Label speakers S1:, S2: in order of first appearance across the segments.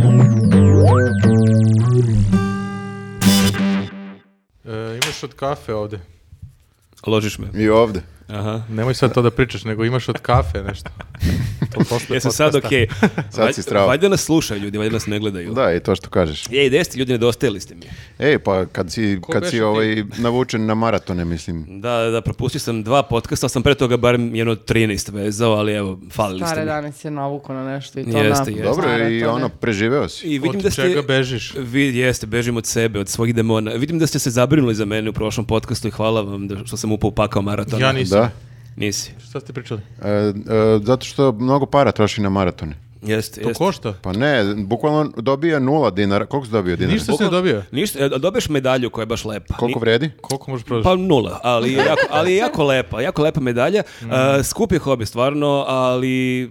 S1: E, imaš od kafe ovdje.
S2: Ložiš me.
S3: I ovdje.
S2: Aha.
S1: Nemoj sad to da pričaš, nego imaš od kafe nešto. To posle
S2: Ja sam sad
S1: podcasta.
S2: okej.
S3: Sad si
S2: Valj-
S3: strava.
S2: Valjda nas slušaju ljudi, valjda nas ne gledaju.
S3: Da, i to što kažeš.
S2: Ej, gdje ste ljudi, nedostajali ste mi.
S3: Ej, pa kad si,
S1: Ko
S3: kad
S1: beše
S3: si
S1: ti?
S3: ovaj, navučen na maratone, mislim.
S2: Da, da, propustio sam dva podcasta, ali sam pre toga barem jedno 13 vezao, ali evo, falili ste
S4: Stare
S2: mi.
S4: danas je navuko na nešto i to
S2: Jeste,
S4: na...
S2: jeste.
S3: Dobro,
S4: Stare,
S3: i
S4: to ne.
S3: ono, preživeo si.
S2: I vidim
S1: Od
S2: da ste,
S1: čega bežiš?
S2: Vi, jeste, bežim od sebe, od svojih demona. Vidim da ste se zabrinuli za mene u prošlom podcastu i hvala vam da, što sam upao u pakao maratona.
S1: Ja nisam.
S3: Da.
S2: Nisi.
S1: Šta ste pričali?
S3: E, e, zato što mnogo para troši na maratone.
S2: Jeste,
S1: To
S2: jeste.
S1: košta?
S3: Pa ne, bukvalno dobija nula dinara. Koliko si dobio dinara?
S1: Ništa se ne dobio.
S2: Ništa, e, dobiješ medalju koja je baš lepa.
S3: Koliko
S2: Ni-
S3: vredi?
S1: Koliko možeš prodati?
S2: Pa nula, ali je jako, ali je jako lepa, jako lepa medalja.
S1: Mm.
S2: E, skup je hobi stvarno, ali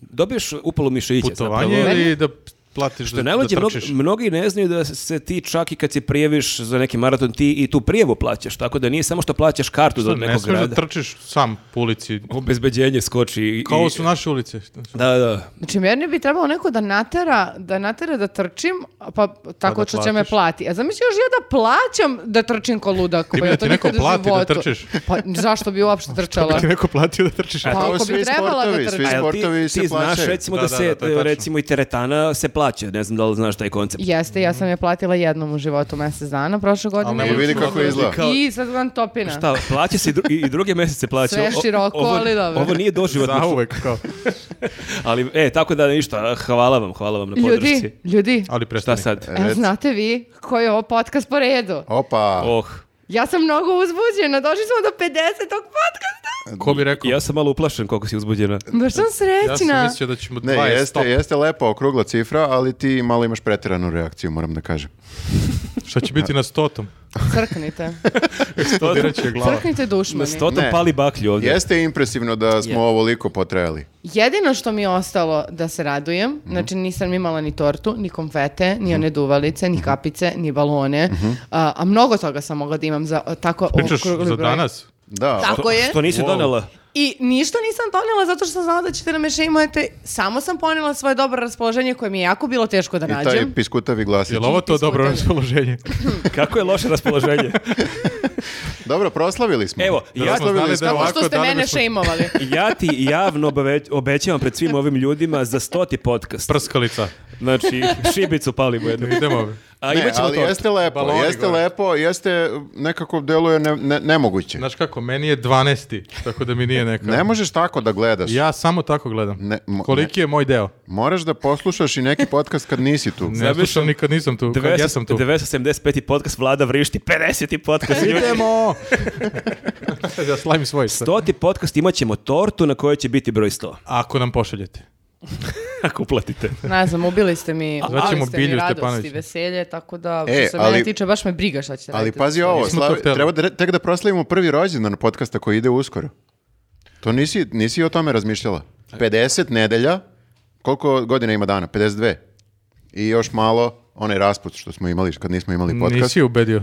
S2: dobiješ upalu mišića.
S1: Putovanje
S2: zapravo.
S1: ili da platiš
S2: To
S1: da,
S2: je
S1: da
S2: najluđe, mno-
S1: trčiš?
S2: mnogi ne znaju da se ti čak i kad se prijaviš za neki maraton, ti i tu prijevu plaćaš, tako da nije samo što plaćaš kartu do
S1: Što, ne
S2: nekog
S1: smiješ da
S2: grada.
S1: trčiš sam po ulici.
S2: Obezbeđenje skoči. i-
S1: Kao
S2: i-
S1: su naše ulice.
S2: Da, da.
S4: Znači, meni bi trebalo neko da natera, da natera da trčim, pa tako
S1: da
S4: što će me
S1: platiš.
S4: plati. A zamisli još ja da plaćam da trčim ko ludak.
S1: Ti bi
S4: pa ja
S1: da
S4: to
S1: ti neko
S4: nikad u
S1: plati da
S4: životu.
S1: trčiš?
S4: Pa zašto bi uopšte trčala?
S1: Ti neko platio da trčiš.
S4: Pa
S3: Kao
S4: ako
S3: svi
S4: bi trebala da
S3: sportovi, svi
S4: trčim.
S2: A jel
S3: sportovi
S2: ti,
S3: se
S2: ti znaš
S3: plaćaju.
S2: recimo da,
S1: Da, da,
S2: se
S1: da, to je tačno.
S2: recimo i teretana se plaća, ne znam da li znaš taj koncept.
S4: Jeste, ja sam je platila jednom u životu mjesec dana prošle godine.
S1: ne
S3: I vidi kako izgleda.
S2: Kao-
S4: I sad gledam topina.
S2: Šta, plaća se i, dru- i- i druge mjesece plaća.
S4: Sve
S2: O-
S4: široko,
S2: ovo-
S4: ali dobro.
S2: Ovo nije doživotno.
S1: Za uvek kao.
S2: Ali, e, tako da ništa, hvala vam, hvala vam na podršci.
S4: Ljudi, ljudi,
S1: Ali
S2: Šta
S1: prestani.
S2: sad?
S4: evo znate vi koji je ovo podcast po redu.
S3: Opa,
S2: Oh,
S4: Ja sam mnogo uzbuđena, došli smo do 50. podcasta.
S1: Ko bi rekao?
S2: ja sam malo uplašen koliko si uzbuđena.
S4: Baš sam
S1: Ja sam
S4: srećna.
S1: mislio da ćemo
S3: ne,
S1: 20
S3: jeste,
S1: stop.
S3: jeste lepa okrugla cifra, ali ti malo imaš pretjeranu reakciju, moram da kažem.
S1: Šta će biti na stotom?
S4: Crknite.
S1: Studirat će glava.
S4: Crknite
S2: Na
S4: dušmani.
S2: stotom
S3: Ne.
S2: pali baklju ovdje.
S3: Jeste impresivno da smo ovoliko potrajali.
S4: Jedino što mi je ostalo da se radujem,
S1: Mhm.
S4: znači nisam imala ni tortu, ni konfete, ni one duvalice,
S1: Mhm.
S4: ni kapice, ni balone, a, a mnogo toga sam mogla da imam za o, tako
S1: Pričaš
S4: okrugli
S1: za
S4: broj.
S1: danas?
S3: Da,
S4: Tako
S2: To-
S4: je.
S2: Što nisi
S1: Wow.
S2: donela?
S4: I ništa nisam donijela zato što sam znala da ćete nam još imate. Samo sam ponijela svoje dobro raspoloženje koje mi je jako bilo teško da
S3: i taj
S4: nađem.
S3: piskutavi glasić.
S1: Je li ovo to
S4: Iskutanje.
S1: dobro raspoloženje?
S2: Kako je loše raspoloženje?
S3: Dobro, proslavili smo.
S2: Evo, ja-
S3: proslavili
S1: Znali
S3: smo.
S1: da je
S4: Samo
S1: ovako,
S4: što ste
S1: da li
S4: mene
S1: bismo-
S4: šeimovali.
S2: Ja ti javno obave- obećavam pred svim ovim ljudima za stoti podcast.
S1: Prskalica.
S2: Znači, šibicu palimo jednu.
S1: Idemo.
S2: A
S3: ne,
S2: imat ćemo
S3: ali
S2: tortu.
S3: jeste lepo,
S1: Baloni
S3: jeste
S1: gore.
S3: lepo, jeste nekako deluje ne- ne- nemoguće.
S1: Znaš kako, meni je 12. Tako da mi nije neka.
S3: Ne možeš tako da gledaš.
S1: Ja samo tako gledam.
S3: Ne, mo-
S1: Koliki je moj deo?
S3: Moraš da poslušaš i neki podcast kad nisi tu.
S1: Ne slušam nikad nisam tu. Kad
S2: 900
S1: ja sam tu.
S2: 975. podcast Vlada vrišti, 50. podcast ljudi.
S1: Idemo! ja slavim svoj. sad.
S2: Stoti podcast imat ćemo tortu na kojoj će biti broj 100.
S1: Ako nam pošaljete.
S2: Ako uplatite.
S4: Ne znam, ubili ste mi, ubili
S1: Zvaćemo
S4: ste mi
S1: Bilju
S4: radosti,
S1: Stepanovića.
S4: veselje, tako da
S3: E,
S4: što se mene
S3: ali-
S4: tiče baš me briga šta ćete
S3: Ali
S4: raditi.
S3: pazi ovo,
S1: Nismo
S3: slavi-
S1: to hteli.
S3: treba da, re- tek da proslavimo prvi rođendan podcasta koji ide uskoro. To nisi, nisi o tome razmišljala. 50 nedelja, koliko godina ima dana? 52. I još malo, onaj rasput što smo imali, kad nismo imali podcast.
S1: Nisi ubedio.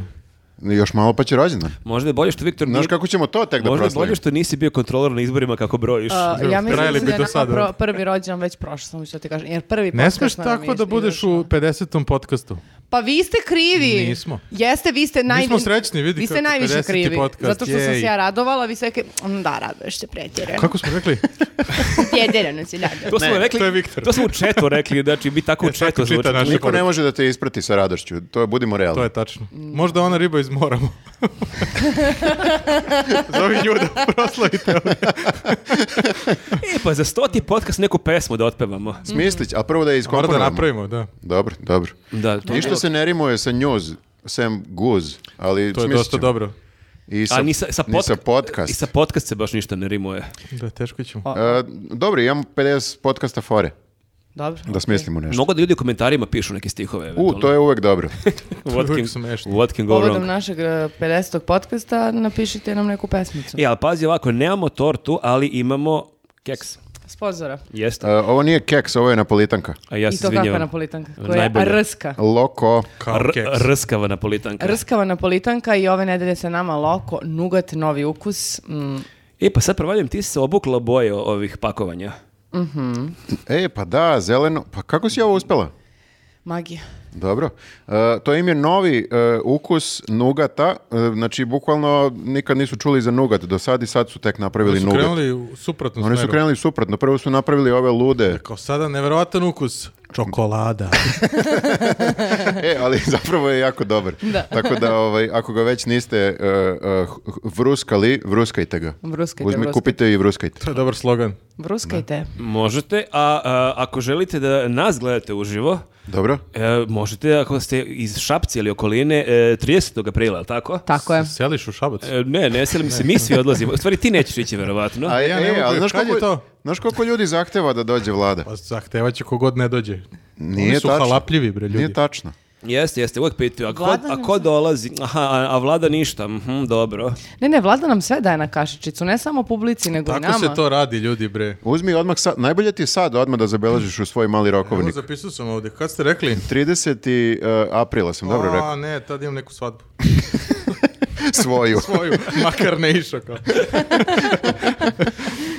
S3: Još malo pa će rođendan.
S2: Možda je bolje što Viktor nije...
S3: Znaš kako ćemo to tek da
S2: Možda je
S3: proslavimo?
S2: bolje što nisi bio kontroler na izborima kako brojiš.
S4: A, Uh, ja mislim
S1: Trajali
S4: da
S1: bi
S4: je
S1: do
S4: nama
S1: sada.
S4: pro- prvi rođendan već prošao, samo što ti kažem. Jer prvi
S1: Ne
S4: podcast
S1: smeš
S4: nam je
S1: tako da
S4: iz-
S1: budeš u
S4: izašao.
S1: 50. podcastu.
S4: Pa vi ste krivi.
S1: Nismo.
S4: Jeste, vi ste najviše.
S1: smo srećni, vidi
S4: Vi ste
S1: kako,
S4: najviše
S1: 50.
S4: krivi.
S1: podcast,
S4: Zato što sam se
S1: jej.
S4: ja radovala, vi ste rekli, "Mm, da, raduješ se pretjerano.
S1: Kako smo rekli?
S4: Pretjerano si radila."
S2: to smo rekli,
S1: to je Viktor.
S2: to smo u četu rekli, znači bi tako u četu
S1: čita
S2: zvuči.
S1: naše
S3: Niko ne
S1: poruke.
S3: može da te isprati sa radošću, to je, budimo realni.
S1: To je tačno. Možda ona riba iz mora. Zovi nju da proslavite.
S2: E, pa za stoti podcast neku pesmu da otpevamo.
S3: Smislić, a prvo da
S1: Mora
S3: je
S1: da
S3: iskomponujemo.
S1: Pa napravimo, da.
S3: Dobro, dobro.
S2: Da, to
S3: Ništa se ne rimuje sa njuz, sem guz, ali
S1: To je
S3: smislit
S1: dosta
S3: ćemo.
S1: dobro.
S3: I sa,
S2: A ni sa, sa,
S3: ni
S2: pod-
S3: sa podcast.
S2: I sa podcast se baš ništa ne rimuje.
S1: Da, teško ćemo.
S3: E, dobro, imamo 50 podcasta fore,
S4: Dobro.
S3: da smislimo nešto.
S2: Mnogo da ljudi u komentarima pišu neke stihove.
S3: U, to je uvek dobro.
S2: What
S1: Uvijek
S2: can,
S1: smešno.
S2: what can go
S4: Povodom
S2: wrong?
S4: našeg e, 50. podcasta napišite nam neku pesmicu.
S2: E, ali pazi ovako, nemamo tortu, ali imamo keks.
S4: Sponzora.
S2: Jeste.
S3: E, ovo nije keks, ovo je napolitanka.
S2: A ja
S4: I
S2: se
S4: to kakva
S2: izvinjavam.
S4: napolitanka? Koja je
S2: Najbolje.
S4: rska.
S3: Loko.
S1: Kao
S2: R-
S1: Pa, keks.
S2: rskava napolitanka.
S4: Rskava napolitanka i ove nedelje se nama loko, nugat, novi ukus. Mm.
S2: E, pa sad provaljujem, ti si se obukla boje ovih pakovanja.
S3: E, pa da, zeleno. Pa kako si ovo uspela?
S4: Magija.
S3: Dobro. E, to im je novi e, ukus nugata, e, znači bukvalno nikad nisu čuli za nugat do sad i sad su tek napravili
S1: Oni su
S3: nugat.
S1: krenuli u suprotnu
S3: Oni su
S1: smeru.
S3: krenuli suprotno, prvo su napravili ove lude.
S1: Kao sada nevjerovatan ukus. Čokolada.
S3: E, ali zapravo je jako dobar. Tako da ovaj, ako ga već niste e, e, vruskali, vruskajte ga.
S4: Vruskajte,
S3: Uzmi,
S4: vruskajte.
S3: kupite i vruskajte.
S1: to je dobar slogan.
S4: Vruskajte.
S2: Možete, a, a, ako želite da nas gledate uživo,
S3: Dobro?
S2: e, možete ako ste iz Šapci ili okoline e, 30. aprila, jel tako?
S4: Tako je.
S1: Seliš u šabac.
S2: E, Ne, ne selim se, mi svi odlazimo. U stvari ti nećeš ići, verovatno.
S3: A,
S1: ja ne
S3: e,
S1: mogu,
S3: ali znaš
S1: kad je
S3: koliko,
S1: to?
S3: znaš koliko ljudi zahteva da dođe vlada?
S1: Pa zahtevaće kogod ne dođe.
S3: Nije
S1: Oni su
S3: tačno.
S1: halapljivi, bre, ljudi.
S3: Nije tačno.
S2: Jeste, jeste, uvijek pitaju. A ko,
S4: Vlada
S2: a
S4: nam
S2: ko
S4: sve-
S2: dolazi? Aha, a, a vlada ništa. Mhm, dobro.
S4: Ne, ne, vlada nam sve daje na kašičicu, ne samo publici, nego i
S1: Tako
S4: nama.
S1: se to radi, ljudi, bre.
S3: Uzmi odmah sad, najbolje ti je sad odmah da zabeležiš u svoj mali
S1: Evo,
S3: rokovnik.
S1: zapisao sam ovdje. Kad ste rekli?
S3: 30. e, aprila sam dobro rekao.
S1: A, ne, tad imam neku svadbu.
S3: Svoju.
S1: Svoju, makar ne išao kao.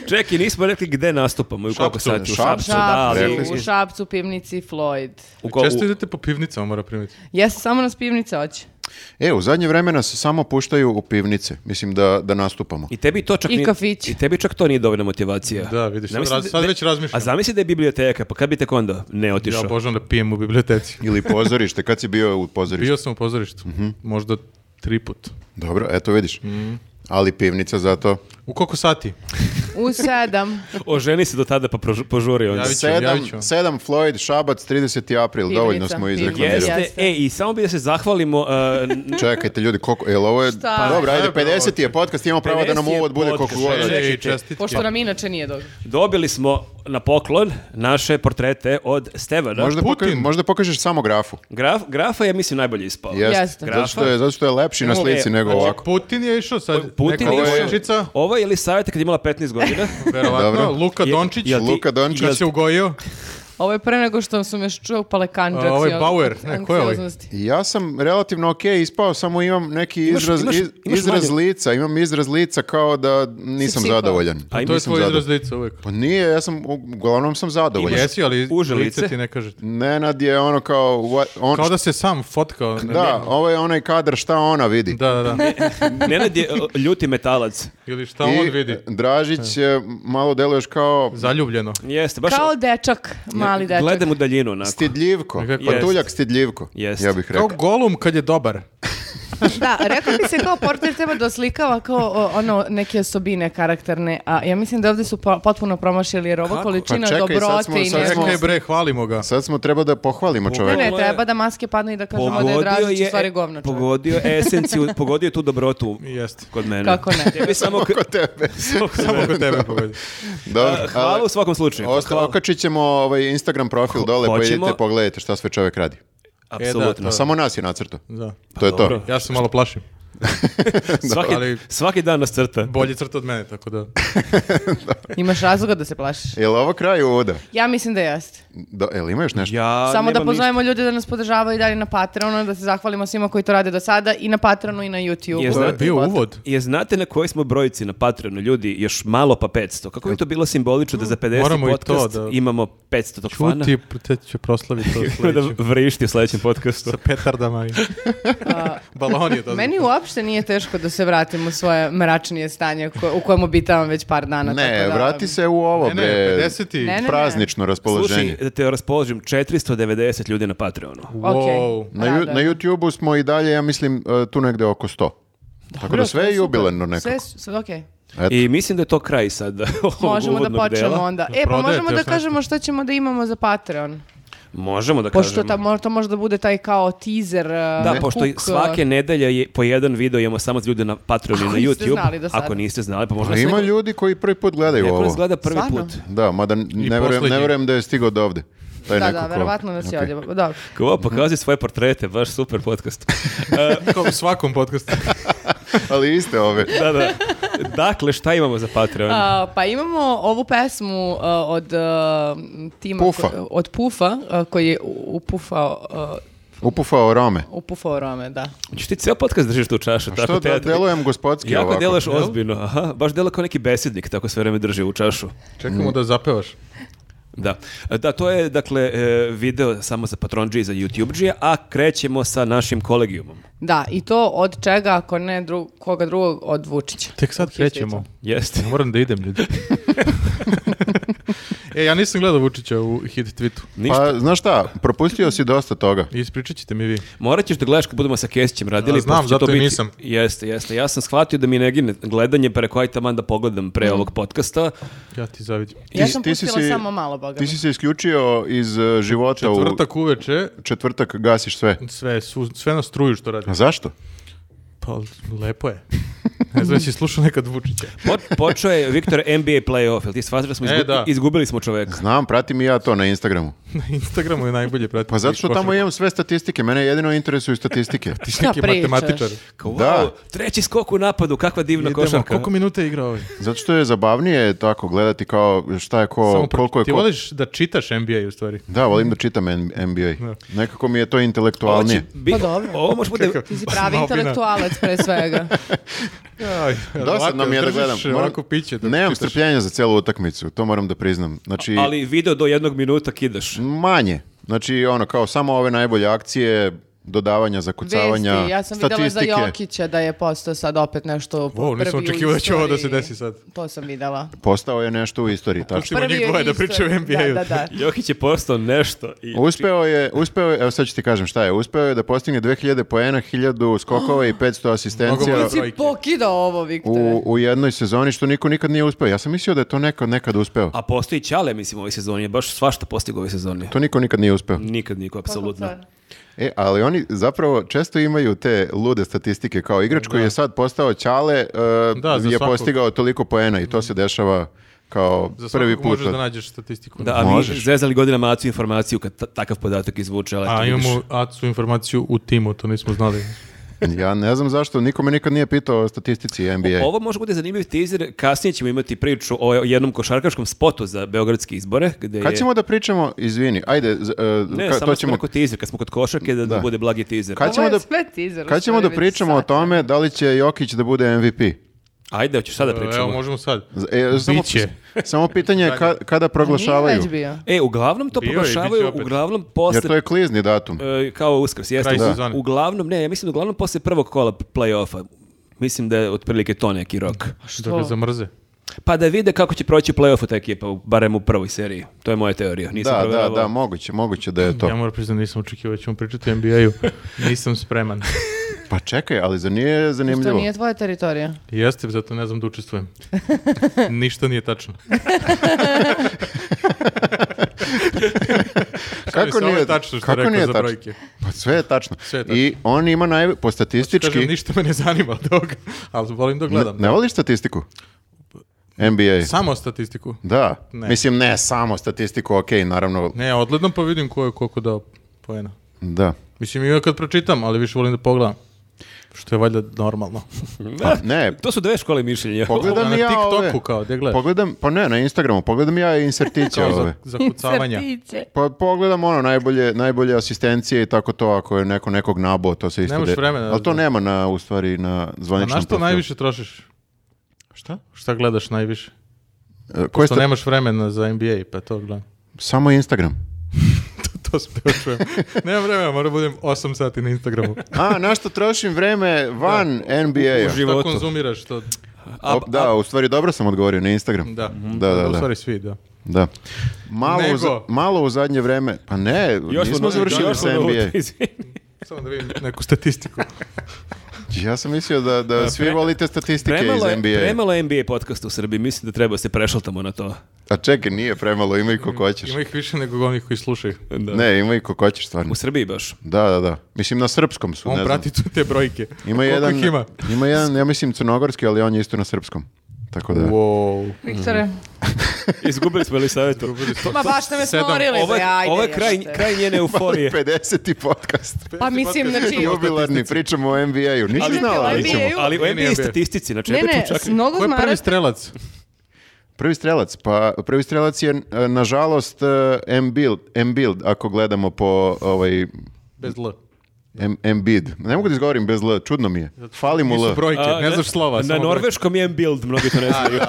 S2: Čekaj, nismo rekli gde nastupamo i u koliko
S1: Šapcu,
S2: sati. U
S3: Šapcu.
S2: Šapcu, da,
S4: Šapcu,
S2: ali...
S4: u Šapcu, pivnici, Floyd.
S2: U ko- u-
S1: Često idete po pivnicama, mora primiti.
S4: Jeste, samo nas pivnica hoće.
S3: E, u zadnje vreme nas samo puštaju u pivnice. Mislim da, da nastupamo.
S2: I tebi to čak
S4: I
S2: nije-
S4: kafić.
S2: I tebi čak to nije dovoljna motivacija.
S1: Da, vidiš, sad
S2: Zamisli
S1: raz-
S2: da-
S1: sad
S2: da-
S1: već razmišljam.
S2: A zamisli da je biblioteka, pa kad bi tek onda ne
S1: Ja
S2: otišao?
S1: obožavam da pijem u biblioteci.
S3: Ili pozorište, kad si bio u pozorištu.
S1: Bio sam u pozorištu.
S3: Mhm.
S1: Možda tri put.
S3: Dobro, eto vidiš.
S1: Mm.
S3: Ali pivnica zato.
S1: U koliko sati?
S4: U sedam.
S2: Oženi se do tada pa prožu- požuri onda.
S1: Ja Javit ću,
S3: Sedam,
S1: javit ću.
S3: sedam Floyd, Šabac, 30. april.
S4: Pivnica,
S3: Dovoljno smo
S4: pivnica.
S3: izreklamirali.
S2: Jeste,
S4: Jeste.
S2: e, i samo bi da se zahvalimo... uh, n-
S3: Čekajte ljudi, koliko, jel ovo je...
S4: Šta?
S3: Pa Dobro, ajde,
S1: Šta je bilo
S3: 50. je podcast, imamo pravo da nam
S2: 50 je
S3: uvod bude koliko
S2: podcast,
S3: god.
S2: e,
S3: hoće.
S1: Ej,
S2: čekajte.
S1: čestitke.
S4: Pošto nam inače nije dobro.
S2: dobili smo na poklon naše portrete od Stevana.
S3: Možda,
S1: Putin.
S3: pokažeš, možda pokažeš samo grafu.
S2: Graf, grafa je, mislim, najbolje ispao.
S3: Jeste.
S4: Jeste.
S3: Zato, što je, zato što je lepši na
S2: Evo je,
S1: e,
S3: slici nego
S2: znači,
S3: ovako.
S1: Putin je išao sad.
S2: Putin
S1: Neka
S2: je išao.
S1: devojčica,
S2: Ovo je li savjeta kad je imala 15 godina?
S1: Verovatno.
S3: Dobro.
S1: Luka
S2: Je-
S1: Dončić.
S2: jel ti-
S3: Luka Dončić.
S2: jel-
S1: Kad se ugojio.
S4: Ovo je pre nego što sam još čuo ono, palekanđa.
S1: A, ovo je Bauer, ne, ko je ovaj?
S3: Ja sam relativno ok ispao, samo imam neki
S2: Imaš-
S3: izraz,
S2: imaš-
S3: iz-
S2: imaš
S3: izraz
S2: manje-
S3: lica, imam izraz lica kao da nisam
S4: psiho.
S3: zadovoljan.
S2: A i
S1: To je
S3: Nisam
S1: tvoj izraz
S3: zadovoljan.
S1: lica uvek.
S3: Pa nije, ja sam, uglavnom sam zadovoljan.
S1: Jesi, ali
S2: Uže lice.
S1: lice ti ne kažete.
S3: Nenad je ono kao, what, on,
S1: Kao da se sam fotkao. ne-
S3: da, ovo je onaj kadar šta ona vidi.
S1: Da, da, da.
S2: Nenad je uh, ljuti metalac.
S1: Ili šta
S3: I
S1: on vidi?
S3: Dražić je, malo deluješ kao
S1: Zaljubljeno.
S2: Jeste, ovaj? baš
S4: Kao dečak, mali dečak.
S2: gledam u daljinu onako.
S3: stidljivko,
S1: Nekako-
S3: patuljak
S2: Jest.
S3: stidljivko,
S2: Jest.
S3: ja bih
S1: Kao
S3: rekao.
S1: golum kad je dobar.
S4: Da, rekao bi se kao portret treba da oslikava kao o, ono neke osobine karakterne, a ja mislim da ovdje su po- potpuno promašili jer ovo
S2: Kako?
S4: količina
S3: Pa čekaj, sad
S4: dobrote
S3: smo-
S4: i
S3: sad smo-
S4: nešto.
S1: Čekaj bre, hvalimo ga.
S3: Sad smo treba da pohvalimo
S4: Ne,
S3: čoveka.
S4: ne,
S2: Ovo je-
S4: treba da maske padnu i da kažemo da je Dražić u stvari govno čovjek.
S2: e- pogodio je esenciju, pogodio je tu dobrotu
S1: Jeste.
S2: kod mene.
S4: Kako ne?
S2: Tebi samo... k-
S3: Kod tebe.
S1: Samo kod tebe pobedi.
S3: Dobro.
S2: Uh, Hvala u svakom slučaju.
S3: Osta- E,
S2: Hvala.
S3: Okačit ćemo ovaj Instagram profil dole, pa
S2: hoćemo-
S3: idite pogledajte šta sve čovek radi.
S2: Apsolutno.
S1: E,
S3: Samo nas je nacrto.
S1: Da.
S3: To je to.
S2: Pa- dobro.
S1: Ja se malo plašim.
S2: svaki,
S1: ali-
S2: svaki dan nas crta.
S1: Bolje crta od mene, tako
S2: E,
S1: da.
S4: Imaš razloga da se plašiš.
S3: Je li ovo kraj uvoda?
S4: Ja mislim da jeste.
S3: Do, je li ima još nešto?
S2: Ja
S4: Samo da
S2: nemam ništa.
S4: pozovemo ljude da nas podržavaju i dalje na Patreonu, da se zahvalimo svima koji to rade do sada i na Patreonu i na YouTubeu.
S2: Je,
S1: To je
S2: znate,
S1: bio uvod.
S2: Je znate na kojoj smo brojici na Patreonu, ljudi, još malo pa 500. Kako bi to bilo simbolično da za 50
S1: Moramo i to
S2: podcast
S1: da-
S2: imamo 500 tog fana?
S1: Čuti, te ću proslaviti to
S2: da
S1: sledeće.
S2: vrišti u sledećem podcastu.
S1: Sa petardama i... Balon je to.
S4: Meni uopšte nije teško da se vratim u svoje mračnije stanje ko- u kojem obitavam već par dana.
S3: Ne,
S4: tako da-
S3: vrati se u ovo,
S1: E, Ne, ne,
S3: bre.
S1: 50 i...
S4: Ne, ne.
S3: Praznično
S2: Slušaj,
S3: raspoloženje.
S2: da te raspoložim, 490 ljudi na Patreonu.
S1: Wow.
S4: Ok.
S3: Na, ju,
S4: Rado je.
S3: na youtube smo i dalje, ja mislim, eh, tu negde oko 100. Tako
S4: Dobro,
S3: da
S4: to
S3: sve je
S4: super.
S3: jubileno nekako.
S4: Sve, su- sve ok.
S3: Eto.
S2: I mislim da je to kraj sad ovog
S4: Možemo da
S2: uvodnog
S4: počnemo
S2: dela.
S4: onda. E, pa
S1: Prodajete
S4: možemo da
S1: još nešto?
S4: kažemo što ćemo da imamo za Patreon.
S2: Možemo da
S4: Pošto
S2: kažemo.
S4: ta, mo- to može da bude taj kao teaser. e,
S2: Da, pošto i svake nedelje je po jedan video imamo samo za ljude na Patreonu i
S4: Ako
S2: na
S4: niste
S2: YouTube.
S4: znali do sada.
S2: Ako niste znali, pa možda
S3: A
S2: se
S3: ima ljudi koji prvi put gledaju
S2: neko nas
S3: ovo.
S2: gleda prvi
S4: Stvarno?
S2: put.
S3: Da, mada n- ne verujem, ne
S1: poslednji.
S3: verujem da je stigao do ovde. To je
S4: Da, da,
S3: nekako-
S4: verovatno nas je
S3: Ok.
S4: ovdje. Dobro.
S2: Ko pokazuje svoje portrete, baš super podcast.
S1: Kao u svakom podcastu.
S3: Ali iste ove.
S2: da, da. Dakle, šta imamo za Patreon?
S4: A, pa imamo ovu pesmu a, od a, tima
S3: Pufa.
S4: ko- od Pufa a, koji je u- upufao a,
S3: Upufao Rome.
S4: upufao Rome, da.
S2: Ču ti ceo podcast držiš tu čašu. tako
S3: Što da
S2: teatralno.
S3: delujem gospodski
S2: Jako
S3: ovako?
S2: delaš ozbiljno, aha, baš dela kao neki besednik, tako sve vreme drži u čašu.
S1: Čekamo da zapevaš.
S2: Da. Da, to je dakle e, video samo za Patronđe i za YouTubeđe, a krećemo sa našim kolegijumom.
S4: Da, i to od čega, ako ne dru- koga drugog, od Vučića.
S1: Tek sad
S4: Vučić je
S1: krećemo.
S2: Jeste.
S1: Ja moram da idem, ljudi. e, ja nisam gledao Vučića u hit tweetu.
S2: Ništa.
S3: Pa, znaš šta, propustio si dosta toga.
S1: Ispričat ćete mi vi.
S2: Morat ćeš da gledaš kad budemo sa Kesićem radili.
S1: A, znam,
S2: pošto će
S1: zato
S2: to
S1: i
S2: biti-
S1: nisam.
S2: Jeste, jeste. Ja sam shvatio da mi ne gine gledanje preko aj taman da pogledam pre ovog podcasta.
S1: Ja ti zavidim.
S4: Mm. Ja
S3: Ti-
S4: sam
S3: ti si
S4: pustila
S3: si-
S4: samo malo, boga
S3: Ti
S4: mi.
S3: si se isključio iz e, života
S1: Četvrtak Pa uveče,
S3: u četvrtak gasiš sve.
S1: sve, su, sve na struju što radi.
S3: A zašto?
S1: Pa, lepo je. Ne znam, si slušao nekad Vučića.
S2: Po- počeo je Viktor NBA playoff, jel ti shvataš da smo
S1: E,
S2: izgu-
S1: da.
S2: izgubili smo čoveka?
S3: Znam, pratim i ja to na Instagramu.
S1: Na Instagramu je najbolje pratiti.
S3: Pa zato što tamo imam sve statistike, mene jedino interesuju statistike.
S1: Ti si
S4: Šta
S1: neki
S4: pričaš?
S1: matematičar.
S2: Kao,
S3: Da.
S2: wow, treći skok u napadu, kakva divna
S1: Idemo,
S2: košarka.
S1: koliko minuta je igrao ovaj?
S3: Zato što je zabavnije tako gledati kao šta je ko,
S1: Samo pro-
S3: koliko je
S1: ti
S3: ko.
S1: voliš da čitaš NBA u stvari.
S3: Da, volim da čitam N- NBA. Nekako mi je to
S2: Ovo će
S3: intelektualnije.
S2: biti-
S4: Pa dobro.
S2: Ovo može bude...
S4: Ti si pravi
S1: Malo bi na-
S4: intelektualac pre svega.
S1: Aj,
S3: Dosadno mi je da
S1: držiš
S3: gledam.
S1: Ovako piće da
S3: Nemam
S1: čitaš.
S3: strpljenja za cijelu utakmicu, to moram da priznam. Znači,
S2: Ali video do jednog minuta kidaš.
S3: manje. Znači, ono, kao samo ove najbolje akcije, dodavanja,
S4: Vesti,
S3: zakucavanja,
S4: ja sam videla za
S3: statistike.
S4: Jokića da je postao sad opet nešto po
S1: Wow, nisam
S4: prvi u
S1: očekivao da će ovo da se
S4: istoriji.
S1: desi sad.
S4: To sam videla.
S3: Postao je nešto u istoriji, tačno.
S1: Pustimo njih
S4: u
S1: dvoje da
S4: istoriji.
S1: pričaju o NBA-u.
S4: Da, da, da.
S2: Jokić je postao nešto. I...
S3: Uspeo je, uspeo je, evo sad ću ti kažem šta je, uspeo je da postigne 2000 poena, 1000 skokova i 500 asistencija
S1: Mnogo
S4: Ti si
S1: Trojke.
S4: pokidao ovo, Viktore.
S3: u, u jednoj sezoni što niko nikad nije uspeo. Ja sam mislio da je to nekad, nekad uspeo.
S2: A postoji Ćale, mislim, ove sezoni. Je baš svašta postigao ove sezoni.
S3: To niko nikad nije uspeo.
S2: Nikad
S4: Pa
S2: niko, apsolutno.
S4: Kako
S3: E, ali oni zapravo često imaju te lude statistike kao igrač koji je sad postao ćale, e,
S1: Da, za
S3: je
S1: svakog.
S3: postigao toliko poena i to se dešava kao
S1: Za svakog
S3: prvi put.
S1: možeš da nađeš statistiku.
S2: Da, a mi
S3: Možeš.
S2: zezali godinama Acu informaciju kad ta- takav podatak izvuče. Ali eto,
S1: A
S2: vidiš.
S1: imamo ACU informaciju u timu, to nismo znali.
S3: Ja ne znam zašto, niko me nikad nije pitao o statistici NBA.
S2: Ovo može bude zanimljiv teaser, kasnije ćemo imati priču o jednom košarkaškom spotu za beogradske izbore. Gde
S3: Kad
S2: je...
S3: ćemo da pričamo, izvini, ajde, z- e,
S2: Ne,
S3: ka-
S2: samo
S3: to ćemo...
S2: preko teaser, kad smo kod košarke, da, da bude blagi teaser.
S3: Kad ćemo da, kad ćemo da pričamo o tome da li će Jokić da bude MVP?
S2: Ajde, hoćeš sada pričamo.
S1: E, Evo, možemo sad.
S3: Z- e, samo,
S1: Biće.
S3: samo pitanje je ka- kada
S4: Nije
S3: proglašavaju,
S4: već bio.
S2: E, uglavnom to
S1: Bio je, bit će
S2: proglašavaju,
S1: opet.
S2: uglavnom
S3: jer
S2: posle...
S3: to je klizni datum.
S2: e, kao uskrs, jeste.
S1: Kraj Da. sezone.
S2: Uglavnom, ne, ja mislim da uglavnom posle prvog kola play-offa. Mislim da je otprilike to neki rok.
S1: Da ga zamrze.
S2: Pa da vide kako će proći play-offu ta ekipa, u- barem u prvoj seriji. To je moja teorija. Nisam
S3: Da, da,
S2: provjeravao.
S3: da, moguće, moguće da je to.
S1: Ja moram priznati, nisam očekivao da ćemo pričati o NBA-u. Nisam spreman.
S3: Pa čekaj, ali za nije
S4: To
S3: zanimljivo.
S4: nije tvoja teritorija.
S1: Jeste, zato ne znam da učestvujem. Ništa nije tačno.
S3: Kako
S1: Mislim, ovo je
S3: nije
S1: tačno što
S3: kako
S1: je rekao
S3: nije
S1: za
S3: tačno?
S1: brojke?
S3: Pa sve je tačno.
S1: Sve je tačno.
S3: I on ima naj... po statistički...
S1: Kažem, ništa me ne zanima od toga, ali volim da gledam.
S3: Ne voliš statistiku? NBA.
S1: Samo statistiku.
S3: Da.
S1: Ne.
S3: Mislim, ne samo statistiku, ok, naravno,
S1: Ne, odgledam pa vidim ko je koliko dao poena.
S3: da.
S1: Mislim, i ja kad pročitam, ali više volim da pogledam. Što je valjda normalno.
S2: Pa,
S3: ne.
S2: To su dve škole mišljenja.
S3: Pogledam
S1: na
S3: ja
S1: TikToku
S3: ove.
S1: kao, gde gledaš?
S3: Pogledam, pa ne, na Instagramu, pogledam ja insertiće
S1: Kao za,
S3: ove.
S1: za kucavanja.
S3: Pa pogledam ono, najbolje, najbolje asistencije i tako to, ako je neko nekog nabao, to se isto...
S1: Nemaš
S3: de-
S1: vremena
S3: Ali to
S1: za-
S3: nema na, u stvari, na
S1: A
S3: zvaničnom
S1: na što
S3: profilu.
S1: najviše trošiš?
S3: Šta?
S1: Šta gledaš najviše?
S3: E, koje
S1: Što
S3: sta-
S1: nemaš vremena za NBA, pa to gledam.
S3: Samo Instagram.
S1: to sam teo čujem. Nemam vremena, moram budem 8 sati na Instagramu.
S3: A, na što trošim vreme van NBA-a?
S2: u Životu.
S1: Šta konzumiraš to?
S2: A-
S3: Op, da, u stvari dobro sam odgovorio na Instagram.
S1: Da.
S3: Mhm. Da, da,
S1: U
S3: da.
S1: stvari svi, da.
S3: da. Malo, u, za-
S1: Nego.
S3: malo u zadnje vreme, pa ne,
S2: Još smo
S3: nismo završili
S2: još smo
S3: sa
S2: na
S3: NBA.
S2: ulici, izvini.
S1: Samo da vidim neku statistiku.
S3: Ja sam mislio da, da svi volite statistike iz
S2: Premalo je,
S3: NBA.
S2: premalo je NBA podcast u Srbiji. Mislim da treba da se prešaltamo na to.
S3: A čekaj, nije premalo, ima i ko hoćeš.
S1: Ima ih više nego onih koji slušaju.
S2: Da.
S3: Ne, ima i ko hoćeš stvarno.
S2: U Srbiji baš.
S3: Da, da, da. Mislim na srpskom su,
S1: On
S3: ne znam.
S1: prati tu te brojke.
S3: Ima jedan,
S1: ih ima?
S3: ima jedan, ja mislim crnogorski, ali on je isto na srpskom. Tako da.
S1: Wow. Mhm.
S4: Viktore,
S2: Izgubili smo li savjetu.
S4: ma baš ste me
S1: Sedam.
S4: smorili.
S2: Ovo
S4: bre,
S2: je,
S4: ajde,
S2: ovo je kraj,
S4: jebote.
S2: kraj njene euforije.
S1: Pa
S3: 50. podcast.
S4: Pa mislim, znači...
S3: Jubilarni, pričamo o NBA-u. Nisi
S4: Ali-
S3: znala, ali
S4: ali-
S3: ćemo.
S4: NBA-u.
S2: Ali u
S1: Nije,
S2: NBA
S1: nije
S2: statistici, znači
S4: Ne,
S2: ne,
S4: ne,
S2: čak.
S4: s mnogo
S1: Ko je prvi
S4: zmarate.
S1: strelac?
S3: Prvi strelac, pa prvi strelac je e, nažalost e, Embiid, Embiid ako gledamo po ovaj
S1: Bez L.
S3: Em- Embid. Ne mogu da izgovorim bez L, čudno mi je. Fali mu L.
S1: Nisu brojke,
S2: A,
S1: ne znaš ono. slova.
S2: Na
S1: samo
S2: norveškom je build, mnogi to ne znaju.
S1: brojke.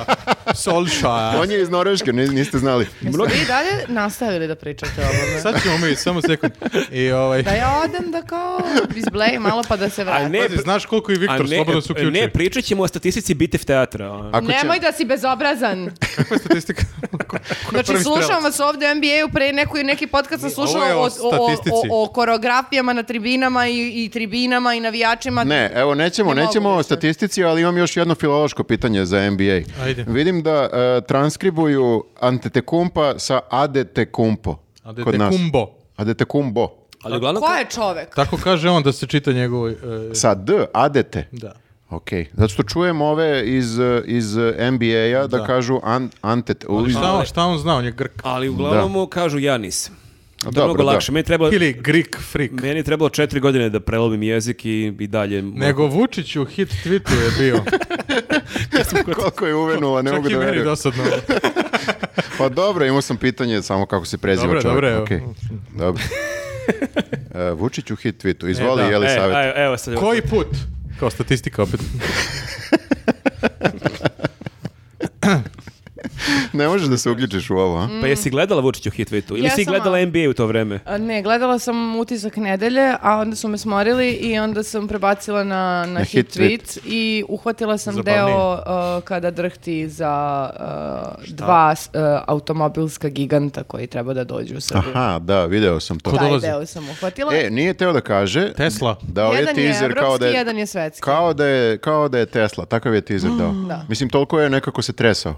S1: Solskjaer.
S3: On je iz Norveške, ni- niste znali.
S4: Jeste vi i dalje nastavili da pričate o ovome?
S1: Sad ćemo mi, samo sekund. I ovaj...
S4: Da ja odem da kao izblejim malo pa da se vratim.
S2: ne,
S1: Pazi, znaš koliko i Viktor slobodno se uključi.
S2: ne, pričat ćemo o statistici bitev teatra. ono.
S3: Ako će-
S4: Nemoj da si bezobrazan.
S1: Kakva je statistika? Ko- ko je
S4: Znači,
S1: prvi
S4: slušam
S1: strelac?
S4: vas ovdje u NBA-u, pre neku, neki podcast sam slušala
S1: ovo je o
S4: o, o, o,
S1: statistici.
S4: o, koreografijama na tribinama i, i tribinama i navijačima.
S3: Ne, evo nećemo,
S4: Ne mogu
S3: nećemo o
S4: više.
S3: statistici, ali imam još jedno filološko pitanje za NBA.
S1: Ajde.
S3: Vidim da e, transkribuju Antetekumpa sa Adetekumpo.
S1: A
S3: kod nas.
S1: Kumbo.
S3: Adetekumbo.
S2: Ali uglavnom...
S4: Ko je čovek?
S1: Tako kaže on da se čita njegov... e,
S3: Sa D, Adete.
S1: da.
S3: Ok, zato što čujem ove iz, e, iz e, NBA-a da,
S1: Da.
S3: kažu an, antet... u-
S1: Šta on, šta on zna? On je Grk.
S2: Ali uglavnom mu kažu Janis. To je mnogo
S3: dobro, da.
S2: lakše. Meni je trebalo,
S1: Ili Grik frik.
S2: meni je trebalo četiri godine da prelomim jezik i, i dalje.
S1: Nego Vučić u hit tweetu je bio.
S3: Koliko je uvenula, ne mogu
S1: Čak i
S3: da
S1: meni
S3: verujem.
S1: dosadno.
S3: Pa dobro, imao sam pitanje samo kako se preziva
S1: Dobro,
S3: čovjek.
S1: dobro, evo.
S3: Okej, dobro. E, Vučić u hit tweetu, izvoli
S1: E, da.
S3: je li
S2: E,
S3: savjet.
S2: aj, evo sad.
S1: Koji put? Kao statistika opet.
S3: Ne možeš da se uključiš u ovo, a?
S2: Pa jesi gledala Vučiću hit tweetu? Ili si
S4: Jesam,
S2: gledala
S4: ali-
S2: NBA u to vreme?
S4: A, Ne, gledala sam utisak nedelje, a onda su me smorili i onda sam prebacila na, na, hit,
S3: hit tweet.
S4: tweet i uhvatila sam
S1: Zabavnije.
S4: deo uh, kada drhti za uh, dva uh, automobilska giganta koji treba da dođu u Srbiju.
S3: Aha, da, video sam to.
S1: Ko
S4: Taj
S1: dolazi?
S4: deo sam uhvatila.
S3: Ah, E, nije teo da kaže
S1: Tesla.
S3: da je
S4: jedan je
S3: teaser kao da
S4: evropski,
S3: je,
S4: jedan je svetski. Mm,
S3: kao da je kao da je Tesla, takav je teaser dao. Mislim toliko je nekako se tresao.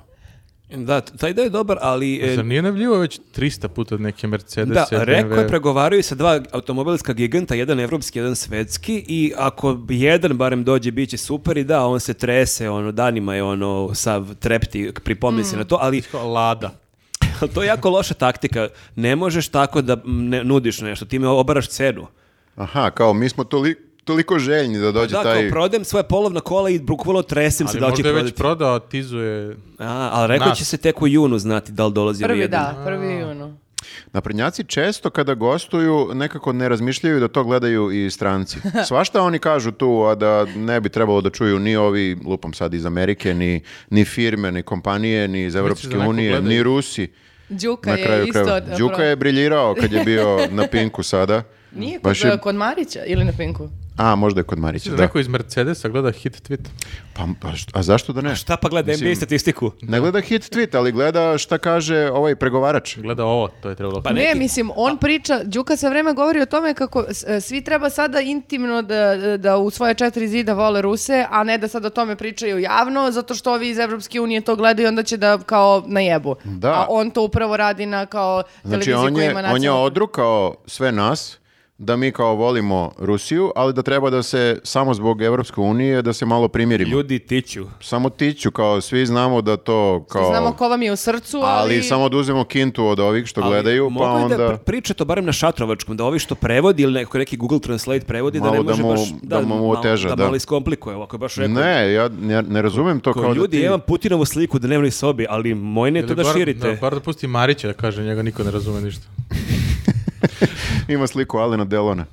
S2: Da, taj deo je dobar, ali... e,
S1: Zar nije najavljivo već 300 puta neke Mercedes?
S2: Da, rekao je pregovaraju sa dva automobilska giganta, jedan evropski, jedan svetski i ako jedan barem dođe bit će super i da, on se trese, ono, danima je ono, sav trepti, pripomni
S4: Mm.
S2: se na to, ali
S1: Lada.
S2: to je jako loša taktika. Ne možeš tako da ne, nudiš nešto, time obaraš cenu.
S3: Aha, kao mi smo toliko toliko željni da dođe
S2: Pa Da,
S3: taj
S2: kao prodem svoje polovna kola i bukvalo tresem se
S1: Ali
S2: da li će
S1: možda je
S2: prodati.
S1: već prodao, a tizuje...
S2: A, ali rekao
S1: Nas.
S2: će se tek u junu znati da li dolazi ili
S4: Prvi,
S2: jedan.
S4: da, prvi ono. juno.
S3: Naprednjaci često kada gostuju nekako ne razmišljaju da to gledaju i stranci. Svašta oni kažu tu, a da ne bi trebalo da čuju ni ovi, lupam sad iz Amerike, ni, ni firme, ni kompanije, ni iz Evropske
S1: da neko
S3: unije,
S1: gledaju?
S3: ni Rusi.
S4: Đuka
S3: Na
S4: je
S3: kraju
S4: isto...
S3: krajeva.
S4: zapravo-
S3: Đuka je briljirao kad je bio na Pinku sada.
S4: Nije kod,
S3: Baš je-
S4: kod Marića ili na Pinku?
S3: A, možda je kod Marića,
S1: Mislim
S3: da.
S1: da neko iz Mercedesa gleda hit tweet.
S3: Pa, pa št- a zašto da ne?
S2: Šta pa gleda
S3: Mislim,
S2: NBA statistiku?
S3: Ne gleda hit tweet, ali gleda šta kaže ovaj pregovarač.
S1: Gleda ovo, to je trebalo.
S2: Pa
S4: Ne,
S2: neki-
S4: mislim, on priča, Đuka sve vreme govori o tome kako s- e, svi treba sada intimno da, da u svoje četiri zida vole Ruse, a ne da sad o tome pričaju javno, zato što ovi iz Evropske unije to gledaju, onda će da kao na jebu.
S3: Da.
S4: A on to upravo radi na kao
S3: Znači,
S4: televiziji
S3: on
S4: koja
S3: je,
S4: ima
S3: on je
S4: nacionalnu-
S3: odrukao sve nas da mi kao volimo Rusiju, ali da treba da se samo zbog Evropske unije da se malo primirimo.
S2: Ljudi tiću.
S3: Samo tiću, kao svi znamo da to kao...
S4: Znamo ko vam je u srcu, ali...
S3: ali... samo da uzmemo kintu od ovih što
S2: Ali
S3: gledaju, pa
S2: mogli
S3: onda...
S2: da pri- priča to barem na šatrovačkom, da ovi što prevodi ili neko neki Google Translate prevodi, da
S3: Malo
S2: ne
S3: da
S2: može
S3: mu-
S2: baš...
S3: da mu
S2: malo-
S3: oteža,
S2: da.
S3: da.
S2: malo iskomplikuje, ovako je baš rekao.
S3: Ne, ja ne, ne razumem to
S2: Ko
S3: kao, da
S2: ljudi,
S3: ti-
S2: ja imam Putinovu sliku u dnevnoj sobi, ali moj ne je to da
S1: bar,
S2: širite.
S1: Da, bar da pusti Marića da kaže, njega niko ne razume ništa.
S3: ima sliku Alena Delona.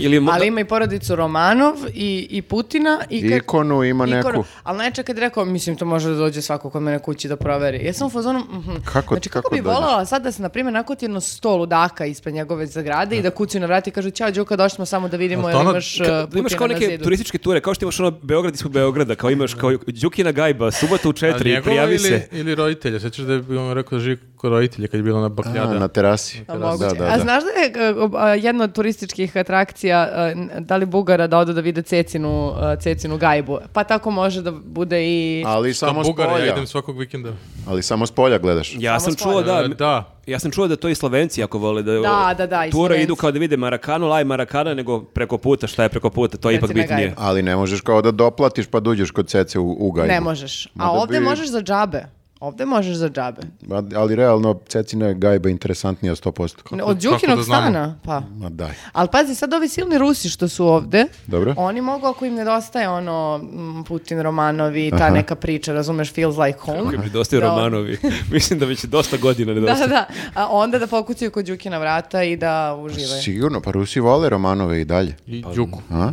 S2: Ili možda-
S4: Ali ima i porodicu Romanov i, i Putina i, kad-
S3: Ikonu ima
S4: Ikonu.
S3: neku.
S4: Ali najče kad je rekao, mislim, to može da dođe svako kod mene kući da proveri. Ja sam u fazonu, mhm.
S3: Kako-
S4: znači, kako,
S3: kako
S4: bi
S3: dođeš?
S4: voljela sad da se, na primjer, nakuti jedno sto ludaka ispred njegove zagrade i da kucaju na vrati i kažu, ćao, Đuka, došli smo samo da vidimo
S1: Ali
S4: jel
S1: to ono-
S4: imaš uh,
S2: Ka- da imaš
S4: Putina
S2: kao
S4: na
S2: neke
S4: zidu."
S2: turističke ture, kao što imaš ono Beograd ispod Beograda, kao imaš kao Đukina gajba, subota u
S1: Ali
S2: četiri,
S1: njegova
S2: prijavi
S1: ili,
S2: se.
S1: Ili roditelja, sećaš da je bio on rekao da živi kod roditelja kad je bilo na
S3: A,
S1: bakljada.
S3: na terasi.
S4: A,
S3: da,
S4: Pa moguće.
S3: da,
S4: A
S3: da.
S4: znaš da je uh, uh, jedna od turističkih atrakcija, uh, n- da li Bugara da odu da vide Cecinu, uh, Cecinu gajbu? Pa tako može da bude i...
S3: Ali
S1: Što
S3: samo s
S1: Bugara, ja
S3: polja.
S1: idem svakog vikenda.
S3: Ali samo s polja gledaš.
S2: Ja
S4: Samo
S2: sam čuo Pa da,
S1: E, da.
S2: ja sam čuo da to i Slovenci ako vole da,
S4: Da, da, da,
S2: tura
S4: i Slovenci.
S2: idu kao da vide Marakanu, laj Marakana, nego preko puta, šta je preko puta, to je ipak
S4: Cecina
S2: bitnije.
S4: gajba.
S3: Ali ne možeš kao da doplatiš pa dođeš kod cece u, u gajbu.
S4: Ne možeš. A
S3: Mada
S4: ovdje
S3: bi-
S4: možeš za džabe. Ovde možeš za džabe.
S3: Ma, Ali realno, Cecina je gajba interesantnija 100%.
S4: Od
S1: kako
S4: Đukinog
S1: da znamo?
S4: stana, pa.
S3: Ma daj.
S4: Ali pazi, sad ovi silni Rusi što su ovde,
S3: Dobro.
S4: oni mogu ako im nedostaje ono mm, Putin, Romanovi, ta
S3: Aha.
S4: neka priča, razumeš, feels like home.
S3: Pa,
S2: Koji mi dostaju
S4: Da.
S2: Romanovi. Mislim da već dosta godina
S4: Da,
S2: nedostaje.
S4: da, a onda da pokucaju kod Đukina vrata i da uživaju.
S3: Sigurno, pa Rusi vole Romanove i dalje.
S1: I Đuku.
S3: A?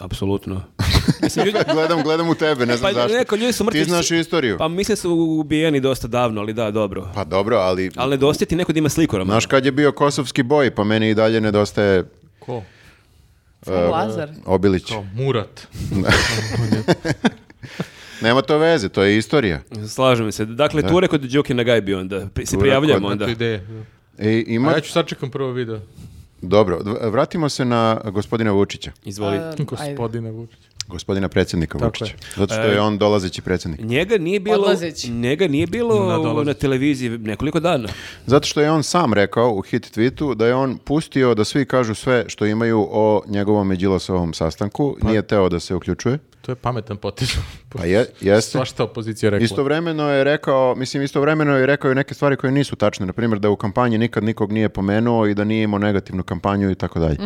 S2: Apsolutno. Mislim, ljudi-
S3: gledam, gledam u tebe, ne znam
S2: pa
S3: zašto.
S2: neko, ljudi su mrtvi.
S3: Ti znaš istoriju.
S2: Pa mislim su ubijeni dosta davno, ali da, dobro.
S3: Pa dobro, ali...
S2: Ali nedostaje ti neko da ima sliku Romana.
S3: Znaš kad je bio kosovski boj, pa meni i dalje nedostaje
S1: Ko?
S4: Samo Lazar.
S3: Obilić.
S1: Kao Murat.
S3: Nema to veze, to je istorija.
S2: Slažem se. Dakle, ture kod Đukina Gajbi onda. Pri- Se
S3: Ture
S2: prijavljamo
S3: kod-
S1: Da.
S2: onda.
S1: To je ideje.
S3: I E, ima...
S1: A ja ću sačekam prvo video.
S3: Dobro, dv- vratimo se na gospodina Vučića.
S2: Izvoli.
S4: A, ajde.
S1: Gospodine Vučić.
S3: Gospodina predsjednika
S1: Tako
S3: Vučića.
S1: je. E,
S3: Zato što je on dolazeći predsjednik.
S2: Njega nije bilo,
S4: Odlazeći.
S2: njega nije bilo na,
S1: Nadolazeći.
S2: televiziji nekoliko dana.
S3: Zato što je on sam rekao u hit tweetu da je on pustio da svi kažu sve što imaju o njegovom i Đilasovom sastanku.
S1: Pa-
S3: Nije teo da se uključuje.
S1: To je pametan potez.
S3: Pa je, jeste.
S1: Svašta opozicija rekla.
S3: Istovremeno je rekao, mislim istovremeno je rekao i neke stvari koje nisu tačne, na primjer da u kampanji nikad nikog nije pomenuo i da nije imao negativnu kampanju i tako dalje.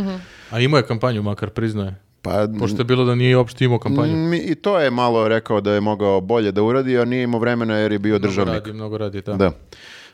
S1: A imao je kampanju, makar priznaje.
S3: Pa
S1: Pošto je bilo da nije uopšte imao kampanju.
S3: m, i to je malo rekao da je mogao bolje da uradi, a nije imao vremena jer je bio
S1: Mnogo
S3: državnik.
S1: radi, mnogo radi, da.
S3: Da.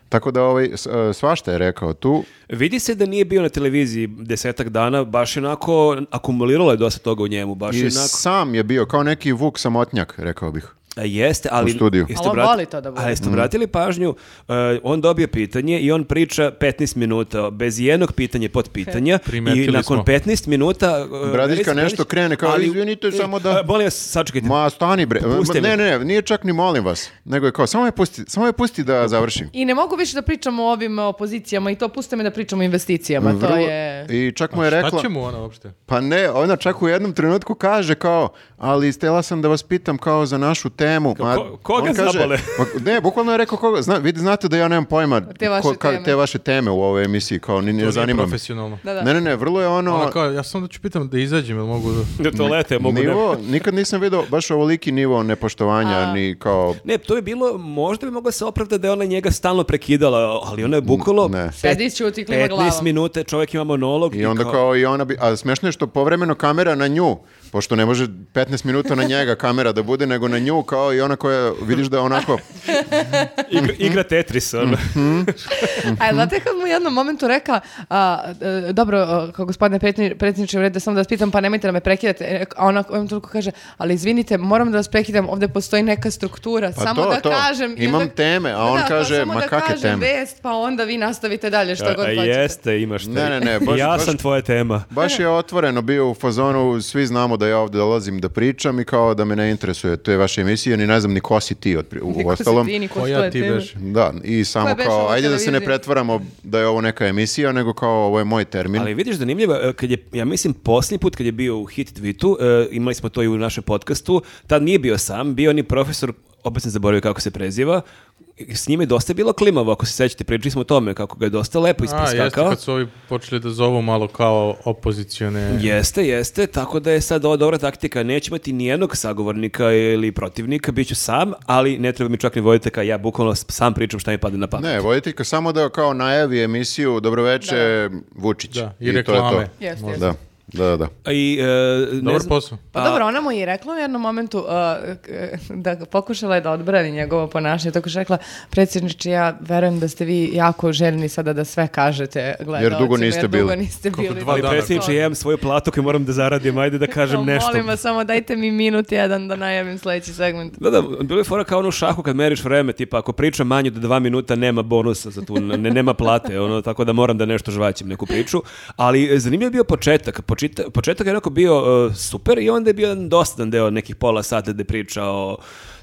S3: Tako da ovaj s- e, svašta je rekao tu.
S2: Vidi se da nije bio na televiziji desetak dana, baš onako akumuliralo je dosta toga u njemu, baš
S3: I
S2: onako.
S3: sam je bio kao neki Vuk samotnjak, rekao bih.
S2: A jeste, ali...
S3: U studiju.
S2: Jeste
S4: Ali on
S2: obrat-
S4: voli to da bude.
S2: A jeste obratili pažnju, e, on dobije pitanje i on priča 15 minuta, bez jednog pitanja pod pitanja. I
S1: Primetili
S2: nakon
S1: smo.
S2: 15 minuta... e,
S3: Bradiljka
S2: Verica
S3: nešto
S2: Bradić-
S3: krene kao, "Izvinite,
S2: e,
S3: samo da-"
S2: e, Molim vas, sačekajte.
S3: Ma stani bre, Ma,
S2: Pusti me.
S3: ne, ne, nije čak ni molim vas, nego je kao, samo je pusti, samo je pusti da završim.
S4: I ne mogu više da pričam o ovim opozicijama i to puste me da pričam o investicijama, Pa to
S3: Vrlo-
S4: je...
S3: I čak mu je
S1: Šta
S3: rekla,
S1: će mu ona uopšte?
S3: Pa ne, ona čak u jednom trenutku kaže kao, ali stela sam da vas pitam kao za našu temu. Ma,
S2: ko- koga
S3: on kaže-
S2: zabole?
S3: Ma, ne, bukvalno je rekao koga, zna, vidi, znate da ja nemam pojma
S4: Te vaše teme.
S3: te vaše teme u ovoj emisiji, kao ni ne
S1: To nije
S3: zanima me.
S1: profesionalno.
S4: Da, da.
S3: Ne, ne, ne, vrlo je ono...
S1: Ona kao, ja sam da ću pitam da izađem, jel mogu da...
S2: Do toalete mogu ne-
S3: nivo, nikad nisam vidio baš ovoliki nivo nepoštovanja, ni kao...
S2: Ne, to je bilo, možda bi mogla se opravda da je ona njega stalno prekidala, ali ona je bukalo
S3: Ne.
S4: Sedi i ćuti, klima glavom.
S2: minuta, čovjek ima monolog.
S3: I onda kao i ona bi, a smešno je što povremeno kamera na nju, pošto ne može 15 minuta na njega kamera da bude, nego na nju kao i ona koja, vidiš da je onako,
S2: igra, igra Tetris, ono.
S3: Mhm.
S4: A znate kad mu u jednom momentu reka, a, e, dobro, a, kao gospodine pretni- predsjedniče, u redu je samo da vas pitam, pa nemojte da me prekidate. E, A ona u jednom trenutku kaže, ali izvinite, moram da vas prekidam, ovdje postoji neka struktura,
S3: Pa
S4: samo
S3: to,
S4: da
S3: to.
S4: kažem. i
S3: Imam
S4: onda-
S3: teme, a on
S4: Da, kao
S3: kaže,
S4: samo
S3: ma
S4: da
S3: kakve
S4: kažem
S3: teme?
S4: vest, pa onda vi nastavite dalje što god
S2: A
S4: hoćete.
S2: jeste, imaš te.
S3: Ne, ne, ne, baš-
S2: ja
S3: baš-
S2: sam tvoja tema.
S3: Baš je otvoreno bio u fazonu, svi znamo da ja ovdje dolazim da pričam i kao da me ne interesuje, to je vaša emisija, ni ne znam ni ko si ti otpri- u, u
S4: Niko se
S3: ostalom.
S4: ti, niko
S1: Koja
S4: stoje
S1: ti
S4: teme.
S1: veš?
S3: Da, i samo
S4: je beše
S3: kao,
S4: ova
S3: ajde da se ne
S4: televizija?
S3: pretvaramo da je ovo neka emisija, nego kao ovo je moj termin.
S2: Ali vidiš zanimljivo, e, kad je, ja mislim, posljednji put kad je bio u hit tweetu, e, imali smo to i u našem podcastu, tad nije bio sam, bio ni profesor, opet sam zaboravio kako se preziva, i s njime je dosta bilo klimavo, ako se sećate, pričali smo o tome kako ga je dosta
S1: A,
S2: lepo
S1: jeste,
S2: ispreskakao.
S1: kad su ovi počeli da zovu malo kao opozicione...
S2: Jeste, jeste, tako da je sad ovo dobra taktika, neće imati nijednog sagovornika ili protivnika, bit ću sam, ali ne treba mi čak ni vodite kao ja bukvalno s- sam pričam šta mi pada na pamet.
S1: Pa
S3: Ne, voditeljka samo da kao najavi emisiju Dobroveče Vučić.
S1: Da, i
S3: to je to.
S1: reklame.
S4: Jeste, jeste.
S3: Da, da, da.
S2: I, e, ne
S1: Dobar
S2: znam-
S1: posao.
S4: Pa dobro, ona mu je i rekla u jednom momentu a, k- da ga- pokušala je da odbrani njegovo ponašanje, tako što je rekla predsjedniče, ja verujem da ste vi jako željni sada da sve kažete gledalcima,
S3: Jer dugo niste
S4: jer dugo
S3: bili.
S4: niste
S1: Kako
S4: bili.
S1: dva
S2: Ali
S1: dana.
S2: predsjedniče, ja imam svoju platu koju moram da zaradim, ajde da kažem
S4: Kao,
S2: nešto.
S4: Molim vas, samo dajte mi minut jedan da najavim sljedeći segment.
S2: Da, da, bilo je fora kao ono u šahu kad meriš vreme, tipa ako pričam manje od dva minuta nema bonusa za tu, ne, nema plate, ono, tako da moram da nešto žvaćem neku priču. Ali e, zanimljiv je bio početak, Počita- početak je onako bio e, super i onda je bio jedan dosadan deo nekih pola sata gde priča o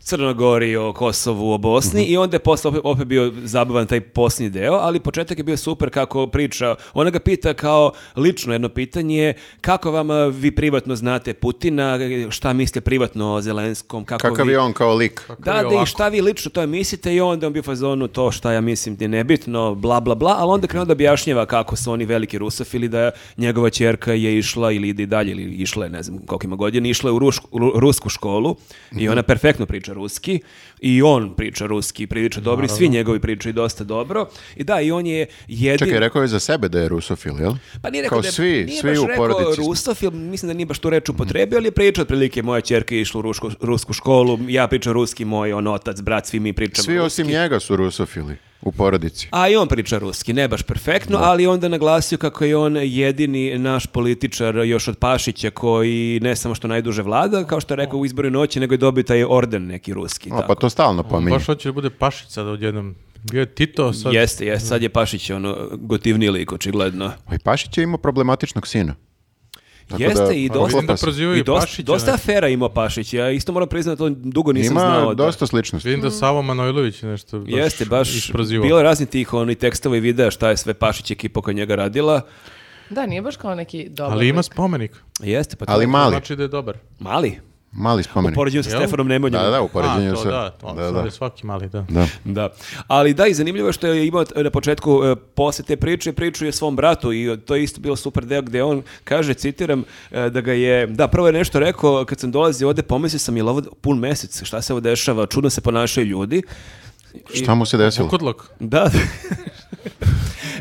S2: Crnogori, o Kosovu, o Bosni
S3: Mhm.
S2: i onda je posle opet, opet bio zabavan taj posljednji deo, ali početak je bio super kako priča, ona ga pita kao lično jedno pitanje, kako vam e, vi privatno znate Putina, šta misle privatno o Zelenskom, kako
S3: Kakav
S2: vi-
S3: je on kao lik?
S1: je
S2: da, da, i
S1: ovako.
S2: šta vi lično to mislite i onda on bi u fazonu to šta ja mislim ti je nebitno, bla, bla, bla, ali onda krenuo da objašnjava kako su oni veliki rusofili, da njegova čerka je išla
S1: Mhm.
S2: ili ide i dalje, ili išla je, ne znam koliko ima godina, išla je u, rušku- u rusku školu i ona perfektno priča ruski i on priča ruski prilično dobro i svi njegovi pričaju dosta dobro. I da, i on je jedin...
S3: Čekaj, rekao je za sebe da je rusofil, jel?
S2: Pa nije rekao
S3: Kao
S2: da je,
S3: svi,
S2: nije
S3: svi
S2: baš
S3: u porodici.
S2: rekao
S3: smo.
S2: rusofil, mislim da nije baš tu reč upotrebio, ali je pričao otprilike moja čerka je išla u rušku, rusku školu, ja pričam ruski, moj on otac, brat, svi mi pričamo
S3: Svi
S2: ruski.
S3: osim njega su rusofili u porodici.
S2: A i on priča ruski, ne baš perfektno, ali onda naglasio kako je on jedini naš političar još od Pašića koji ne samo što najduže vlada, kao što je rekao u izboru noći, nego je dobio taj orden neki ruski.
S3: A,
S2: tako.
S3: pa to stalno pominje.
S1: Baš hoće da bude Pašić sad odjednom. Bio je Tito, sad...
S2: Jeste, jeste, sad je Pašić ono gotivniji lik očigledno.
S3: Pa i Pašić je imao problematičnog sina. Tako
S2: jeste
S3: da-
S2: i
S3: Pa
S2: dosta
S1: Vidim da
S3: Poklapa se.
S1: prozivaju
S2: I dosta,
S1: Pašića.
S2: dosta afera imao Pašić, ja isto moram priznati, to dugo nisam znao.
S3: Ima
S2: da-
S3: dosta sličnosti.
S1: Vidim da Savo Manojlović je nešto baš
S2: Jeste, baš
S1: isprozivao.
S2: bilo je razni tih oni tekstova i videa šta je sve Pašić ekipa oko njega radila.
S4: Da, nije baš kao neki dobar.
S1: Ali ima
S4: lik.
S1: spomenik.
S2: Jeste, pa to
S3: Ali
S2: je-
S1: To
S3: mali,
S1: Znači da je dobar.
S2: mali.
S3: mali spomenik.
S2: Poređujem sa
S1: Jel?
S2: Stefanom Nemanjom.
S3: Da, da, u poređenju
S1: A, to
S3: sa-
S1: da, to,
S3: da,
S1: sad
S3: da.
S1: je svaki mali, da.
S3: Da.
S2: Da. Ali da, i zanimljivo je što je imao t- na početku e, posle te priče, priču je svom bratu i e, to je isto bio super deo gde on kaže, citiram, e, da ga je, da, prvo je nešto rekao, kad sam dolazio ovde, pomislio sam, jel ovo pun mesec, šta se ovo dešava, čudno se ponašaju ljudi.
S3: Šta mu se desilo?
S1: Kudlok.
S2: Da.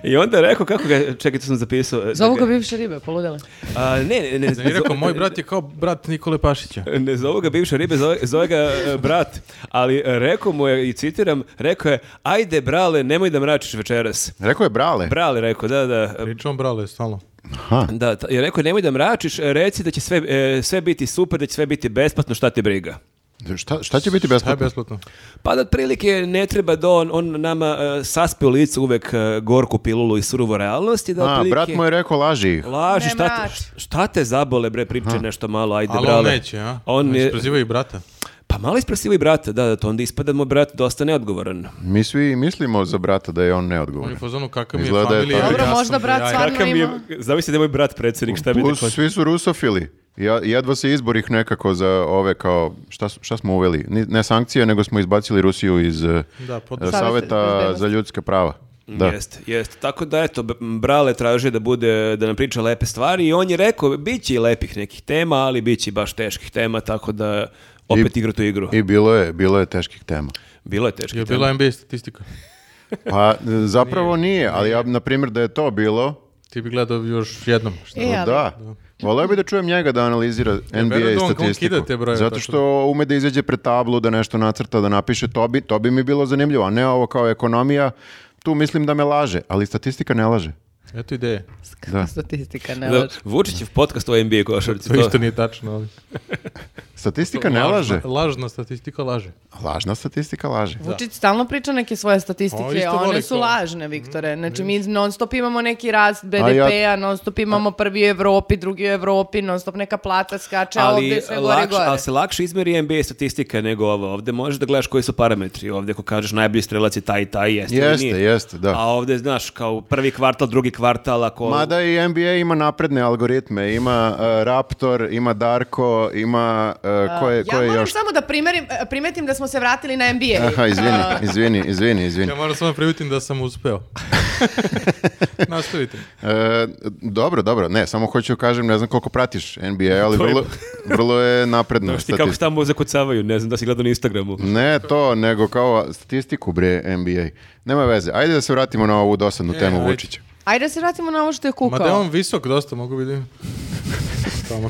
S2: I onda je rekao, kako ga, čekaj, to sam zapisao. e, da
S4: Zovu ga
S2: ga-
S4: bivše ribe, poludele.
S2: A, ne, ne, ne.
S1: Znači, rekao,
S2: zo-
S1: moj brat je kao brat Nikole Pašića.
S2: Ne zovu ga bivše ribe, zove, zove ga e, brat. Ali e, rekao mu je, i citiram, rekao je, ajde brale, nemoj da mračiš večeras.
S3: Rekao je brale.
S2: Brale, rekao, da, da. e,
S1: Pričom brale, stalno.
S3: Aha.
S2: Da, ta- je rekao, nemoj da mračiš, e, reci da će sve, e, sve biti super, da će sve biti besplatno, šta te briga.
S3: Šta, šta će biti
S1: Šta je
S3: besplatno?
S1: besplatno?
S2: Pa da otprilike ne treba da on, on nama e, saspe u licu uvek e, gorku pilulu i surovu realnost i da
S3: A,
S2: otprilike
S3: brat mu je rekao laži ih.
S2: laži,
S4: Ne
S2: šta
S4: mrači.
S2: te, šta te zabole, bre, priče nešto malo, ajde,
S1: Ali
S2: brale.
S1: on neće, a?
S2: On
S1: Znači,
S2: je-
S1: prozivaju i brata.
S2: Pa malo ispresivo i brata, da, da, to onda ispada mu brat dosta neodgovoran.
S3: Mi svi mislimo za brata da je on
S1: On je u
S3: neodgovoran.
S1: fazonu kakav mi je
S3: Izgleda je
S1: familija.
S3: tako.
S4: Dobro,
S1: ja sam
S4: možda brat
S1: jaja.
S4: stvarno-
S2: Kakav mi je,
S4: Pa ima-
S2: zamisli da je moj brat predsjednik, šta bi rekao?
S3: Plus, svi su rusofili. Ja, jedva se izborih nekako za ove kao, šta, su- šta smo uveli? Ni- Ne sankcije, nego smo izbacili Rusiju iz eh,
S1: Da, pod...
S3: eh,
S4: Saveta
S3: Saveta
S4: bezbednosti.
S3: za ljudska prava. Da.
S2: Jeste, jeste. Tako da, eto, b- m, brale traži da bude, da nam priča lepe stvari i on je rekao, bit će i lepih nekih tema, ali bit će i baš teških tema, tako da opet
S3: I-
S2: igra tu igru.
S3: I bilo je, bilo je teških tema.
S2: Bilo je teških
S1: Je
S2: tema.
S1: bila NBA statistika.
S3: Pa eh, zapravo nije, ali ja, na primjer, da je to bilo,
S1: Ti bi gledao još jednom. Šta?
S4: E, ali-
S3: Pa da. Voleo bi da čujem njega da analizira
S1: verujem
S3: NBA
S1: da on
S3: statistiku.
S1: kida te pa brojeve,
S3: Zato
S1: tako
S3: što ume da izađe pred tablu, da nešto nacrta, da napiše, to bi, to bi mi bilo zanimljivo. A ne ovo kao ekonomija, tu mislim da me laže, ali statistika ne laže.
S1: Eto ideje.
S3: Da.
S4: Statistika, ne
S2: Da,
S4: laže.
S2: Vučićev podcast o NBA košarci.
S1: To isto nije tačno, ali...
S3: Statistika ne laže.
S1: Lažna, lažna statistika laže.
S3: Lažna statistika laže.
S4: Vučić stalno priča neke svoje
S1: O,
S4: statistike,
S1: Pa, isto
S4: a one
S1: voli
S4: su
S1: to. Mm-hmm.
S4: lažne, Viktore. Znači, mi non stop imamo neki rast
S3: ja-
S4: BDP-a, non stop imamo prvi u Evropi, drugi u Evropi, non stop neka plata skače, a ovdje je
S2: ali,
S4: sve gore i
S2: lakš,
S4: gore.
S2: ali se lakše izmeri NBA statistika nego ovo. Ovde možeš da gledaš koji su parametri. Ovde ako kažeš najbolji strelac je taj i taj, jeste, ili
S3: Jeste,
S2: nije.
S3: jeste, da.
S2: A ovde, znaš, kao prvi kvartal, drugi kvartal, ako...
S3: Mada i NBA ima napredne algoritme, ima eh, Raptor, ima Darko, ima eh, ko je, ko
S4: ja
S3: je
S4: moram
S3: još?
S4: samo da primerim, primetim da smo se vratili na NBA.
S3: Aha, izvini, izvini, izvini, izvini.
S1: Ja moram samo privitim da sam uspeo. Nastavite.
S3: E, dobro, dobro, ne, samo hoću kažem, ne znam koliko pratiš NBA, ali
S2: To je-
S3: vrlo, vrlo je napredno.
S2: Znaš ti kako se
S3: statistika.
S2: tamo zakucavaju, ne znam da si gledao na Instagramu.
S3: Ne to, nego kao statistiku, bre, NBA. Nema veze, ajde da se vratimo na ovu dosadnu temu
S1: ajde.
S3: Vučića.
S4: Ajde da se vratimo na ovo što je
S1: Ma da je
S4: kukao.
S1: on visok dosta, mogu vidim. Tamo.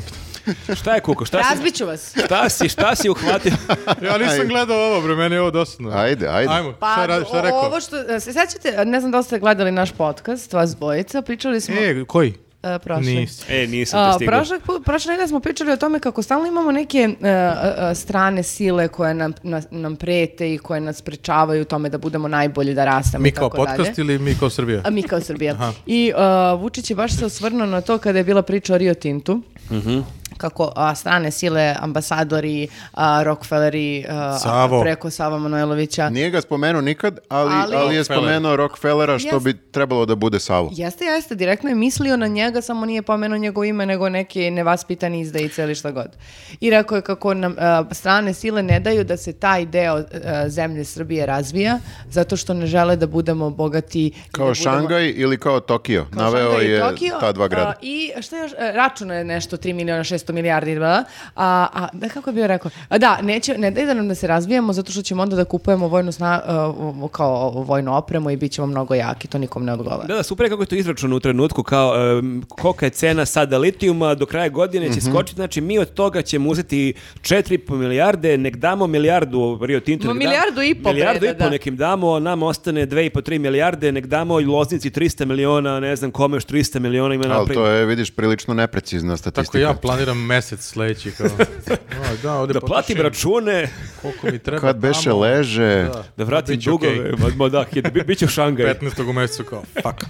S2: Šta je kuko? Šta si,
S4: Razbiću vas.
S2: šta si, šta si uhvatio?
S1: Ja nisam gledao ovo, bre, meni je ovo dosadno.
S3: Ajde, ajde.
S1: Ajmo,
S4: Pa,
S1: šta, radi, šta
S4: o-
S1: rekao?
S4: ovo što, se sećate, ne znam da li ste gledali naš podcast, vas dvojica, pričali smo
S1: E, koji?
S4: e, prošle.
S1: Nisi.
S2: E, nisam
S4: A,
S2: te stigao.
S4: prošle, pu- prošle nedelje smo pričali o tome kako stalno imamo neke e, e, e, strane sile koje nam, na- nam prete i koje nas sprečavaju u tome da budemo najbolji, da rastemo
S1: Mi
S4: i
S1: kao
S4: E, tako dalje.
S1: podcast ili mi kao Srbija?
S4: A mi kao Srbija. I uh, Vučić je baš se osvrnuo na to kada je bila priča o Rio Tintu.
S1: Mhm.
S4: kako a, strane sile, ambasadori, a, Rockefelleri, e, a,
S1: Savo.
S4: preko Sava Manojlovića.
S3: Nije ga spomenuo nikad, ali, ali,
S4: Ali-
S3: je spomenuo Rockefellera što
S4: Jes-
S3: bi trebalo da bude Savo.
S4: Jeste, jeste, direktno je mislio na njega, samo nije pomenuo njegovo ime, nego neke nevaspitani izdajice ili šta god. I rekao je kako nam e, strane sile ne daju da se taj deo e, zemlje Srbije razvija, zato što ne žele da budemo bogati. i da
S3: Kao
S4: budemo-
S3: Šangaj ili kao Tokio. Naveo
S4: Šangaj i
S3: je
S4: Tokio,
S3: ta dva
S4: a,
S3: grada.
S4: I šta još, e, računa je nešto 3 miliona 600 milijardi, bla, bla. a, a da, kako je bio rekao? A, da, neće, ne daj da nam da se razbijemo zato što ćemo onda da kupujemo vojnu sna, uh, kao vojnu opremu i bit ćemo mnogo jaki, to nikom ne odgovara.
S2: Pa. Da, da, super je kako je to izračun u trenutku, kao em, kolika je cena sada litijuma, do kraja godine
S3: Mhm.
S2: će skočiti, znači mi od toga ćemo uzeti 4,5 milijarde, nek damo milijardu Rio Tintu.
S4: Ma,
S2: nek da-
S4: milijardu i po,
S2: Milijardu
S4: bre,
S2: i
S4: da,
S2: po
S4: da.
S2: nek im damo, nama ostane 2,5-3 milijarde, nek damo i Loznici 300 miliona, ne znam kome još 300 miliona ima
S3: Ali
S2: napraviti.
S3: to je, vidiš, prilično neprecizna statistika.
S1: Tako ja planiram mesec sledeći kao. O, da, ovde
S2: Da platim
S1: potrošim
S2: račune,
S1: Koliko mi treba
S3: Kad beše
S1: tamo.
S3: leže,
S1: Da,
S2: da vratim
S1: bit ću okej.
S2: dugove, ma- ma da, hit, bi, bit ću u Šangaju.
S1: 15. u mesecu kao, fuck.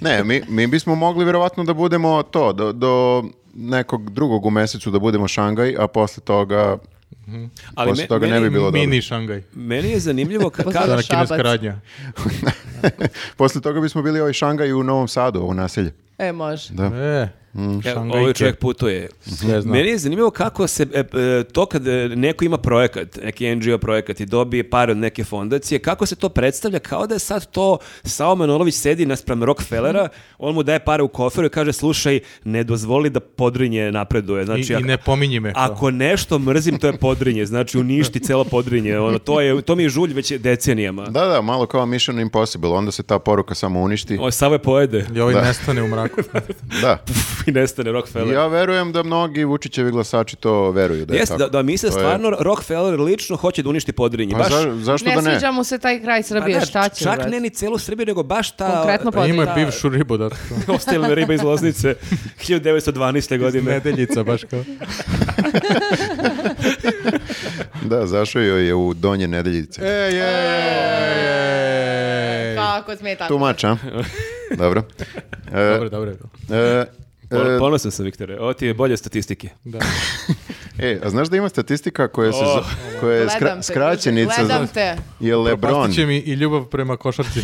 S3: Ne, mi, mi bismo mogli vjerovatno da budemo to, do, do nekog drugog u mesecu da budemo Šangaj, a posle toga,
S2: Ali
S3: posle
S2: me-
S3: toga ne
S2: meni-
S3: bi bilo
S1: pa Mini Šangaj.
S2: Meni je zanimljivo ka,
S4: Pozdrav.
S1: To je
S2: ka-
S1: ona kineska
S4: Šabac.
S1: radnja.
S3: dobro. posle toga bismo bili ovaj Šangaj u Novom Sadu, u naselju.
S4: E, može.
S3: Da.
S1: E,
S3: Mm.
S2: Evo,
S1: Šangajke.
S2: ovaj čovjek putuje.
S1: Sve zna.
S2: Meni je zanimljivo kako se e, e, to kad e, neko ima projekat, neki NGO projekat i dobije pare od neke fondacije, kako se to predstavlja kao da je sad to Sao Manolović sedi naspram
S3: Mhm.
S2: Rockefellera, on mu daje pare u koferu i kaže slušaj, ne dozvoli da podrinje napreduje. Znači,
S1: I, I
S2: ako-
S1: ne pominji me. kao.
S2: Ako nešto mrzim, to je podrinje, znači uništi celo podrinje, ono, to, je, to mi je žulj već decenijama.
S3: Da, da, malo kao Mission Impossible, onda se ta poruka samo uništi.
S2: Ovo Savo je pojede
S1: I ovaj nestane u mraku.
S3: Da.
S2: i nestane Rockefeller.
S3: Ja verujem da mnogi Vučićevi glasači to veruju da je
S2: Jeste,
S3: tako.
S2: da, da misle
S3: To je-
S2: stvarno Rockefeller lično hoće da uništi podrinje.
S3: Pa
S2: baš,
S3: za- zašto
S4: ne
S3: da ne?
S4: sviđa mu se taj kraj
S2: Pa
S4: Srbije,
S2: da,
S4: šta će?
S2: Čak
S4: brate?
S2: ne ni celu Srbiju, nego baš ta...
S4: Konkretno
S1: Pa ima
S4: podrinje.
S1: je bivšu ribu da
S2: Ostilna riba iz Loznice 1912. godine.
S1: Nedeljica baš kao.
S3: Da, zašao joj je u donje nedeljice.
S1: E, je, E, je.
S4: Kako sme tako?
S3: Tumač, a? Dobro. E,
S1: Dobro, dobro je bilo.
S3: e,
S2: Pon-
S3: e,
S2: Ponosan sam, Viktore. Ovo ti je bolje statistike.
S1: Da.
S3: E, a znaš da ima statistika koja se
S2: O.
S3: za, koja je skra-
S4: Gledam te,
S3: skraćenica
S4: Gledam
S3: za
S4: te.
S3: je LeBron.
S1: Pastit će mi i ljubav prema košarci.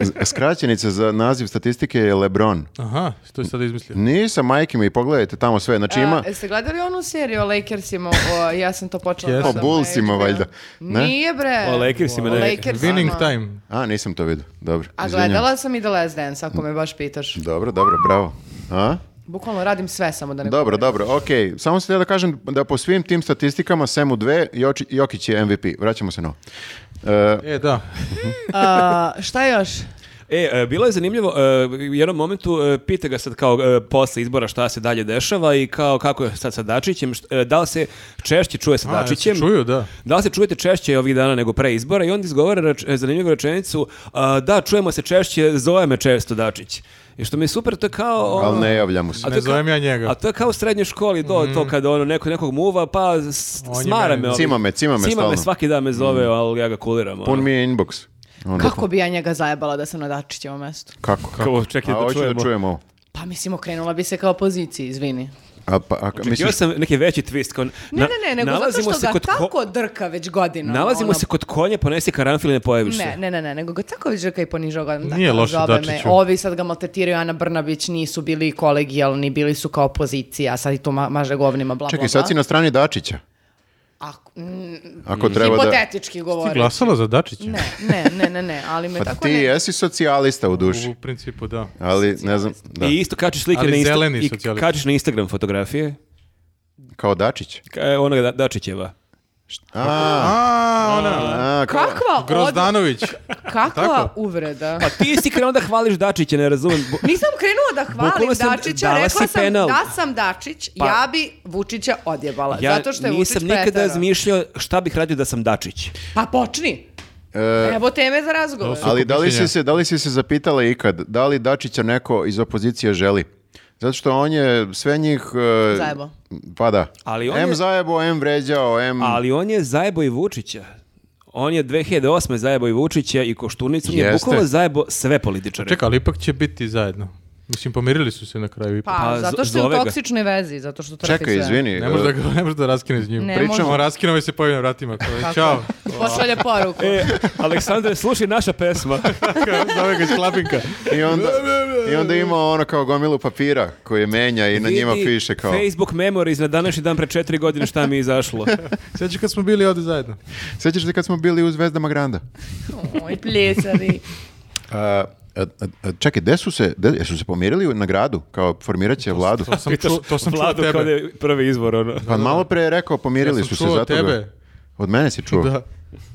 S3: Z- Skraćenica za naziv statistike je LeBron.
S1: Aha, što je sada izmislio?
S3: Nisam majke mi, pogledajte tamo sve. Znači ima
S4: A, e, jeste gledali onu seriju o Lakersima? O, ja sam to počela.
S1: Jesam.
S4: Yes.
S3: o Bullsima valjda. Ne?
S4: Nije bre.
S2: O Lakersima
S4: O
S2: ne.
S4: Lakersima.
S1: Winning time.
S3: A, nisam to vidio. Dobro.
S4: A
S3: izvinjam.
S4: gledala sam i The Last Dance, ako me baš pitaš.
S3: Dobro, dobro, bravo. A?
S4: Bukvalno radim sve samo da ne...
S3: Dobro, dobro, okej. Samo sam htio da kažem da po svim tim statistikama, sem u dve, Joči- Jokić je MVP. Vraćamo se na ovo. E,
S1: E, da.
S4: A, šta još?
S2: E, e, bilo je zanimljivo, e, u jednom momentu e, pita ga sad kao e, posle izbora šta se dalje dešava i kao kako je sad sa Dačićem, št- e, da li se češće čuje sa
S1: A, jel se
S2: Dačićem?
S1: Čuju, da.
S2: Da li se čujete češće ovih dana nego pre izbora? I onda izgovara reč, e, zanimljivu rečenicu, a, da, čujemo se češće, zove me često Dačić. I što mi je super, to je kao... ono-
S3: ali ne javlja mu se.
S2: A to
S1: Ne
S2: je kao-
S1: zovem ja njega.
S2: A to je kao u srednjoj školi, do, to kada ono, neko nekog muva, pa s-
S1: On je
S2: smara
S1: meni-
S2: me. ovi-
S3: Mhm. Cima me, cima me
S2: Cima me
S3: stalno. Mhm.
S2: svaki dan me zove, ali ja ga kuliram. ono.
S3: Pun mi je inbox. Onda-
S4: Kako bi ja njega zajebala da sam na Dačićevom mestu?
S3: Kako?
S2: Kao, čekaj
S3: A,
S2: da
S3: hoću
S2: čujemo.
S3: da čujemo ovo.
S4: Pa mislim, okrenula bi se kao poziciji, izvini.
S3: A, pa, a, misliš-
S2: Očekivao sam neki veći twist. Kao,
S4: Ne, ne, ne, nego zato što ga
S2: ko-
S4: tako drka već godinama.
S2: Nalazimo
S4: ono,
S2: se kod konja, ponesi karanfil i ne pojaviš se.
S4: Ne, ne, ne, ne, nego ga tako već i ponižao ga. Da,
S1: Nije loše,
S4: zove
S1: Dačiću.
S4: Me. Ovi sad ga maltretiraju, Ana Brnabić nisu bili kolegijalni, bili su kao opozicija, sad i tu ma- maže govnima, bla,
S3: Čekaj,
S4: bla,
S3: sad si na strani Dačića.
S4: Ako, mm,
S3: Ako treba da...
S4: hipotetički
S1: Ti
S4: govorim.
S1: glasala za Dačića?
S4: Ne, ne, ne, ne, ne, ali me
S3: Pa
S4: tako
S3: ti
S4: ne...
S3: jesi socijalista u duši.
S1: U principu, da.
S3: Ali ne znam, da,
S2: I isto kačiš slike
S1: Ali
S2: na, Insta-
S1: zeleni
S2: i
S1: socijalisti.
S2: kačiš na Instagram fotografije.
S3: kao Dačić.
S2: Ka- Onoga Da- Dačićeva.
S3: A,
S1: A, ona.
S3: a, kao-
S4: Kakva, od...
S1: Grozdanović.
S4: Kakva
S1: Tako?
S4: uvreda?
S2: Pa ti si krenuo da hvališ Dačića, ne razumem. Bu-
S4: Nisam krenula da
S2: Bukvalno
S4: hvalim
S2: sam
S4: Dačića,
S2: dala si
S4: rekla sam
S2: penal.
S4: da sam Dačić,
S2: Pa-
S4: ja bi Vučića odjebala.
S2: Ja
S4: zato što je Vučić
S2: nisam nikada
S4: preterao.
S2: razmišljao šta bih radio da sam Dačić.
S4: Pa počni.
S3: E,
S4: Evo teme za razgovor.
S1: To su-
S3: ali da li, si
S1: mišljenja.
S3: se, da li si se zapitala ikad, da li Dačića neko iz opozicije želi? Zato što on je sve njih... e,
S4: Zajebo.
S3: Pa da.
S2: Ali on
S3: M
S2: je-
S3: zajebo, M vređao, M...
S2: Ali on je zajebo i Vučića. On je 2008. zajebo i Vučića i Koštunicu. On je
S3: Jeste.
S2: bukvalno zajebo sve političare.
S1: Čekaj, ali ipak će biti zajedno. Mislim, pomirili su se na kraju ipak.
S4: Pa,
S2: Pa,
S4: zato što je u
S2: zove ga.
S4: toksičnoj vezi, zato što trpi
S3: Čekaj,
S4: sve.
S3: izvini.
S1: Ne možeš da,
S3: e,
S1: ga- ne možeš da raskine s njim.
S4: Ne
S1: Pričamo,
S4: može.
S1: raskinove se pojavi na vratima. kao,
S4: Tako.
S1: Ćao.
S4: Pošalje poruku.
S2: E, Aleksandre, slušaj naša pesma.
S1: Zove ga iz klapinka.
S3: I onda, I onda ima ono kao gomilu papira koje menja i na njima
S2: Vidi
S3: piše kao...
S2: Facebook Memories na današnji dan pre četiri godine šta mi je izašlo.
S1: Sjećaš kad smo bili ovde zajedno?
S3: Sjećaš se kad smo bili u Zvezdama Granda?
S4: Oj, pljesari.
S3: A, A- a- a čekaj, gde su se, gde, jesu se pomirili na gradu, kao formirat će vladu?
S1: To sam, čuo, to sam čuo od
S2: Vladu kao da
S1: tebe.
S2: je prvi izvor, ono.
S3: Pa malo pre je rekao, pomirili
S1: Ja sam
S3: su se
S1: čuo od
S3: zato. ga-
S1: tebe.
S3: Od mene si čuo.
S1: Da.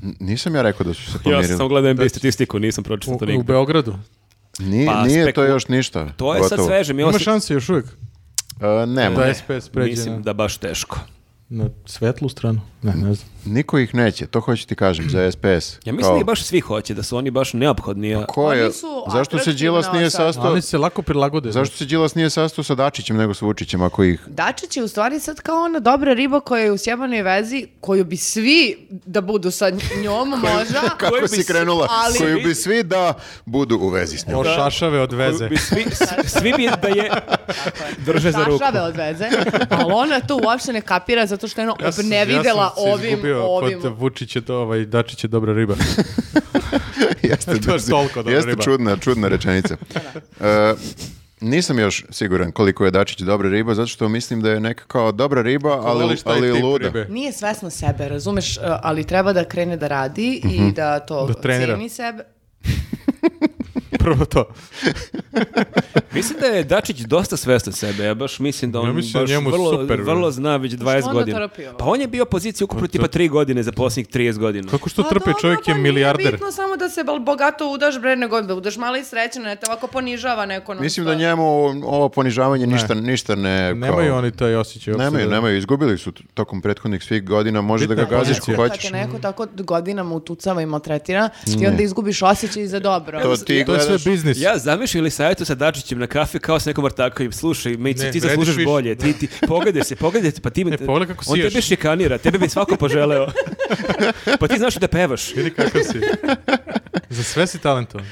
S3: N- Nisam ja rekao da su se
S2: Ja
S3: pomirili.
S2: sam samo gledao
S3: Znači-
S2: NBA statistiku, nisam pročitao to
S1: U, u
S2: nigde.
S1: Beogradu.
S3: Nije,
S2: Pa,
S3: nije to
S2: speku-
S3: još ništa.
S2: To je sad
S3: gotovo.
S2: sveže, mi ovo
S1: Ima
S2: se-
S1: šanse još uvijek
S3: E, nema.
S1: da SPS pređe
S2: mislim
S1: na,
S2: da baš teško.
S1: na svetlu stranu. Ne, ne znam.
S3: Niko ih neće, to hoću ti kažem za SPS.
S2: Ja mislim
S3: Kao,
S2: da i baš svi hoće, da su oni baš neophodni.
S1: Pa
S2: a-
S3: Ko je,
S4: Oni su
S3: zašto se
S4: atraktivna
S3: Đilas nije
S4: sada.
S3: sastao?
S1: Oni se lako prilagode.
S3: Zašto se Đilas nije sastao sa Dačićem nego sa Vučićem ako ih...
S4: Dačić je u stvari sad kao ona dobra riba koja je u sjebanoj vezi, koju bi svi da budu sa njom možda.
S2: Koju
S3: Kako
S2: bi
S3: si
S2: svi-
S3: krenula?
S4: ali-
S3: Koju bi svi da budu u vezi s njom.
S1: O šašave od veze.
S2: Bi svi, svi bi da je drže za ruku.
S4: Šašave od veze, ali ona to uopšte ne kapira zato što je ono
S1: Ja sam-
S4: obnevidela
S1: ja sam se
S4: ovim,
S1: izgubio
S4: ovim.
S1: Kod Vučića, to, ovaj, Dačić je dobra riba.
S3: jeste,
S1: To je toliko dobra
S3: jeste
S1: riba.
S3: čudna, čudna rečenica. E, nisam još siguran koliko je Dačić dobra riba, zato što mislim da je neka kao dobra riba, ali,
S1: Voliš taj
S3: ali
S1: tip
S3: luda.
S1: ribe?
S4: Nije svesno sebe, razumeš, e, ali treba da krene da radi i da to
S1: Mhm. Da trenira.
S4: ceni sebe.
S1: Prvo to.
S2: Mislim da je Dačić dosta svestan sebe. Ja baš mislim da on
S1: Ja mislim da
S2: baš
S1: njemu
S2: vrlo,
S1: super,
S2: vrlo zna već 20
S4: onda
S2: godina.
S4: trpi ovo?
S2: Pa on je bio pozicija ukupno tipa 3 godine za posljednjih 30 godina.
S1: Kako što
S4: Pa
S1: trpe,
S4: dobro,
S1: čovjek je
S4: pa Nije
S1: milijarder.
S4: bitno samo da se bal- bogato udaš, bre, nego da budeš mala i srećna, ne te ovako ponižava neko. non
S3: Mislim da
S4: stop.
S3: njemu ovo ponižavanje ništa, ništa ne... kao-
S1: Nemaju oni taj osjećaj. uopšte
S3: Nemaju,
S1: da-
S3: nemaju, izgubili su t- tokom prethodnih svih godina, možeš da
S1: Bitna
S3: ga
S1: je
S3: gaziš ko
S1: pozicija.
S4: Kad
S3: hoćeš.
S4: te neko tako godinama utucava i maltretira, ti onda izgubiš osjećaj za dobro.
S3: To ti
S1: To je sve
S3: gledaš,
S1: biznis.
S2: Ja zamišljam ili savjetu sa Dačićem na kafi kao s nekom ortakovim, slušaj, mi
S1: Ne,
S2: ti
S1: vrediš
S2: zaslužaš
S1: više.
S2: bolje, ti, ti, pogledaj se, pogledaj se, pa ti,
S1: E, pogledaj kako
S2: on
S1: siješ.
S2: tebe šikanira, tebe bi svako poželeo. pa ti znaš da pevaš.
S1: Vidi kakav si. Za sve si talentovan.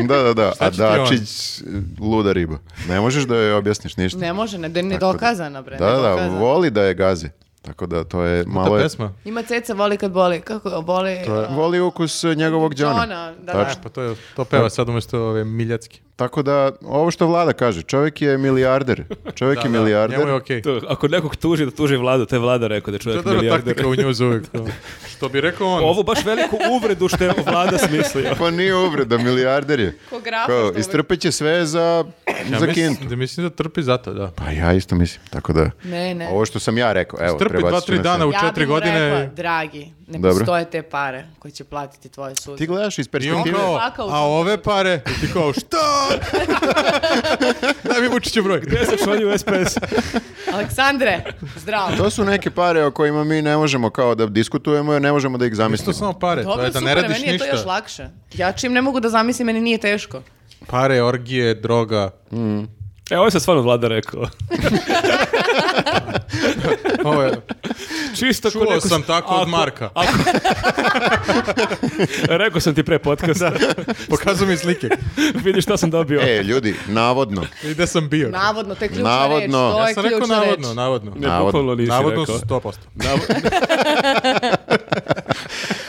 S3: Da, da, da, a
S1: će ti on?
S3: Dačić, luda riba. Ne možeš da joj objasniš ništa.
S4: Ne može, ne, ne
S3: Tako da-
S4: dokazana, bre.
S3: Da, da,
S4: nedokazana.
S3: voli da je gazi. Tako da to je malo...
S1: Ta
S3: je-
S1: pesma.
S4: Ima ceca, voli kad boli. Kako voli? a,
S3: Voli ukus eh, njegovog džona.
S4: Džona, da, da.
S3: Tačno.
S1: Pa to, je, to peva sad umjesto ove miljacki.
S3: Tako da, ovo što vlada kaže, čovjek je milijarder. Čovjek je milijarder.
S1: Njemu je okej.
S2: To, ako nekog tuži, da tuži vladu, to je vlada rekao da je
S1: To je
S2: čovjek
S1: dobra
S2: milijarder.
S1: taktika u njuzu uvijek. to. Što bi rekao on.
S2: Ovo baš veliku uvredu što je vlada smislio.
S3: Pa nije uvreda, milijarder je.
S4: Ko grafa
S3: Kao,
S4: što uvek-
S3: Istrpit će sve za,
S1: ja
S3: za
S1: mislim,
S3: kintu.
S1: da mislim da trpi zato, da.
S3: Pa ja isto mislim, tako da...
S4: Ne, ne.
S3: Ovo što sam ja rekao, evo,
S1: Strpi
S3: prebacit
S1: dva,
S3: ću
S1: tri
S3: na
S1: dana
S3: sebe.
S1: u
S4: ja
S1: četiri
S4: bi mu rekla,
S1: godine.
S4: dragi, ne
S3: Dobro.
S4: postoje te pare koje će platiti tvoje suze.
S3: Ti gledaš iz
S1: I on
S3: perspektive...
S1: kao,
S4: Plakao sam.
S1: a ove pare, I ti kao, što? Daj mi Vučiću broj.
S2: Ja sam šalju u SPS.
S4: Aleksandre, zdravo.
S3: To su neke pare o kojima mi ne možemo kao da diskutujemo, jer ne možemo da ih
S1: Isto
S3: zamislimo.
S1: samo pare, to
S4: Dobro,
S1: je da ne
S4: super,
S1: radiš
S4: meni je to još
S1: ništa.
S4: lakše. Ja čim ne mogu da zamislim, meni nije teško.
S1: Pare, orgije, droga.
S2: E, ovo je sad stvarno vlada rekao.
S1: Ovo je,
S2: Čisto ko
S1: čuo
S2: neko-
S1: sam tako od
S2: Ako-
S1: Marka.
S2: Ako... rekao sam ti pre podcasta.
S1: Pokazao mi slike.
S2: Vidi šta sam dobio.
S3: E, ljudi, navodno,
S1: I gde sam bio.
S4: Navodno, to je ključna
S3: Navodno.
S4: reč. To
S3: Ja
S4: je
S1: Ja sam rekao
S4: ključna
S1: navodno,
S4: reč.
S1: navodno.
S2: ne,
S3: navodno.
S2: bukvalno nisi
S1: Navodno su
S2: rekao.
S1: 100%.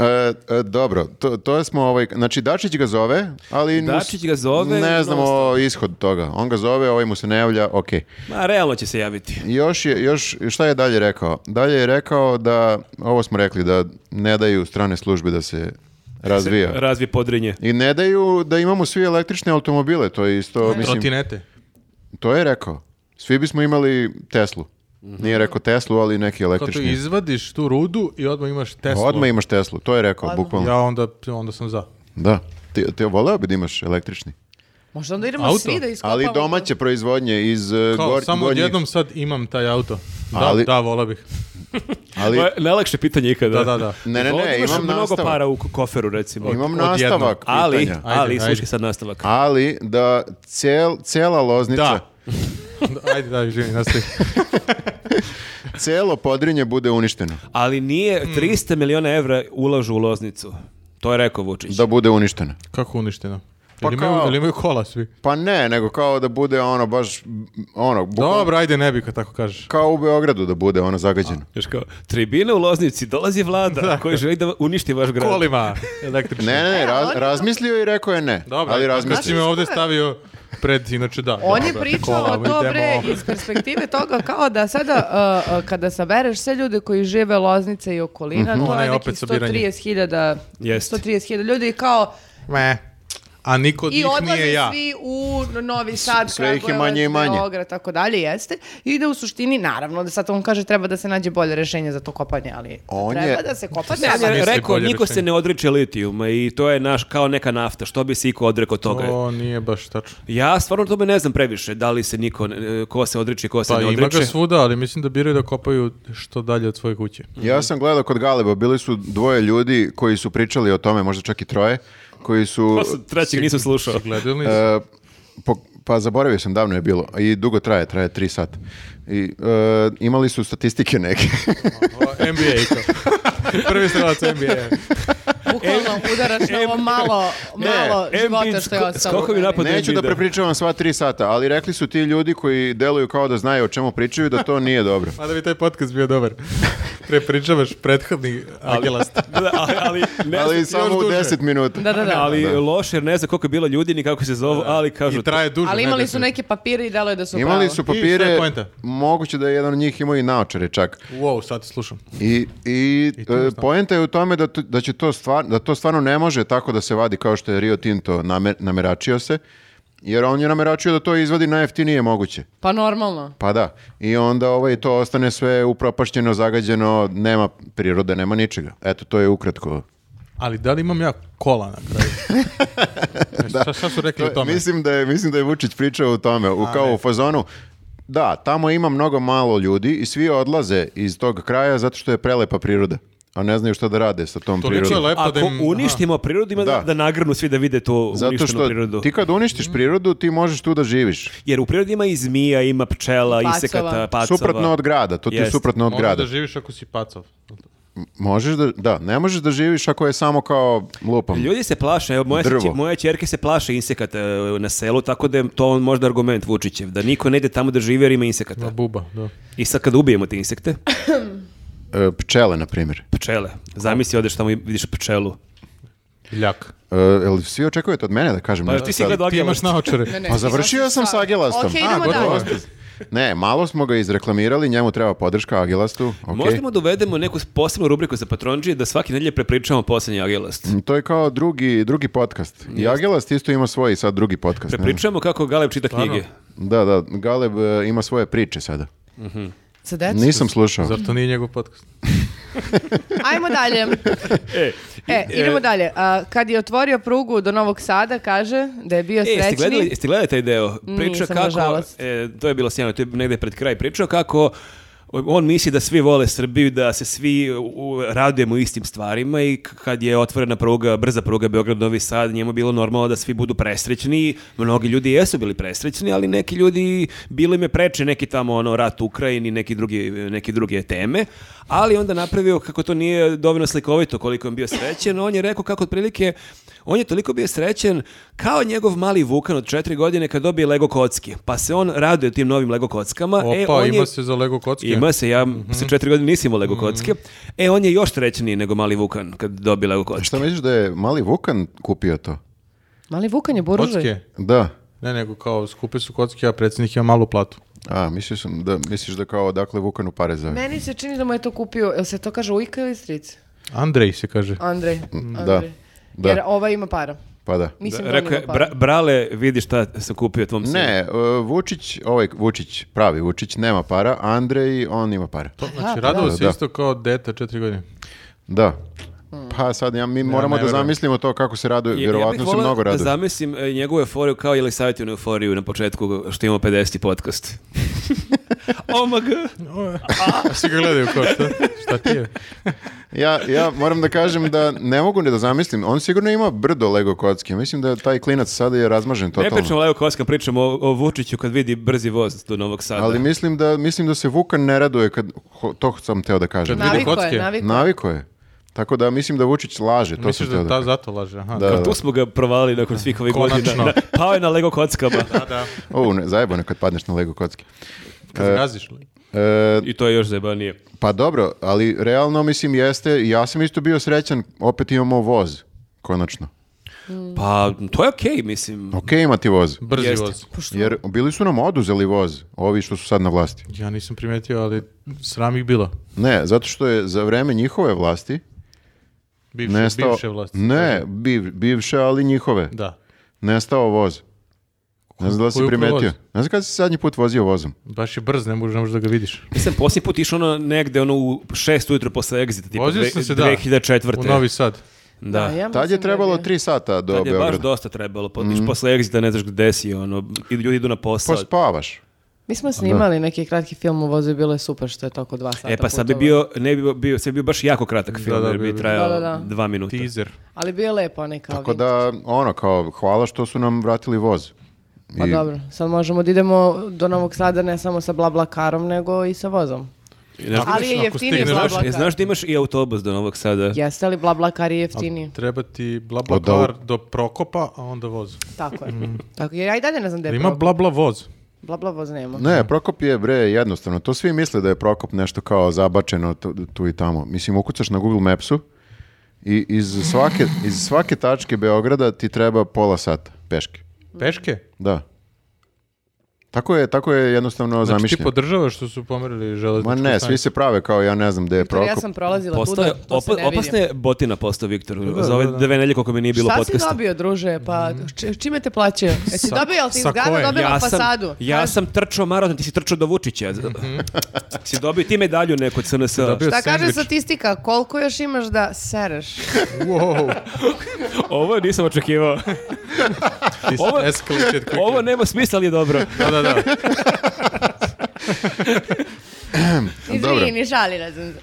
S3: E, e, dobro, to, to smo ovaj, znači Dačić ga zove, ali mu s-
S2: Dačić ga zove,
S3: ne znamo
S2: non-stop.
S3: ishod toga. On ga zove, ovaj mu se ne javlja, ok.
S2: Ma, realno će se javiti.
S3: Još je, još, šta je dalje rekao? Dalje je rekao da, ovo smo rekli, da ne daju strane službe da se razvija.
S2: Razvi podrinje.
S3: I ne daju da imamo svi električne automobile, to je isto, mislim,
S1: Trotinete.
S3: to je rekao. Svi bismo imali Teslu. Nije rekao Teslu, ali neki
S1: Kao tu
S3: električni.
S1: izvadiš tu rudu i odmah imaš Tesla.
S3: Odmah imaš Teslu, to je rekao,
S4: Odmah.
S3: bukvalno.
S1: Ja onda, onda sam za.
S3: Da. Ti, ti voleo bi da imaš električni.
S4: Možda onda idemo
S1: Auto.
S4: svi da iskopamo.
S3: Ali domaće proizvodnje iz e,
S1: Kao,
S3: gor,
S1: samo
S3: gornjih-
S1: odjednom sad imam taj auto. Da,
S3: Ali-
S1: da, vola bih.
S3: Ali,
S2: Ma, Najlakše pitanje ikada.
S1: Da, da, da.
S3: ne, ne,
S2: Ovdje
S3: ne,
S2: imaš
S3: imam
S2: mnogo
S3: nastavak.
S2: para u k- koferu, recimo.
S3: Imam
S1: odjednom.
S3: nastavak
S2: ali,
S3: pitanja.
S2: ali,
S1: Ajde,
S2: slušaj
S1: ajde.
S2: sad nastavak.
S3: Ali da cel, cela loznica,
S1: Da. Ajde, da, živi, nastavi.
S3: celo podrinje bude uništeno.
S2: Ali nije 300 miliona evra ulažu u loznicu. To je rekao Vučić.
S3: Da bude uništeno.
S1: Kako uništeno?
S3: Pa
S1: Pa imaju,
S3: kao-
S1: jel imaju kola svi?
S3: Pa ne, nego kao da bude ono baš, ono, bukvalno
S1: Dobro, ajde, ne bi kad tako kažeš.
S3: kao u Beogradu da bude ono zagađeno.
S2: Još kao, tribina u loznici, dolazi vlada koji želi da uništi vaš grad.
S1: Kolima električni.
S3: Ne, ne, ne, raz-
S4: ali-
S3: razmislio je i rekao je ne.
S1: Dobro,
S3: ali
S1: ajde, Kad si me
S3: razmislio.
S1: ovde stavio pred, inače da.
S4: On je
S1: Dobro,
S4: pričao
S1: kola,
S4: o to
S1: idemo
S4: bre
S1: ovo.
S4: iz perspektive toga kao da sada uh, uh, kada sabereš sve ljude koji žive Loznice i okolina, to
S1: Ona
S4: je
S1: je
S4: nekih
S1: opet sabiranje.
S4: 130.000
S2: Jeste.
S4: 130.000 ljudi i kao
S1: Meh. a niko od
S4: I
S1: njih
S4: odlaze
S1: nije ja.
S4: svi u Novi Sad,
S3: sve ih je
S4: Kragujevac,
S3: manje i manje.
S4: Beograd, tako dalje, jeste. I da u suštini, naravno, da sad on kaže treba da se nađe bolje rješenje za to kopanje, ali
S3: On
S4: treba
S3: je-
S4: da se kopa,
S2: Ja sam
S1: Mislim,
S4: treba.
S2: je rekao,
S1: bolje
S2: niko se
S1: rešenje.
S2: ne odriče litijuma i to je naš kao neka nafta. Što bi se iko odrekao toga?
S1: To nije baš tačno.
S2: Ja stvarno o tome ne znam previše, da li se niko, e, ko se odriče, ko se
S1: Pa ima
S2: ne odriče.
S1: ga svuda, ali mislim da biraju da kopaju što dalje od svoje kuće.
S3: Ja sam gledao kod Galeba, bili su dvoje ljudi koji su pričali o tome, možda čak i troje, koji Pa su...
S2: To sam trećeg nisam slušao.
S1: Gledali su?
S3: e, po- pa zaboravio sam, davno je bilo. I dugo traje, traje tri sata. I, e, imali su statistike neke.
S1: O, NBA i to. Prvi strelac NBA.
S4: Bukvalno udaraš na ovo malo, malo
S2: Ne,
S4: života
S2: Embiid
S4: što je
S2: sko-
S4: ostalo.
S2: skokovi napad- Pa da je
S3: Neću da
S2: video.
S3: prepričavam sva tri sata, ali rekli su ti ljudi koji deluju kao da znaju o čemu pričaju da to nije dobro.
S1: Mada bi taj podcast bio dobar. Prepričavaš prethodni agelast.
S2: Da, ali, ali, ne
S3: Ali
S2: znam-
S3: samo u
S1: duže.
S3: 10 minuta.
S4: Da, da, da.
S2: ali
S3: Da.
S2: loše, jer ne znam koliko je bilo ljudi ni kako se zovu, ali kažu...
S1: I traje duže.
S4: Ali
S1: ne,
S4: imali
S1: deset
S4: su neke papire i dalo je da su
S3: Imali
S4: pravo.
S3: su
S1: I šta je
S3: papire,
S1: poenta?
S3: moguće da je jedan od njih imao i naočare čak.
S1: minuta. Wow, sad te slušam.
S3: I, i,
S1: to je
S3: e,
S1: šta?
S3: poenta je u tome da, tu- da, će to stvar, da to stvarno ne može tako da se vadi kao što je Rio Tinto namer, nameračio se, jer on je nameračio da to izvadi najjeftinije moguće.
S4: Pa normalno.
S3: Pa da, i onda ovaj, to ostane sve upropašćeno, zagađeno, nema prirode, nema ničega. Eto, to je ukratko.
S1: Ali da li imam ja kola na kraju? E, šta, šta su rekli o
S3: To-
S1: tome?
S3: Mislim da je mislim da je Vučić pričao o tome, u kao u fazonu. Da, tamo ima mnogo malo ljudi i svi odlaze iz tog kraja zato što je prelepa priroda, a ne znaju šta da rade sa tom
S1: Toliko je
S3: prirodom.
S1: lepo
S2: Ako
S1: da im...
S2: uništimo prirodu, ima da.
S3: Da.
S2: da nagrnu svi da vide tu
S3: Zato
S2: uništenu
S3: što
S2: prirodu. Mhm.
S3: ti kad uništiš prirodu, ti možeš tu da živiš.
S2: Jer u prirodi ima i zmija, ima pčela,
S4: Pacova.
S2: insekata, pacova.
S3: Suprotno od grada, to ti je
S2: Jest.
S3: suprotno od
S1: Aha, moraš
S3: grada.
S1: da živiš ako si pacov.
S3: Možeš da, da, ne možeš da živiš ako je samo kao lupom.
S2: Ljudi se plaše, evo moja, se-
S3: Drvo.
S2: moja čerke se plaše insekata e, na selu, tako da je to možda argument Vučićev, da niko ne ide tamo da živi jer ima
S1: Na
S2: insekata.
S1: buba, da.
S2: I sad kad ubijemo te insekte,
S3: E, pčele, na primjer.
S2: pčele, zamisli odeš tamo i vidiš pčelu.
S1: Ljak.
S3: E, jel svi očekujete od mene da kažem
S2: Pa
S3: nešto
S2: ti si
S3: sad?
S2: gledao
S1: Ti imaš
S2: Agelast.
S1: naočare.
S4: Ne, ne,
S3: Pa završio sam sa Agelastom.
S4: Ok,
S3: A,
S4: idemo
S1: gotovo
S4: dalje.
S1: je.
S3: Ne, malo smo ga izreklamirali, njemu treba podrška Agelastu. ok.
S2: Možemo da uvedemo neku posebnu rubriku za patronđije da svaki nedjelje prepričamo posljednji Agelast.
S3: To je kao drugi, drugi podcast. I Agelast isto ima svoj sad drugi podcast. ne?
S2: Prepričamo kako Galeb čita knjige.
S3: Da, da, Galeb e, ima svoje priče sada.
S4: Sa decom?
S3: Nisam slušao.
S1: Zar to nije njegov podcast?
S4: Ajmo dalje.
S2: E,
S4: E, idemo dalje. A, kad je otvorio prugu do Novog Sada, kaže da je bio
S2: E, jeste gledali,
S4: srećni. Mm,
S2: jeste gledali taj deo? Priča
S4: Nisam,
S2: kako,
S4: nažalost.
S2: e, to je bilo sjajno, to je negde pred kraj. Priča kako on misli da svi vole Srbiju, da se svi u- u- radujemo istim stvarima i k- kad je otvorena pruga, brza pruga Beograd-Novi Sad, njemu je bilo normalno da svi budu presrećni. Mnogi ljudi jesu bili presrećni, ali neki ljudi bilo im je preče neki tamo ono rat u Ukrajini, neki drugi, neki druge teme, ali onda napravio kako to nije dovoljno slikovito koliko je on bio srećen, on je rekao kako otprilike on je toliko bio srećen kao njegov mali Vukan od četiri godine kad dobije Lego kocke, pa se on raduje tim novim Lego kockama.
S1: Opa,
S2: e, on
S1: ima
S2: je,
S1: se za Lego kocke. Mhm.
S2: Ima se, ja sa četiri godine nisam imao Lego kocke. E, on je još srećniji nego mali Vukan kad dobije Lego kocke.
S3: Šta misliš da je mali Vukan kupio to?
S4: Mali Vukan je buržuj.
S1: Kocke?
S3: Da.
S1: Ne, nego kao skupe su kocke, a predsjednik ima malu platu.
S3: A, mislio sam da, misliš da kao odakle Vukanu pare zove.
S4: Meni se čini da mu je to kupio, jel se to kaže ujka ili stric?
S1: Andrej se kaže.
S4: Andrej.
S3: Da.
S4: Andrej.
S3: Da.
S4: Jer ova ima para.
S3: Pa da.
S4: Mislim da, on
S2: Rekao je,
S4: ima para.
S2: "Bra- brale, vidi šta sam kupio tvom sinu.
S3: Ne, e, Vučić, ovaj Vučić, pravi Vučić, nema para. Andrej, on ima para.
S1: To, znači,
S4: pa
S1: radilo
S3: da.
S1: se
S3: Da.
S1: isto kao deta četiri godine.
S3: Da.
S2: Hmm.
S3: Pa sad, ja, mi moramo
S1: ne
S3: da
S1: verujem.
S3: zamislimo to kako se raduje.
S2: Ja-
S3: Vjerovatno
S2: ja bih
S3: se
S2: voleo
S3: mnogo
S2: da
S3: raduje.
S2: zamislim e, njegovu euforiju kao ili savjetinu euforiju na početku što imamo 50. podcast. Oh Omg.
S1: A svi ga gledaju kao šta, šta ti je?
S3: Ja, ja moram da kažem da ne mogu ne da zamislim. On sigurno ima brdo Lego kocki. Mislim da taj klinac sada je razmažen
S2: Ne pričamo
S3: totalno.
S2: o Leo Koska, pričamo o, o Vučiću kad vidi brzi voz do Novog Sada.
S3: Ali mislim da, mislim da se Vukan ne raduje kad, ho- to sam teo da kažem.
S1: Kad vidi
S4: Naviko
S1: kocke.
S4: je, naviko.
S3: Naviko je. Tako da mislim da Vučić laže, to sam
S1: Misliš
S3: teo
S1: da
S3: da
S1: ta
S3: kažem.
S1: zato laže? Aha.
S3: Da.
S2: Kao tu smo ga provalili nakon svih ovih
S1: Konačno.
S2: godina. Na- pao je na Lego kockama.
S3: O, ne, zajebano je kad padneš na Lego kocki.
S1: Kad zgaziš li?
S3: E,
S2: I to je još zajebanije.
S4: Mm.
S3: pa dobro, ali realno mislim jeste, ja sam isto bio srećan, opet imamo voz, konačno.
S2: Pa, to je okej, mislim.
S3: Ok imati voz.
S1: Brzi
S2: Jeste.
S1: voz.
S3: Jer bili su nam oduzeli voz, ovi što su sad na vlasti.
S1: Ja nisam primetio, ali sram ih bilo.
S3: Ne, zato što je za vreme njihove vlasti
S1: Bivše,
S3: nestao...
S1: bivše vlasti.
S3: Ne, biv- bivše, ali njihove.
S1: Da.
S3: nestao voz. Ne znam da li si
S1: Koju
S3: primetio.
S1: voz?
S3: Ne znam kada si zadnji put vozio vozom.
S1: Baš je brz, ne možeš, ne možeš da ga vidiš.
S2: Mislim, posljednji put išao ono negde ono u šest ujutro posle egzita, tipa
S1: Vozio
S2: dve-
S1: sam se, da.
S2: 2004.
S1: U Novi Sad.
S2: Da.
S4: Ja
S3: Tad
S4: mislim
S3: je
S4: da
S3: trebalo tri sata do
S2: Tad je baš
S3: Beograda.
S2: dosta trebalo, pa mm. posle egzita ne znaš gde si, ono, i ljudi idu na
S3: Pa
S2: posao.
S3: Pospavaš.
S4: Mi smo snimali neki kratki film u vozu i bilo je super što je tako dva sata.
S2: E pa sad bi
S4: putovanja.
S2: bio, ne bi bio- bio, sad bi bio baš jako kratak film,
S1: da,
S2: jer
S1: bio
S2: bi
S1: bi.
S2: trajao
S4: Da, da, da.
S2: dva minuta.
S1: Teaser.
S4: Ali bio je lepo onaj kao
S3: Tako
S4: vintage.
S3: da, ono, kao, hvala što su nam vratili voz.
S4: Pa
S3: I-
S4: dobro, sad možemo da idemo do Novog Sada ne samo sa Blablakarom, nego i sa vozom.
S2: I znaš-
S4: Ali je
S1: Ako
S4: jeftiniji
S1: stigneš-
S2: znaš,
S4: Blablakar.
S2: znaš da imaš i autobus do Novog Sada?
S4: Jeste li Blablakar je jeftiniji?
S1: Treba ti
S3: Od ovog-
S1: BlaBlaCar do Prokopa, a onda voz.
S4: Tako je.
S2: Mm.
S4: Tako, jer ja i dalje ne znam da je
S1: Ima
S4: Prokop.
S1: BlaBla voz.
S4: Blabla voz nema.
S3: Ne, Prokop je, bre, jednostavno. To svi misle da je Prokop nešto kao zabačeno tu, tu i tamo. Mislim, ukucaš na Google Mapsu i iz svake, iz svake tačke Beograda ti treba pola sata peške.
S1: Peške?
S3: Da. Tako je, tako je jednostavno
S1: Znači ti
S3: zamišljeno.
S1: podržavaš što su pomerili
S3: Ma
S1: železničku
S3: ne, svi se prave kao ja ne znam gde je
S4: Viktor, ja
S3: Prokop.
S4: sam prolazila
S2: Postao je,
S4: tuda, to se
S2: opa-
S4: ne vidi.
S2: opasna je botina postao Viktor,
S1: Da,
S2: za ove
S1: da, da.
S2: dve nelje koliko mi nije bilo
S4: Šta
S2: podcasta. Mm.
S4: si dobio, druže? Pa č- čime te plaćaju? Jesi
S1: Sa-
S4: dobio, jel ti
S1: sa
S4: zgrada
S1: koje?
S4: dobila fasadu?
S2: Sam, ja
S4: Kaži-
S2: sam trčao maraton, ti si trčao do Vučića.
S3: Mhm.
S2: si dobio ti medalju neku od SNS.
S1: Dobio
S4: Šta kaže
S1: sendvič.
S4: statistika? Koliko još imaš da sereš?
S1: Wow,
S2: Ovo nisam očekivao.
S1: this
S2: Ovo-
S1: escalated quickly.
S2: Ovo nema smisla, ali je dobro.
S1: Da, da, da.
S3: Dobro.
S4: Izvini, šalila sam se.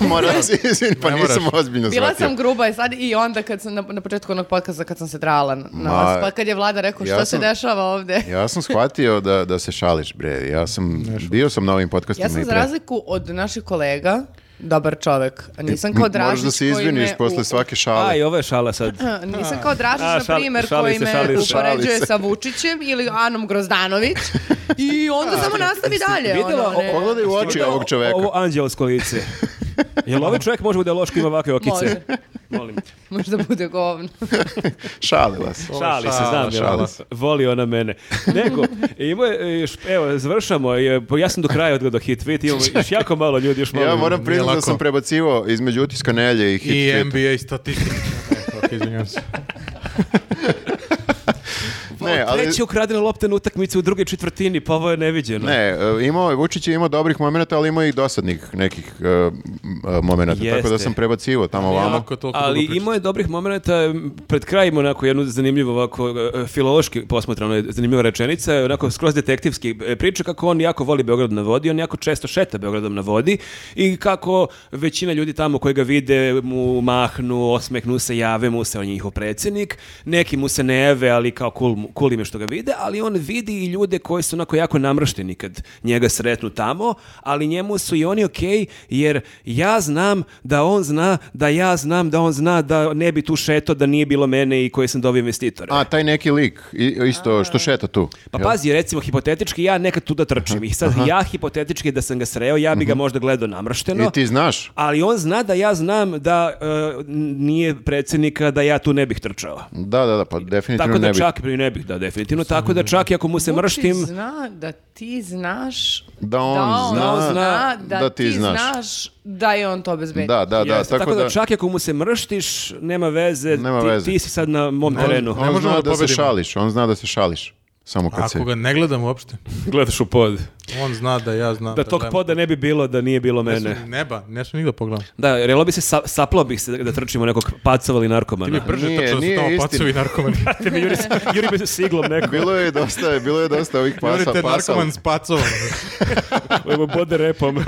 S3: Moram se izvin, pa
S1: Ne moraš.
S3: nisam ozbiljno
S4: Bila
S3: shvatio.
S4: sam gruba i sad i onda kad sam na, na početku onog podcasta kad sam se drala na, na
S3: Ma,
S4: vas, pa kad je vlada rekao
S3: ja
S4: što
S3: sam-
S4: se dešava ovde. Ja,
S3: Ja sam shvatio da, da se šališ, bre. Ja sam, bio sam na ovim podcastima
S4: sam
S3: i
S4: za
S3: pre.
S4: razliku od naših kolega dobar čovek. Nisam kao Dražić
S3: E, Moraš da se
S4: koji me
S3: izviniš posle
S4: u-
S3: svake šale.
S2: A, i ovo je šala sad.
S4: Nisam kao Dražić,
S2: A,
S4: na
S2: šali-
S4: primjer,
S2: šali
S4: koji
S2: se,
S4: me
S2: šali se.
S4: upoređuje
S3: Šali se.
S4: sa Vučićem ili Anom Grozdanović i onda samo nastavi dalje.
S2: vidjela
S4: ono, ne.
S3: Pogledaj u oči ovog čoveka.
S2: Ovo anđelsko lice. Jel ovaj čovjek može da loško ima ovakve okice?
S4: Može.
S2: Molim. te.
S4: Možda bude govno.
S3: Šalila se.
S2: Šali se,
S1: šala,
S2: znam. je,
S3: šala
S2: ono,
S3: se.
S2: Voli ona mene. Nego, imao je, e, još- evo, završamo. je, pa Ja sam do kraja odgledao hit tweet. Imamo još jako malo ljudi, još malo.
S3: Ja moram priznati da
S1: lako.
S3: sam prebacivao između utiska nelje i hit
S1: I
S3: tweeta.
S1: NBA statistika. Eto, E, ok, izvinjam se.
S3: Ne, e, ali,
S2: Treći je ukradeno lopte na utakmicu u drugoj četvrtini, pa ovo je neviđeno.
S3: ne, e, imao je, Vučić je imao dobrih momenata, ali imao je i dosadnih nekih e, m, e, momenata. Tako da
S2: Jeste.
S3: sam prebacivao tamo vamo.
S1: Ovako, toliko
S2: Ali
S1: dugo pričam.
S2: imao je dobrih momenata, m, pred krajem onako jednu zanimljivu ovako e, filološki posmatrano je zanimljiva rečenica, onako skroz detektivski e, priča kako on jako voli Beograd na vodi, on jako često šeta Beogradom na vodi i kako većina ljudi tamo koji ga vide mu mahnu, osmehnu se, jave mu se, on je njihov predsjednik, neki mu se ne jave, ali kao cool, mu- cool im je što ga vide, ali on vidi i ljude koji su onako jako namršteni kad njega sretnu tamo, ali njemu su i oni okej, jer ja znam da on zna, da ja znam da on zna da ne bi tu šeto da nije bilo mene i koji sam dobio investitore.
S3: A, taj neki lik, i- isto, što šeta tu.
S2: pa pazi, recimo, hipotetički ja nekad tu da trčim i sad ja hipotetički da sam ga sreo, ja bi ga možda gledao namršteno.
S3: Mhm. E, I ti znaš.
S2: Ali on zna da ja znam da e, nije predsjednika da ja tu ne bih trčao.
S3: Da, da, da, pa definitivno
S2: Tako da
S3: ne bi.
S2: čak ne bih, da, definitivno. Tako da čak i ako mu se
S4: Vučić
S2: mrštim,
S4: zna da ti znaš
S3: Da on zna
S4: da, ti znaš. da je on to obezbedio.
S3: Da, da, da,
S2: Jeste, tako, da, čak i ako mu se mrštiš, nema veze,
S3: Nema
S2: ti,
S3: veze.
S2: ti si sad na mom terenu.
S3: On, on
S1: možemo
S3: zna
S1: da
S3: da se
S1: pobedimo.
S3: šališ, on zna da se šališ. Samo kad se...
S1: Ako ga ne gledam uopšte,
S2: Gledaš u pod.
S1: on zna da ja znam.
S2: Da tog
S1: gledam.
S2: poda ne bi bilo da nije bilo
S1: Ne
S2: mene.
S1: smem ni neba, ne smem nigda pogledam.
S2: Da, relo bi se, sa, saplao bih se da trčimo nekog pacova ili narkomana.
S1: Ti bi brže
S3: Nije,
S1: trčao da su
S3: nije
S1: tamo
S3: istina.
S1: pacovi narkomani.
S2: Te mi juri, s- juri bi se siglom nekog,
S3: Bilo je dosta, bilo je dosta ovih pasa,
S1: Govorite
S3: pasa.
S1: narkoman s pacovom.
S2: evo bode repom.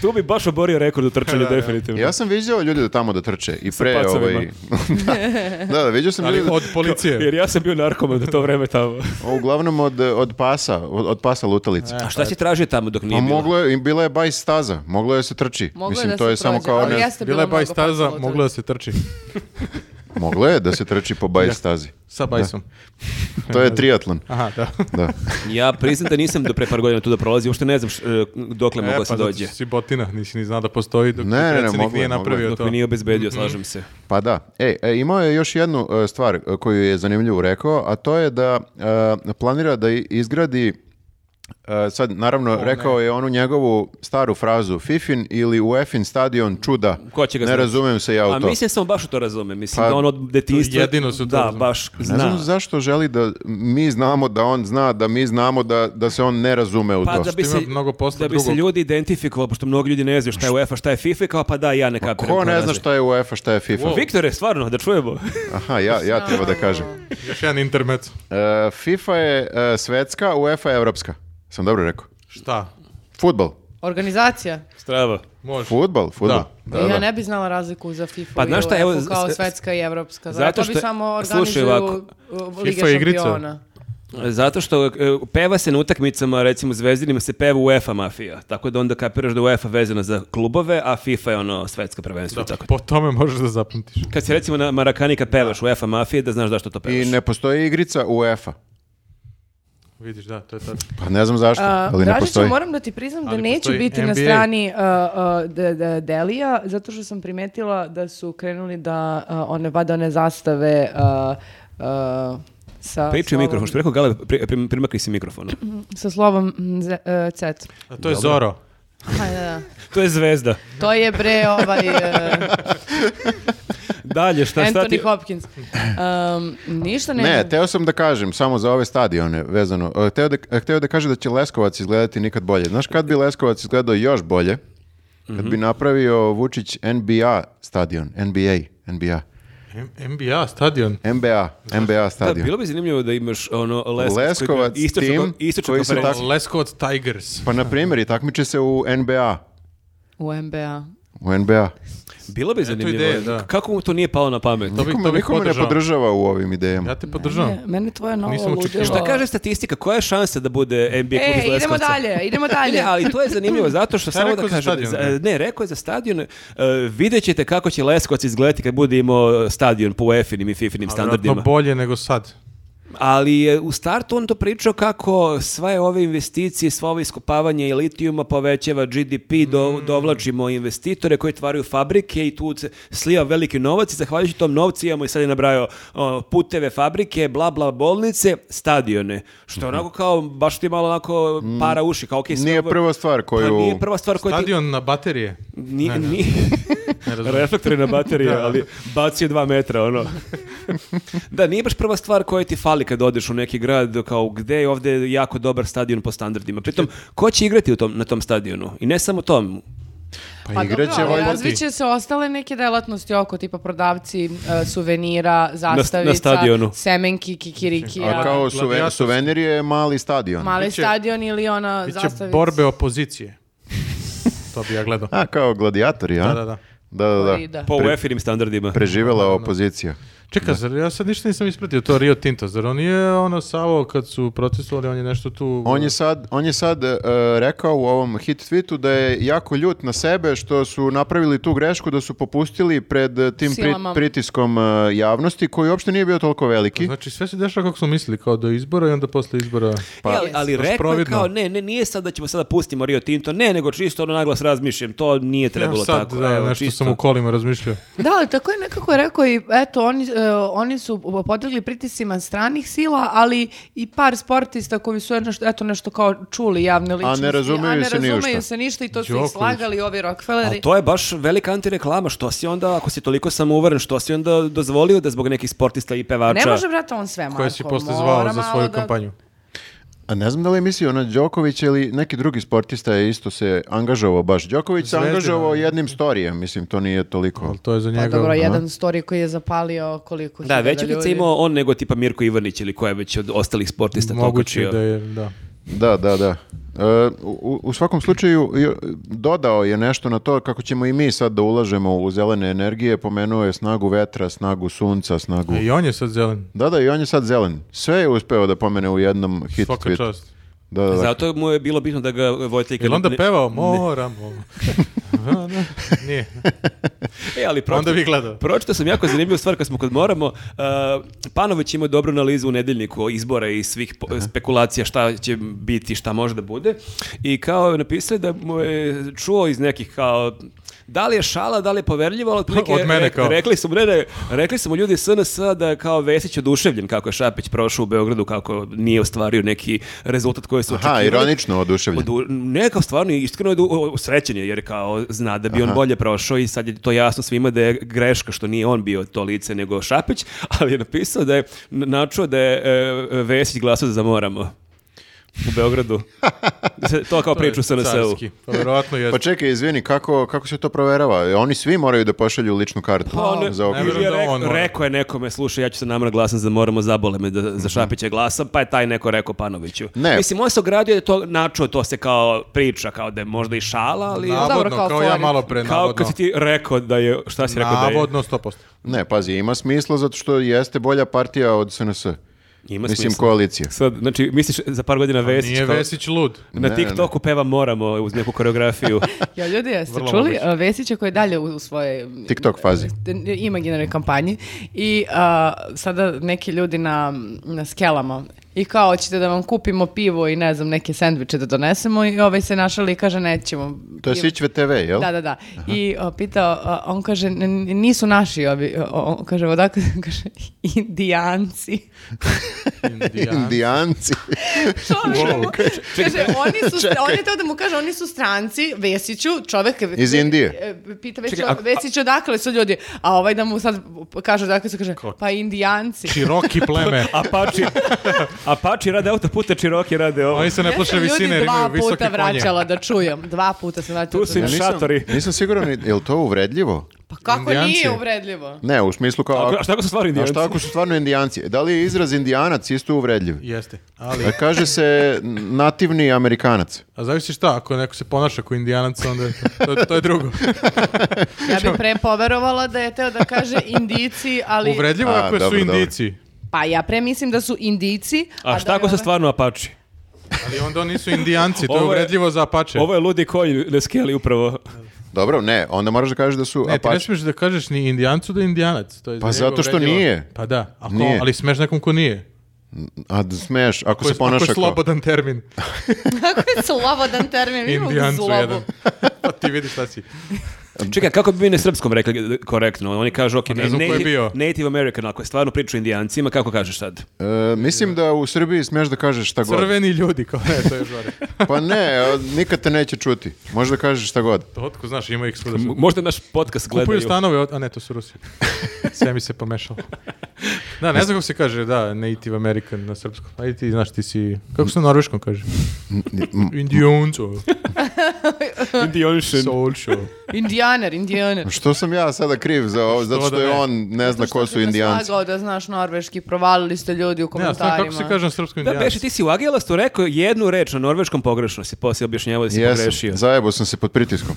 S2: tu bi baš oborio rekord u trčanju,
S1: Da, da.
S2: definitivno.
S3: Ja sam viđao ljude da tamo da trče i pre
S2: pacovima.
S3: ovaj... da, da, viđao sam
S1: Ali
S3: ljude...
S1: od policije.
S2: Jer ja sam bio narkoman u to vreme tamo.
S3: Uglavnom od, od pasa, od, od pasa lutalice.
S2: A šta si tražio tamo dok
S3: Pa
S2: nije bilo?
S3: moglo je, bila je bajs staza, moglo je se trči.
S4: Moglo je
S3: Mislim,
S4: da
S3: to
S4: se
S3: je samo
S4: prođe,
S3: kao... ono-
S4: ali
S3: Ne...
S4: jeste bilo
S1: Bila je baj
S4: mnogo
S1: staza,
S4: pacovaca.
S1: mogla da se trči.
S3: Moglo je da se trči po bajs stazi.
S1: Sa bajsom.
S3: To je triatlon.
S1: Aha, da.
S3: Da.
S2: Ja priznam da nisam do pre par godina tu da prolazio, uopšte ne znam š- e, dokle moglo se
S1: pa zato
S2: dođe.
S1: si botina, nisi ni znao da postoji dok
S3: Ne, ne, ne,
S1: predsjednik
S3: moglo je,
S1: nije
S3: moglo je.
S1: napravio
S2: Dok
S1: to.
S2: mi nije obezbedio, slažem se.
S3: Pa da. E, e, imao je još jednu e, stvar e, koju je zanimljivo rekao, a to je da e, planira da i- izgradi E, sad, naravno, rekao je onu njegovu staru frazu Fifin ili Uefin stadion čuda.
S2: Ko će ga
S3: ne
S2: znati?
S3: razumijem se ja u
S2: A
S3: to.
S2: mislim samo baš u to razume. Mislim
S3: Pa,
S2: da on od detinjstva...
S1: jedino su to
S2: Da,
S1: razumeli.
S2: baš
S3: Ne znam
S2: zna.
S3: zašto želi da mi znamo da on zna, da mi znamo da, da se on ne razume u
S2: Pa
S3: to.
S2: da bi
S1: Što
S2: se,
S1: ima mnogo posla
S2: da bi se
S1: drugog.
S2: ljudi identifikovali, pošto mnogo ljudi ne znaju šta je UEFA, šta je FIFA, kao pa da, ja ne kapiram.
S3: Ko ne zna šta je UEFA, šta je FIFA?
S1: Wow.
S2: Viktore, stvarno, da čujemo.
S3: Aha, ja, ja treba da kažem.
S1: Još jedan intermec.
S3: E, FIFA je e, svetska, UEFA je evropska. Sam dobro rekao.
S1: Šta?
S3: Futbol.
S4: Organizacija.
S2: Strava.
S1: Može.
S3: Futbol, futbol. Da,
S4: ja
S3: da.
S4: ne bi znala razliku za FIFA
S2: Pa,
S4: pa, i
S2: znaš šta, evo,
S4: UEFA kao
S2: s- s-
S4: svetska i evropska.
S2: zato
S4: Zato
S2: što
S4: što
S2: je-
S4: bi samo
S2: slušaj
S4: organizuju
S2: ovako,
S4: uh, Lige
S1: FIFA igrica.
S4: šampiona.
S2: Zato što e, peva se na utakmicama, recimo zvezdinima se peva UEFA mafija, tako da onda kapiraš da je UEFA vezana za klubove, a FIFA je ono svetsko prvenstvo i tako.
S1: Po tome možeš da zapamtiš.
S2: Kad si recimo na Marakani kad pevaš UEFA mafije, da znaš zašto to
S3: I
S2: pevaš.
S3: ne postoji igrica UEFA.
S1: Vidiš, da, to je tačno.
S3: Pa ne znam zašto,
S4: A,
S3: ali ne
S4: Dražiću,
S3: postoji.
S4: moram da ti priznam da
S1: Ali
S4: neću
S1: postoji
S4: biti na
S1: NBA.
S4: strani uh, a, a, d- d- Delija, zato što sam primetila da su krenuli da a, one vade one zastave a, a, sa,
S2: Priči u
S4: slovom,
S2: mikrofon, što bi rekao Gale, pri, pri- primakni si mikrofon.
S4: sa slovom mm, ze- e, cet.
S1: A to je Zoro.
S4: Pa, da, da.
S2: To je zvezda.
S4: To je bre ovaj... e,
S2: Dalje, šta, šta
S4: Anthony
S2: ti...
S4: Hopkins. Um, ništa ne,
S3: Ne,
S4: znam.
S3: teo sam da kažem, samo za ove stadione vezano, e, teo da, e, hteo da kažem da će Leskovac izgledati nikad bolje. Znaš kad bi Leskovac izgledao još bolje? Kad bi napravio Vučić NBA stadion, NBA, NBA,
S1: M- NBA stadion.
S3: NBA, NBA
S2: Da,
S3: stadion.
S2: bilo bi zanimljivo da imaš ono Leskovac, koji-
S3: Leskovac
S2: istočnu-
S3: tim
S2: istočnu
S3: koji se
S2: konferenciju.
S3: tako-
S1: Leskovac Tigers.
S3: Pa na primjer, i takmiče se u NBA,
S4: U NBA.
S3: u NBA.
S2: Bilo bi zanimljivo.
S1: ideja, da.
S2: Kako mu to nije palo na pamet?
S1: To bih-
S3: Nikome,
S1: bih
S3: nikome ne
S1: podržao.
S3: podržava u ovim idejama.
S1: Ja te podržavam.
S4: Ne, mene tvoje novo
S1: Nisam očekivao.
S4: ludilo.
S2: Šta kaže statistika? Koja je šansa da bude NBA klub
S4: E,
S2: iz
S4: idemo
S2: Leskovca?
S4: dalje, idemo dalje.
S2: Ne, ali to je zanimljivo zato što samo
S1: rekao
S2: da
S1: za
S2: kažem,
S1: stadion,
S2: za-
S1: ne?
S2: ne, rekao je za stadion, e, vidjet ćete kako će Leskovac izgledati kad bude imao stadion po UEFA-nim i FIFA-nim
S1: A vjerojatno
S2: standardima.
S1: bolje nego sad.
S2: Ali je u startu on to pričao kako sve ove investicije, sva ovo iskopavanje i litijuma povećava GDP, do,
S3: Mm.
S2: dovlačimo investitore koji tvaraju fabrike i tu se sliva veliki novac i zahvaljujući tom novcu imamo i sad je nabrajao o, puteve, fabrike, bla bla bolnice, stadione. Što je onako kao, baš ti malo onako para uši, kao okej, sve
S3: Mhm. Mm. Nije
S2: ovo-
S3: prva stvar
S2: Pa
S3: koju...
S2: nije prva stvar koju ti...
S1: Stadion na baterije.
S2: Ni,
S1: Ne, ne.
S2: ni...
S1: Ne razumijem.
S2: Reflektori na baterije, ali bacio dva metra, ono. da, nije baš prva stvar koja ti fali kad odeš u neki grad, kao gde je ovde jako dobar stadion po standardima. Pritom, ko će igrati u tom, na tom stadionu? I ne samo tom.
S3: Pa igrat
S1: ovaj
S3: će
S4: dobro, ali
S3: valjda
S4: razvit će se ostale neke delatnosti oko, tipa prodavci e, suvenira, zastavica,
S2: na stadionu.
S4: semenki, kikirikija,
S3: A kao suve-
S1: Gladijatorski.
S3: suvenir je mali stadion.
S4: mali
S1: Biće-
S4: stadion ili ona
S1: Biće
S4: zastavica.
S1: borbe opozicije. To bi ja gledao.
S3: A, kao gladijatori, a?
S1: Da, da, da.
S3: Da, da, da.
S4: Florida.
S2: Po
S3: Pre-
S2: UEFA-nim standardima.
S3: Preživela opozicija.
S1: Čekaj, zar ja sad ništa nisam ispratio, to Rio Tinto, zar on je ono Savo kad su protestovali, on je nešto tu...
S3: On je sad, on je sad e, rekao u ovom hit tweetu da je jako ljut na sebe što su napravili tu grešku da su popustili pred e, tim pri-
S4: Silama.
S3: pritiskom e, javnosti koji uopšte nije bio toliko veliki.
S1: Znači sve se dešava kako smo mislili, kao do izbora i onda posle izbora...
S2: E, ali, ali
S1: pa, baš
S2: rekao je
S1: providno.
S2: kao, ne, ne, nije sad da ćemo sada pustimo Rio Tinto, ne, nego čisto ono naglas razmišljam, to nije trebalo
S1: Evo sad,
S2: tako.
S1: da,
S2: evo,
S1: nešto
S2: čisto.
S1: sam u kolima razmišljao.
S4: Da, ali tako je nekako rekao i eto, oni, e, oni su podlegli pritisima stranih sila, ali i par sportista koji su nešto, eto nešto kao čuli javne ličnosti.
S3: razumeju
S4: a ne
S3: se ni u šta.
S4: razumeju se ništa i to su ih
S1: Đoković.
S4: slagali ovi Rockefelleri.
S2: Ali to je baš velika antireklama, što si onda, ako si toliko samouveren, što si onda dozvolio da zbog nekih sportista i pevača...
S4: Ne može, brate, on sve, Marko.
S1: Koje si posle
S4: mora
S1: zvao za
S4: malo
S1: svoju
S4: da-
S1: kampanju.
S3: A ne znam da li je mislio na Đoković ili neki drugi sportista je isto se angažovao baš. Đoković se
S1: Zvezdina,
S3: angažovao
S1: ne.
S3: jednim storijem, mislim to nije toliko.
S1: Ali to je za
S4: Pa
S1: njega...
S4: dobro,
S1: Aha.
S4: jedan story koji je zapalio koliko
S2: Da,
S4: hiljada
S2: veće
S4: ljudi.
S2: lice imao on nego tipa Mirko Ivanić ili ko je već od ostalih sportista
S1: Moguće
S2: tokočio.
S1: da je, da.
S3: Da, da, da. E, u, u svakom slučaju jo- dodao je nešto na to kako ćemo i mi sad da ulažemo u zelene energije, pomenuo je snagu vetra, snagu sunca, snagu...
S1: E, I on je sad zelen.
S3: Da, da, i on je sad zelen. Sve je uspeo da pomene u jednom hit
S1: Svaka
S3: tweetu.
S1: čast.
S3: Da, da, da.
S2: Zato mu je bilo bitno da ga Vojtlika...
S1: Jel onda
S2: ne-
S1: pevao? Moramo. Aha, da. Nije.
S2: E, ali pročito-
S1: Onda bi gledao.
S2: Pročitao sam jako zanimljivu stvar kad smo kad moramo. Uh, Panović ima dobru analizu u nedeljniku o izbora i svih po- spekulacija šta će biti, šta može da bude. I kao napisali da mu je čuo iz nekih kao Da li je šala, da li je poverljivo, ali otprilike
S1: Od mene
S2: re-
S1: kao.
S2: rekli su mu, ne, ne, rekli su mu ljudi iz SNS da je kao Vesić oduševljen kako je Šapić prošao u Beogradu, kako nije ostvario neki rezultat koji su
S3: Aha,
S2: očekivali.
S3: ironično oduševljen.
S2: Odu, ne, kao stvarno, iskreno je du- srećen je, jer kao zna da bi on bolje prošao i sad je to jasno svima da je greška što nije on bio to lice nego Šapić, ali je napisao da je n- načuo da je e, Vesić glasao za moramo u Beogradu. Da se to kao Pa, priču sa NSU.
S1: Carski. Pa verovatno
S3: Pa
S1: jeste.
S3: čekaj, izvini, kako, kako se to proverava? Oni svi moraju da pošalju ličnu kartu
S2: Pa on,
S3: za okružen.
S1: ne vjerujem.
S2: ili
S1: da
S2: je rek-
S1: on ono. mora.
S2: rekao je nekome, slušaj, ja ću se namra glasam za moramo zabole me da za Šapića glasam, pa je taj neko rekao Panoviću.
S3: Mhm. Ne.
S2: Mislim, on se ogradio da je to načuo, to se kao priča, kao da je možda i šala, ali...
S1: Navodno,
S4: Dobro,
S1: kao,
S4: kao
S1: ja
S4: fora.
S1: malo pre,
S2: Kao
S1: navodno.
S2: kad si ti rekao da je, šta si rekao da je?
S1: Navodno 100%.
S3: Ne, pazi, ima smisla zato što jeste bolja partija od SNS.
S2: Ima
S3: Mislim,
S2: smisla.
S3: koalicija.
S2: Sad, znači, misliš za par godina Vesić
S1: Pa Nije
S2: kao-
S1: Vesić lud.
S2: Na
S3: Ne,
S2: TikToku peva moramo uz neku koreografiju.
S4: Ja, ljudi, jeste
S1: Vrlo
S4: čuli
S1: moguće.
S4: a, Vesića koji je dalje u, u svojoj
S3: TikTok fazi.
S4: e, imaginarnoj kampanji i a, sada neki ljudi na, na skelama i kao hoćete da vam kupimo pivo i ne znam neke sendviče da donesemo i ovaj se našali i kaže nećemo.
S3: To je
S4: pivo.
S3: Sićve TV, jel?
S4: Da, da, da. I o, pitao, a, on kaže, "N- n- nisu naši ovi, o, o, kaže, odakle, kaže, indijanci.
S1: Indijan.
S3: Indijanci.
S4: Što ono što mu-
S1: Čekaj.
S4: Kaže, oni su, on je teo da mu kaže, oni su stranci, Vesiću, čovek...
S3: Iz Indije.
S4: E, Pita Vesiću,
S2: Čekaj, a-
S4: Vesiću odakle su ljudi, a ovaj da mu sad kaže odakle su, kaže, pa indijanci.
S1: Široki pleme.
S2: Apači, Apači rade autopute, Čiroki rade ovo.
S1: Oni se ne
S4: Ja
S1: plaše
S4: sam ljudi
S1: visine, jer
S4: dva
S1: imaju visoke
S4: puta
S1: konje.
S4: vraćala da čujem. Dva puta sam vraćala.
S2: Tu si
S4: da
S2: im
S4: čujem.
S2: š- Šatori.
S3: nisam siguran, je li to uvredljivo?
S4: Pa kako
S1: Indijanci.
S4: nije uvredljivo?
S3: Ne, u smislu kao...
S2: A šta ako su stvarno
S3: A
S2: indijanci?
S3: šta ako su stvarno indijanci? Da li je izraz indijanac isto uvredljiv?
S1: Jeste. Ali,
S3: E, Kaže se nativni amerikanac.
S1: a zavisi šta, ako neko se ponaša kao indijanac, onda je to, to, to je drugo.
S4: Ja bih pre poverovala da je teo da kaže indici, ali...
S1: Uvredljivo
S3: A,
S1: je ako su
S3: dobro, dobro.
S1: indici.
S4: Pa ja pre mislim da su indici.
S2: A šta
S4: da
S2: ako
S4: je
S2: su
S4: ovaj-
S2: stvarno Apači?
S1: Ali onda nisu indijanci, to je
S2: Ovo je-
S1: uvredljivo za apače.
S2: Ovo je ludi kolj na skeli upravo.
S3: Dobro, ne, onda moraš da kažeš da su
S1: Ne, ti ne
S3: Apache.
S1: smiješ da kažeš ni indijancu da je indijanac. To je
S3: Pa
S1: za njega
S3: zato što
S1: uvredljivo.
S3: nije.
S1: Pa da, ako,
S3: Nije.
S1: ali smeš nekom ko nije.
S3: A da smeš, ako
S1: Ko je,
S3: se ponaša
S1: ako je
S3: kao...
S1: slobodan termin.
S4: Kako je slobodan termin? imamo
S1: Indijancu
S4: zlobu.
S1: jedan. pa ti vidiš šta si.
S2: Čekaj, kako bi mi na srpskom rekli korektno? Oni kažu, ok,
S1: Pa ne znam ko je
S2: native,
S1: bio.
S2: native American, ako je stvarno priča o indijancima, kako kažeš sad?
S3: E, mislim da u Srbiji smeš da kažeš šta god.
S1: Crveni ljudi, kao ne, to je žore.
S3: Pa ne, a, nikad te neće čuti. Možeš da kažeš šta god.
S1: To otko znaš, ima ih svuda.
S2: M- Možda naš podcast
S1: Kupuju
S2: gledaju.
S1: stanove, od- a ne, to su Rusi. Sve mi se pomešalo. Da, ne znam kako se kaže, da, native American na srpskom. Ajde ti, znaš, ti si, kako se na norveškom kaže? Indijancu,
S2: Indijanšin.
S1: solčo.
S4: Indijaner, indijaner.
S3: Što sam ja sada kriv za ovo? Zato
S1: Što
S3: što
S1: da
S3: je
S1: ne?
S3: on ne zna ko su indijanci.
S4: Slagao da znaš norveški, provalili ste ljudi u
S1: Ne, a znam
S4: komentarima.
S1: kako se kaže na srpskom
S2: Da, Beši,
S1: indijanac.
S2: ti si u Agelastu rekao jednu reč na norveškom pogrešno, si poslije objašnjavao da si pogrešio.
S3: Jesam, zajebo sam se pod pritiskom.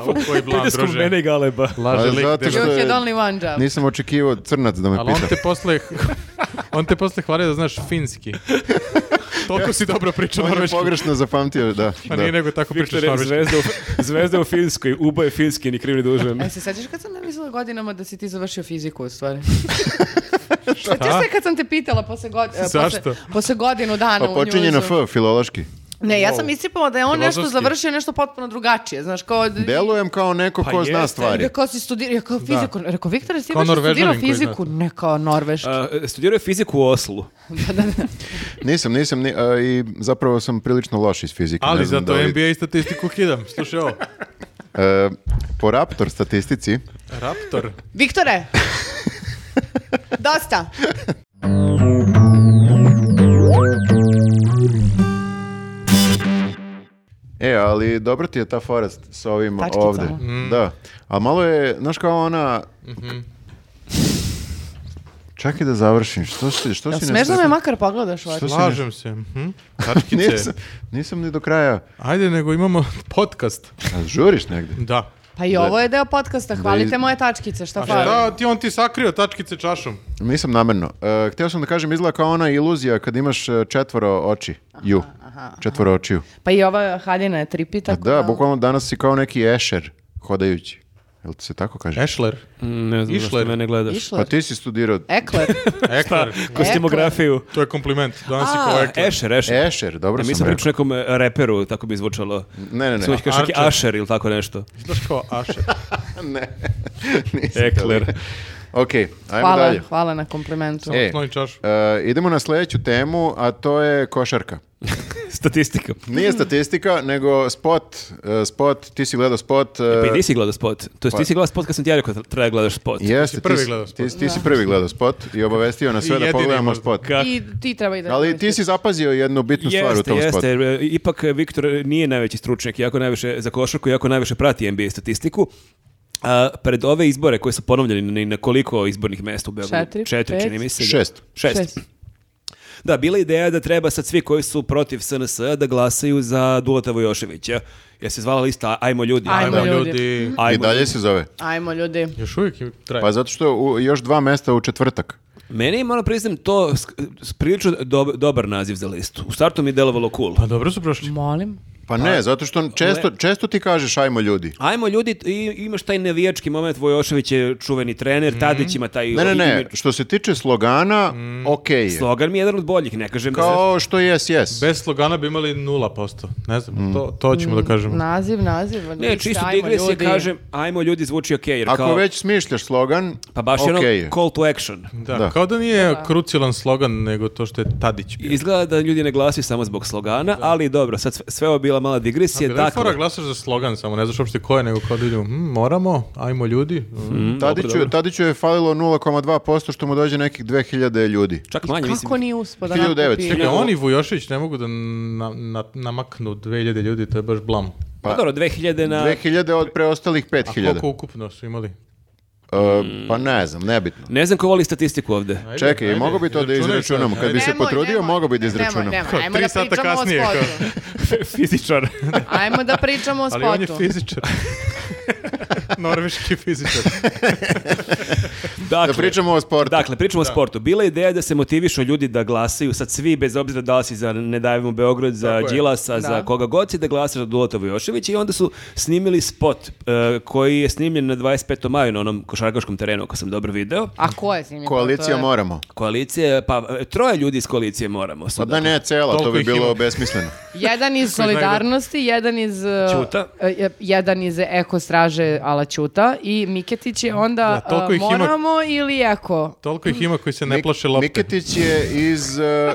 S1: A u koji blam,
S2: Pritiskom mene
S1: druže.
S2: i Galeba.
S1: Laže
S3: A
S1: lik,
S3: zato
S1: debel.
S3: što-
S4: You
S3: je-
S4: had only one job.
S3: Nisam očekivao crnac da me
S1: Ali on
S3: pita.
S1: te posle, on te posle hvali da znaš finski. Toliko si dobro pričao
S3: On je
S1: norveški.
S3: pogrešno zapamtio, da.
S1: Pa
S3: da.
S1: nije nego tako pričaš
S2: Viktor je
S1: norveški.
S2: zvezda u, zvezda u Finskoj, ubo je Finski, ni kriv ni dužan.
S4: E, se sjećaš kad sam ne mislila godinama da si ti završio fiziku u stvari? Sjećaš se kad sam te pitala posle, god, e,
S1: Zašto?
S4: posle, posle godinu dana
S3: Pa
S4: u
S3: počinje na F,
S4: njuzu?
S3: filološki.
S4: Ne, ja sam iscipala da je on nešto
S1: Filozofski.
S4: završio nešto potpuno drugačije. Znaš, kao...
S3: Delujem kao neko
S2: Pa
S3: ko zna
S2: jeste.
S3: stvari.
S4: Rekao si studirao, ja kao fiziku, rekao Viktor, jesi ti
S1: Kao
S4: baš studirao
S1: Norvežanin koji zna
S4: fiziku?
S1: to.
S4: Ne, kao norveški.
S2: A, studirao je fiziku u Oslu.
S4: Da, da, da.
S3: Nisam, nisam, ni- a, i zapravo sam prilično loš iz fizike. ne
S1: Ali
S3: znam
S1: zato
S3: da li-
S1: NBA i statistiku kidam. Slušaj ovo,
S3: E, po Raptor statistici,
S1: Raptor.
S4: Viktore! Dosta!
S3: e, ali dobro ti je ta fora s- s ovim
S4: Tačkicama.
S3: ovde.
S2: Mm.
S3: Da, a malo je, znaš kao ona...
S2: Mhm.
S3: Čekaj da završim, što si, što
S4: Jel
S3: si
S4: smeš da me
S3: nesretan?
S4: makar pogledaš ovako?
S3: Što si
S1: Slažem se. Mhm. Tačkice.
S3: Nisam, nisam ni do kraja.
S1: Ajde, nego imamo podcast.
S3: A žuriš negde?
S1: Da.
S4: Pa i ovo je deo podcasta, hvalite
S3: iz-
S4: moje tačkice, šta
S1: A
S4: fali?
S1: šta ti on ti sakrio tačkice čašom?
S3: Nisam namerno. E, htio sam da kažem, izgleda kao ona iluzija kad imaš e, četvoro oči. Ju, četvoro očiju.
S4: Pa i ova haljina je tripi, tako
S3: Da, bukvalno danas si kao neki ešer hodajući. Jel ti se tako kaže?
S1: Ešler.
S2: Mm, Ne znam zašto
S1: Išler.
S2: mene gledaš.
S4: Išla.
S3: Pa
S4: je.
S3: ti si studirao
S4: Ekler.
S1: Ekler.
S2: Kostimografiju.
S1: To je kompliment. Danas je
S4: A,
S1: kao Ekler.
S2: Ešer, Ešer.
S3: Ešer, dobro
S2: Ne,
S3: sam
S2: mislim
S3: rekao.
S2: pričao nekom e, reperu, tako bi zvučalo.
S3: Ne, ne, ne.
S2: Samo ću kaži neki
S1: Archer.
S2: Asher ili tako nešto.
S1: Znaš kao Ašer.
S3: ne. Nisi
S2: Ekler.
S3: to. Ok, ajmo
S4: Hvala,
S3: dalje.
S4: hvala na komplimentu.
S3: E.
S1: Snovi čašu.
S3: E, idemo na sljedeću temu, a to je košarka.
S2: Statistika.
S3: Nije statistika, nego spot. e, spot, ti si gledao spot. e, pa-
S2: Pa i ti si gledao spot. To jest ti si gledao spot kad sam ti ja rekao da treba da gledaš spot.
S1: Ti si
S3: Jeste,
S1: prvi
S3: ti,
S1: gledao
S3: ti-
S1: spot.
S3: ti si prvi gledao spot i obavestio nas sve
S1: I
S3: da
S1: jedini
S3: pogledamo
S1: možda.
S3: spot.
S2: Kako?
S4: I ti treba i da...
S3: Ali ti si zapazio jednu bitnu stvar u
S2: Jeste,
S3: tom
S2: jeste.
S3: spotu.
S2: jer, e, Ipak e, Viktor nije najveći stručnjak, jako najviše za košarku, jako najviše prati NBA statistiku. A, pred ove izbore koji su ponovljeni na- na koliko izbornih mesta u Beogradu?
S4: Četiri,
S2: Četiri,
S4: pet.
S2: čini mi se. da.
S3: Šest.
S2: Šest.
S4: Šest.
S2: Da, bila je ideja da treba sad svi koji su protiv SNS da glasaju za Dulata Vojoševića. Jer se zvala lista Ajmo ljudi.
S4: Ajmo
S1: Ajmo
S4: ljudi.
S1: ljudi.
S3: I
S2: Ajmo
S3: dalje se zove.
S4: Ajmo ljudi.
S1: Još uvijek im traje.
S3: Pa zato što u- još dva mesta u četvrtak.
S2: Meni je, moram priznam, to sk- s- prilično dob- dobar naziv za listu. U startu mi je delovalo cool.
S1: Pa dobro su prošli.
S4: Molim.
S3: Pa ne, zato što često, često ti kažeš ajmo ljudi.
S2: Ajmo ljudi, i- imaš taj navijački moment, Vojošević je čuveni
S1: Mhm.
S2: trener, Tadić ima taj
S3: Ne, ne, ne,
S2: imidž.
S3: što se tiče slogana, okej je.
S2: Mm. Slogan mi je jedan od boljih, ne kažem da se-
S3: Kao što jes, jes.
S1: Bez slogana bi imali 0%. Ne znam, to, to ćemo da kažemo.
S4: Naziv, naziv.
S2: Ne, čisto digresija, kažem, ajmo ljudi zvuči ok, jer
S3: Ako
S2: kao,
S3: već smišljaš slogan,
S2: pa baš je ono
S3: okej je.
S2: call to action.
S1: Da,
S3: Da.
S1: kao da nije krucijalan slogan, nego to što je Tadić bio.
S2: Izgleda da ljudi ne glasuju samo zbog slogana, ali dobro, sad sve, sve ovo je bila mala digresija.
S1: Bila je
S2: dakle,
S1: fora, glasaš za slogan samo, ne znaš uopšte ko je, nego kao da vidimo, "Hm, moramo, ajmo ljudi. Mm.
S3: Tadiću, Tadiću je falilo 0,2% što mu dođe nekih 2000 ljudi.
S2: čak manje,
S4: Kako
S2: mislim.
S4: nije uspod da
S3: 1900.
S1: Čekaj,
S4: nakupi?
S1: on i Vujošević ne mogu da na, na- namaknu 2000 ljudi, to je baš blam.
S2: Pa, dobro, 2000 na...
S3: 2000 od preostalih
S1: A
S3: 5000.
S1: koliko ukupno su imali?
S3: E, pa ne znam, nebitno.
S2: Ne znam ko voli statistiku ovde.
S1: Ajde,
S3: Čekaj,
S1: ajde,
S3: mogao bi to da
S1: izračunaj sad,
S3: izračunamo, kad
S1: ajde.
S3: bi se
S4: Nemoj,
S3: potrudio,
S4: nemoj,
S3: mogao bi da
S4: nemoj,
S3: izračunam.
S4: nemoj,
S1: Kao,
S4: Ajmo
S1: tri
S4: da
S1: sata
S4: pričamo o
S1: kasnije, kao.
S4: spotu.
S2: Fizičar.
S4: Ajmo da pričamo o
S1: Ali on je
S4: spotu.
S1: fizičar. Norveški fizičar.
S2: dakle,
S3: Da pričamo o sportu.
S2: Dakle, pričamo o sportu. Bila je ideja da se motivišu ljudi da glasaju, sad svi, bez obzira da li si za Ne davimo Beograd, za
S1: Tako je.
S2: Đilasa,
S4: Da.
S2: za koga god si, da glasaš za Dulata Vojoševića i onda su snimili spot e, koji je snimljen na 25. maju na onom košarkaškom terenu, ako sam dobro video.
S4: A ko pa je s njim?
S3: Koalicija
S4: mora.
S3: moramo.
S2: Koalicije, pa e, troje ljudi iz koalicije moramo.
S3: Pa
S2: Sad.
S3: da ne, cela, to
S1: Toliko
S3: bi
S1: ih ima.
S3: bilo besmisleno.
S4: Jedan iz
S1: znaju da-
S4: Solidarnosti, jedan iz... e,
S2: Ćuta.
S4: e, jedan iz Eko straže ala Ćuta i Miketić je onda
S1: Da, toliko
S4: e,
S1: ih ima-
S4: Moramo ili Eko?
S1: Toliko ih ima koji se ne
S3: Mik-
S1: plaše lopte.
S3: Miketić je iz... e,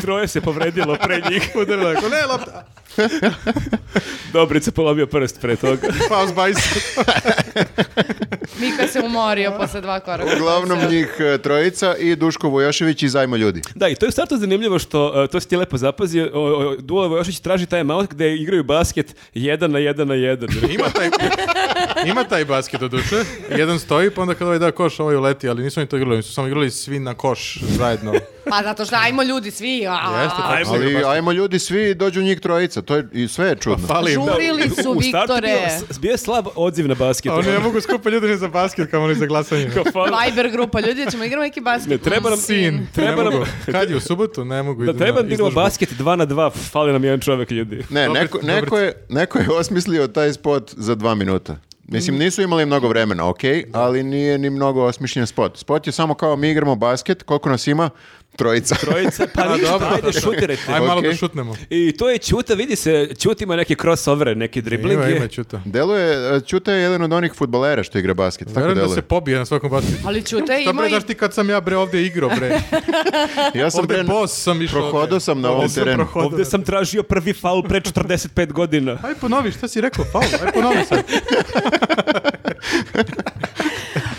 S2: troje se povredilo pre njih.
S1: Udarila je, kao, ne, lopta.
S2: Dobrica polomio prst pre toga.
S1: Faust bajs.
S4: Mika se umorio posle dva koraka.
S3: Uglavnom
S4: Sve.
S3: njih e, trojica i Duško Vojašević iz Ajmo ljudi.
S2: Da, i to je u startu zanimljivo što, e, to si ti lepo zapazio, o, o, Dula Vojošić traži taj maut gde igraju basket jedan na jedan na jedan.
S1: Ima taj, ima taj basket od duše. Jedan stoji, pa onda kad ovaj da koš, ovaj uleti, ali nisu oni to igrali, oni su samo igrali svi na koš zajedno.
S4: Pa zato što ajmo ljudi svi. a-
S1: Jeste, tako
S2: Ajmo
S1: se igra
S3: Ali
S1: basket.
S3: ajmo ljudi svi i dođu njih trojica, to je, i sve je čudno.
S1: Fali im.
S4: Žurili su
S2: U startu je
S4: Viktore.
S2: bio, s- bio je slab odziv na basket.
S1: A oni ne mogu skupa ljudi ni za basket, kao oni za glasanje.
S2: Kao, hvala.
S4: Viber grupa, ljudi, ćemo igramo neki basket.
S2: Ne, treba nam-
S1: Sin,
S2: Treba
S1: ne
S2: nam-
S1: mogu. Kad je u subotu, ne mogu.
S2: Da
S1: idem na
S2: treba da igramo
S1: izložbu.
S2: basket 2 na 2, fali nam jedan čovek ljudi.
S3: Ne,
S1: Dobri-
S3: neko,
S1: dobri-
S3: neko, je, neko je osmislio taj spot za dva minuta.
S1: Mm.
S3: Mislim, nisu imali mnogo vremena, ok, ali nije ni mnogo osmišljen spot. Spot je samo kao mi igramo basket, koliko nas ima? Trojica.
S2: Trojica, pa
S1: A,
S2: ništa,
S1: dobro.
S2: ajde šutirajte.
S1: Ajde malo
S3: Okej.
S1: da šutnemo.
S2: I to je Ćuta, vidi se, Ćuta ima neke crossovere, neke driblinge.
S1: Ima, ima Ćuta.
S3: Delo je, e, Ćuta je jedan od onih futbolera što igra basket, tako
S1: Verujem da
S3: deluje.
S1: se pobije na svakom basketu.
S4: Ali Ćute
S1: Šta
S4: ima
S1: bre,
S4: i...
S1: znaš ti kad sam ja bre ovdje igrao bre?
S3: Ja sam
S1: Ovdje
S3: bre,
S1: boss sam išao.
S3: prohodao sam na ovom
S1: Ovdje sam
S3: terenu.
S1: prohodao.
S2: Ovde sam tražio prvi faul pre 45 godina.
S1: Aj ponovi, šta si rekao? Faul, aj ponovi sad.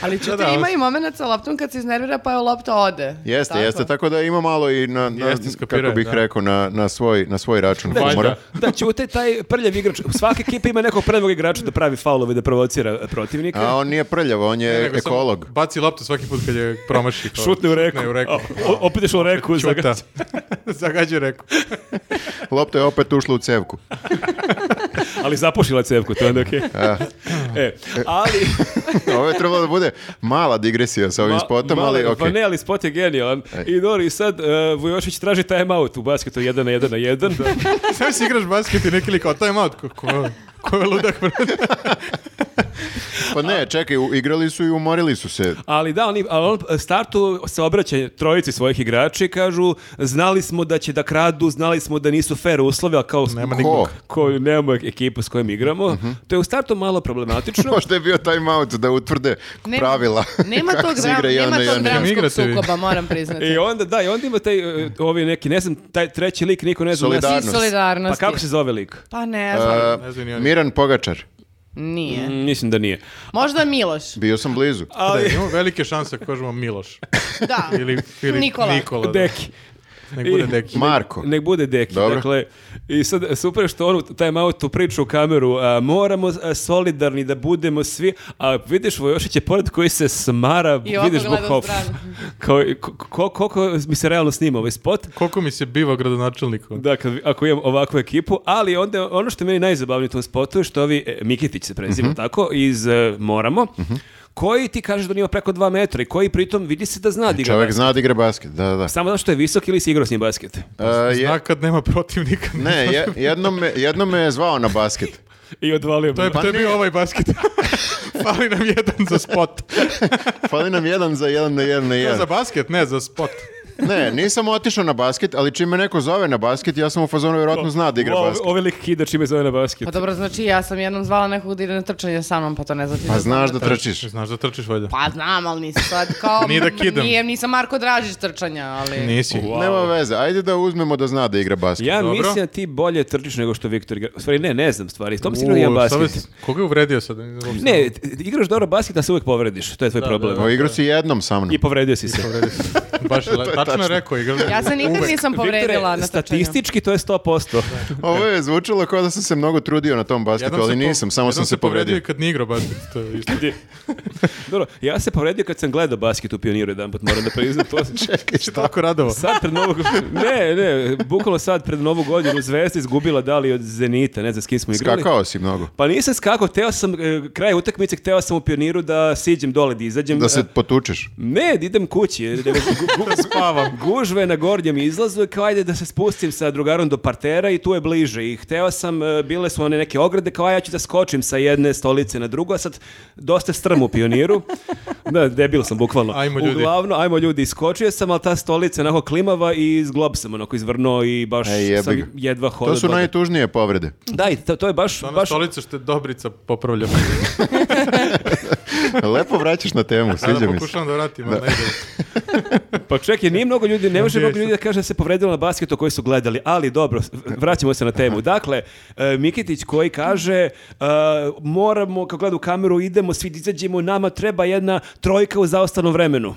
S4: Ali Ćute
S1: Da, da,
S4: ima
S1: on-
S4: i moment sa loptom kad se iznervira pa je lopta ode.
S3: Jeste, jeste, tako da ima malo i na, na-
S1: Jeste, skapirao
S3: kako
S1: je,
S3: bih
S1: da.
S3: rekao, na, na, svoj, na svoj račun
S1: Valjda.
S3: humora.
S2: Da, Ćuta je taj prljav igrač. Svaka ekipa ima nekog prljavog igrača da pravi faulove, da provocira protivnika.
S3: A on nije prljav, on je
S1: Nego samo
S3: ekolog.
S1: Baci loptu svaki put kad je promaši. kao,
S2: Šutne u reku.
S1: šutne u reku.
S2: O- o- opet je šlo u reku.
S1: Ćuta.
S2: zagađa.
S1: Zagađuje reku.
S3: Lopta je opet ušla u cevku.
S2: Ali zapušila cevku, to je onda okej. E, ali...
S3: Ovo je trebalo da bude mala digresija sa ovim
S2: Ma-
S3: spotom,
S2: malo-
S3: ali ok.
S2: Pa ne, ali spot je genijalan. I Dori, sad uh, Vujošević traži timeout u basketu 1 na 1 na 1.
S1: Sam si igraš basket i neki lik, a taj out, ko, ko, ko je ludak, brate.
S3: Pa ne, čekaj, u- igrali su i umorili su se.
S2: Ali da, oni, ali on startu se obraća trojici svojih igrači, kažu znali smo da će da kradu, znali smo da nisu fair uslove, ali kao
S1: Nema
S2: ko,
S3: nikog.
S2: ko, nemamo ekipu s kojom igramo.
S3: Mhm.
S2: To je u startu malo problematično.
S3: Možda je bio time out da utvrde
S4: Nema-
S3: pravila.
S4: Nema
S3: kako
S4: tog,
S3: se
S4: dra-
S3: igra jedan
S4: nema
S3: na
S4: tog
S3: jedan.
S4: dramskog
S1: Igrate vi.
S4: sukoba, moram priznati.
S2: I onda, da, i onda ima taj, e, ovi neki, ne znam, taj treći lik, niko ne zna.
S3: Solidarnost.
S4: I
S2: Pa
S4: solidarnosti.
S2: kako se zove lik?
S4: Pa ne znam,
S1: Ne znam ni
S3: E,
S1: oni.
S3: Miran Pogačar,
S4: nije.
S2: Mm, Mislim da nije.
S4: Možda Miloš.
S3: bio sam blizu.
S1: Da,
S2: Ali,
S1: imamo velike šanse, ako kažemo Miloš.
S4: Da.
S1: Ili, ili
S4: Nikola.
S1: Nikola da.
S2: deki.
S1: Nek bude
S2: I-
S1: Deki.
S3: Marko.
S2: Nek bude deki.
S3: Dobro.
S2: Dakle, i sad super je što on u taj autu priču u kameru, a, moramo a, solidarni da budemo svi, a vidiš Vojošić je pored koji se smara,
S4: I ovako
S2: vidiš zbog
S4: gleda u
S2: hof.
S4: stranu.
S2: Kao, ko- ko- koliko mi se realno snima ovaj spot,
S1: Koliko mi se biva gradonačelnikom?
S2: Dakle, ako imam ovakvu ekipu, ali onda ono što je meni najzabavnije u tom spotu je što ovi, e, Mikitić se prezima
S3: Mhm.
S2: tako, iz e, Moramo, koji ti kažeš da on ima preko dva metra i koji pritom vidi se da zna da igra
S3: E, Čovjek
S2: basket.
S3: zna da igra basket, da, da, da.
S2: Samo zato što je visok ili si igrao s njim basket.
S3: E, je-
S1: Pa Zna kad nema protivnika.
S3: ne, je- jednom, me, jednom me je zvao na basket.
S2: I odvalio
S1: To je,
S3: Pa
S1: to je
S3: ne.
S1: bio ovaj basket. Fali nam jedan za spot.
S3: Fali nam jedan za jedan na jedan na
S1: Ne za
S3: jedan.
S1: basket, ne, za spot.
S3: Ne, nisam otišao na basket, ali čim me neko zove na basket, ja sam u fazonu vjerojatno zna da igra
S2: Ovo-
S3: basket.
S2: Ovaj lik kida čime zove na basket.
S4: Pa dobro, znači ja sam jednom zvala nekog da ide na trčanje sa mnom, pa to ne znači.
S3: Pa
S4: da-
S3: znaš da trčiš.
S1: Znaš da trčiš valjda.
S4: Pa znam, ali nisam sad kao...
S1: Nije da kidam.
S4: Nije, nisam Marko Dražić trčanja, ali...
S1: Nisi.
S2: Wow.
S3: Nema veze, ajde da uzmemo da zna da igra basket.
S2: Ja
S1: Dobro.
S2: mislim da ti bolje trčiš nego što Viktor igra. U stvari ne, ne znam stvari. To mislim da
S1: U,
S2: igram
S1: šta
S2: basket.
S1: vas- Koga je uvredio sad? Ne, znam uopšte.
S2: Ne, ti- ti igraš dobro basket, a se uvek povrediš. To je tvoj problem.
S3: O, igru si jednom sa mnom.
S2: I povredio si se.
S1: Uvredio si. Baš je la- tačno je rekao igra.
S4: Ja se nikad
S1: Uvek.
S4: nisam povredila
S2: Viktore,
S4: na trčanju.
S2: statistički to je 100%.
S3: Ovo je zvučilo kao da sam se mnogo trudio na tom basketu,
S1: Jednom
S3: ali
S1: se po-
S3: nisam, samo
S1: jednom
S3: sam se povredio.
S1: i kad nije igrao basket. To je isto.
S2: Dobro, ja se povredio kad sam gledao basket u Pioniru jedan put, moram da priznam to.
S3: Čekaj,
S1: Ti
S3: šta?
S1: tako radovo.
S2: Sad pred novu... Ne, ne, bukvalo sad pred novu godinu Zvezda izgubila da li od Zenita, ne znam s kim smo igrali.
S3: Skakao si mnogo.
S2: Pa nisam skakao, teo sam, e, kraj utakmice, teo sam u pioniru da siđem dole, da izađem.
S3: Da se
S2: E,
S3: potučeš.
S2: Ne, da idem kući. e, Da gu, gu-
S1: Spavam.
S2: gužve na gornjem izlazu i kao ajde da se spustim sa drugarom do partera i tu je bliže. I hteo sam, e, bile su one neke ograde, kao "A, ja ću da skočim sa jedne stolice na drugu, a sad dosta strm u pioniru. Da, debil sam bukvalno.
S1: Ajmo, ljudi.
S2: Uglavno, ajmo ljudi, iskočio sam, ali ta stolica je onako klimava i zglob sam onako izvrnuo i baš
S3: E, jebi
S2: sam
S3: ga.
S2: jedva hodao.
S3: To su
S2: do-
S3: najtužnije povrede.
S2: Da, i to, to je baš...
S1: Ona
S2: baš...
S1: stolica što je Dobrica popravlja.
S3: Lepo vraćaš na temu,
S1: Sada
S3: sviđa mi se.
S1: pokušavam da vratim, ali ne ide.
S2: Pa čekaj, nije mnogo ljudi, ne može
S1: Nabijaj
S2: mnogo ljudi da kaže da se povredilo na basketu koji su gledali, ali dobro, vraćamo se na temu. Dakle, e, Mikitić koji kaže e, moramo, kako gleda u kameru, idemo, svi izađemo, nama treba jedna trojka u zaostanom vremenu.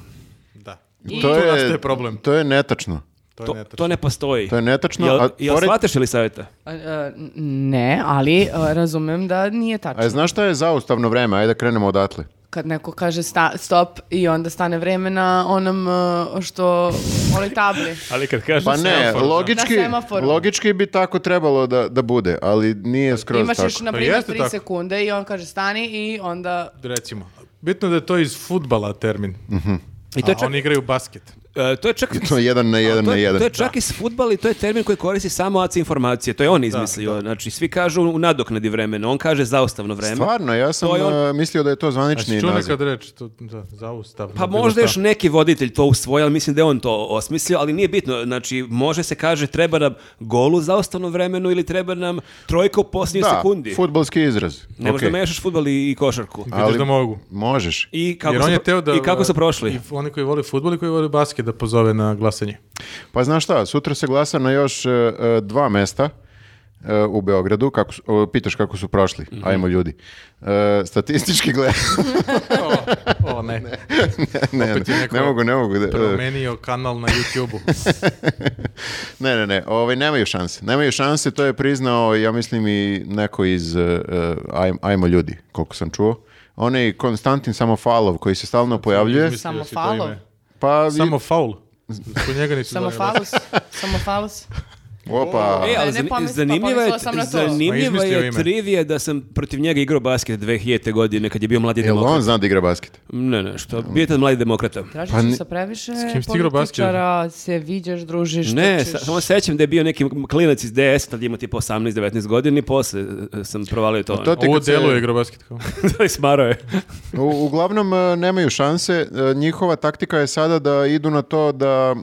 S1: Da.
S4: I-
S1: To nastaje problem.
S3: To je netačno.
S1: To je
S2: To,
S1: netačno.
S2: to ne postoji.
S3: To je netačno,
S2: Jel,
S3: a
S2: jel
S3: pored-
S2: shvataš ili savjeta?
S4: A, a, Pa, e, Ne, ali a, razumem da nije tačno.
S3: A je, znaš šta je zaustavno vreme? Ajde da krenemo odatle.
S4: Kad neko kaže sta- stop i onda stane vreme na onom e, što, onoj tabli.
S2: Ali kad kažeš...
S3: Pa ne,
S1: semafor, da.
S3: logički,
S4: Na semaforu.
S3: logički bi tako trebalo da, da bude, ali nije skroz
S4: Imaš još,
S3: tako.
S4: na
S1: To
S4: primjer,
S1: jeste
S4: 3
S1: tako.
S4: sekunde i on kaže stani i onda...
S1: Recimo. Bitno da je to iz futbala termin.
S3: Mhm.
S2: I to je
S1: A
S2: čak,
S1: oni igraju basket.
S2: e, to je čak,
S3: To je jedan na jedan
S2: to
S3: na
S2: je-
S3: jedan.
S2: to je čak i s futbal i to je termin koji koristi samo AC informacije. To je on izmislio. Znači, svi kažu u nadoknadi vremena. On kaže zaostavno vreme.
S3: Stvarno, ja sam
S2: To je on-
S3: a, mislio da je to
S1: A
S3: zvanični
S1: si Znači, čuo
S3: naziv.
S1: nekad reč, to, da, zaustavno.
S2: Pa
S1: bilo
S2: možda
S1: šta.
S2: još neki voditelj to usvojio, ali mislim da je on to osmislio, ali nije bitno. Znači, može se kaže treba nam gol u zaostavnom vremenu ili treba nam trojka u posljednjoj
S3: Da,
S2: sekundi.
S3: futbalski izraz.
S2: Ne možeš
S3: Okej.
S2: da mešaš futbol i, i košarku.
S1: Vidiš
S3: ali-
S1: da mogu.
S3: Možeš.
S2: I kako,
S1: Jer on
S2: su,
S1: je teo da,
S2: i kako su prošli?
S1: I oni koji vole futbol i koji vole basket da pozove na glasanje.
S3: Pa znaš šta, sutra se glasa na još e, e, dva mesta e, u Beogradu, kako su- o, pitaš kako su prošli, ajmo ljudi. E, statistički gleda,
S1: O, o ne. ne.
S3: ne, ne,
S1: Opet je neko
S3: ne mogu, ne mogu. da- e,
S1: Promenio kanal na YouTube-u.
S3: Ne, ne, ne, ovaj, nemaju šanse. Nemaju šanse, to je priznao, ja mislim, i neko iz e, e, Aj- Ajmo ljudi, koliko sam čuo. Onaj Konstantin Samofalov koji se stalno pojavljuje.
S1: Izmislio
S4: Samo
S1: si to
S4: falo.
S1: ime.
S3: Pa,
S1: Samo faul. Kod njega nisu
S4: Samo
S1: zvali.
S4: falus, samo falus.
S3: Opa.
S2: E, ali
S4: Ne, ne
S2: zani-
S4: pomisla-
S2: zanimljiva je,
S4: pomislila sam na to.
S1: Ma,
S2: zanimljiva
S1: Pa izmislio
S2: je
S1: ime.
S2: trivija da sam protiv njega igrao basket 2000. godine kad je bio mladi
S3: Jel
S2: demokrat.
S3: on zna da igra basket?
S2: Ne, ne, što, bio je tad mladi demokrata.
S4: Tražiš
S3: Pa ne-
S4: sa previše
S1: kim si ti igrao basket?
S4: političara, se viđaš, družiš,
S2: Ne,
S4: trčiš.
S2: sa- samo sećam da je bio neki klinac iz DS, tad ima tipa 18-19 godina i posle e, sam provalio to.
S3: to
S2: to...
S3: ti
S1: Ovo
S3: kad se-
S1: delo je igrao basket kao.
S2: Smaro je.
S3: U, uglavnom, e, nemaju šanse. E, Njihova taktika je sada da idu na to da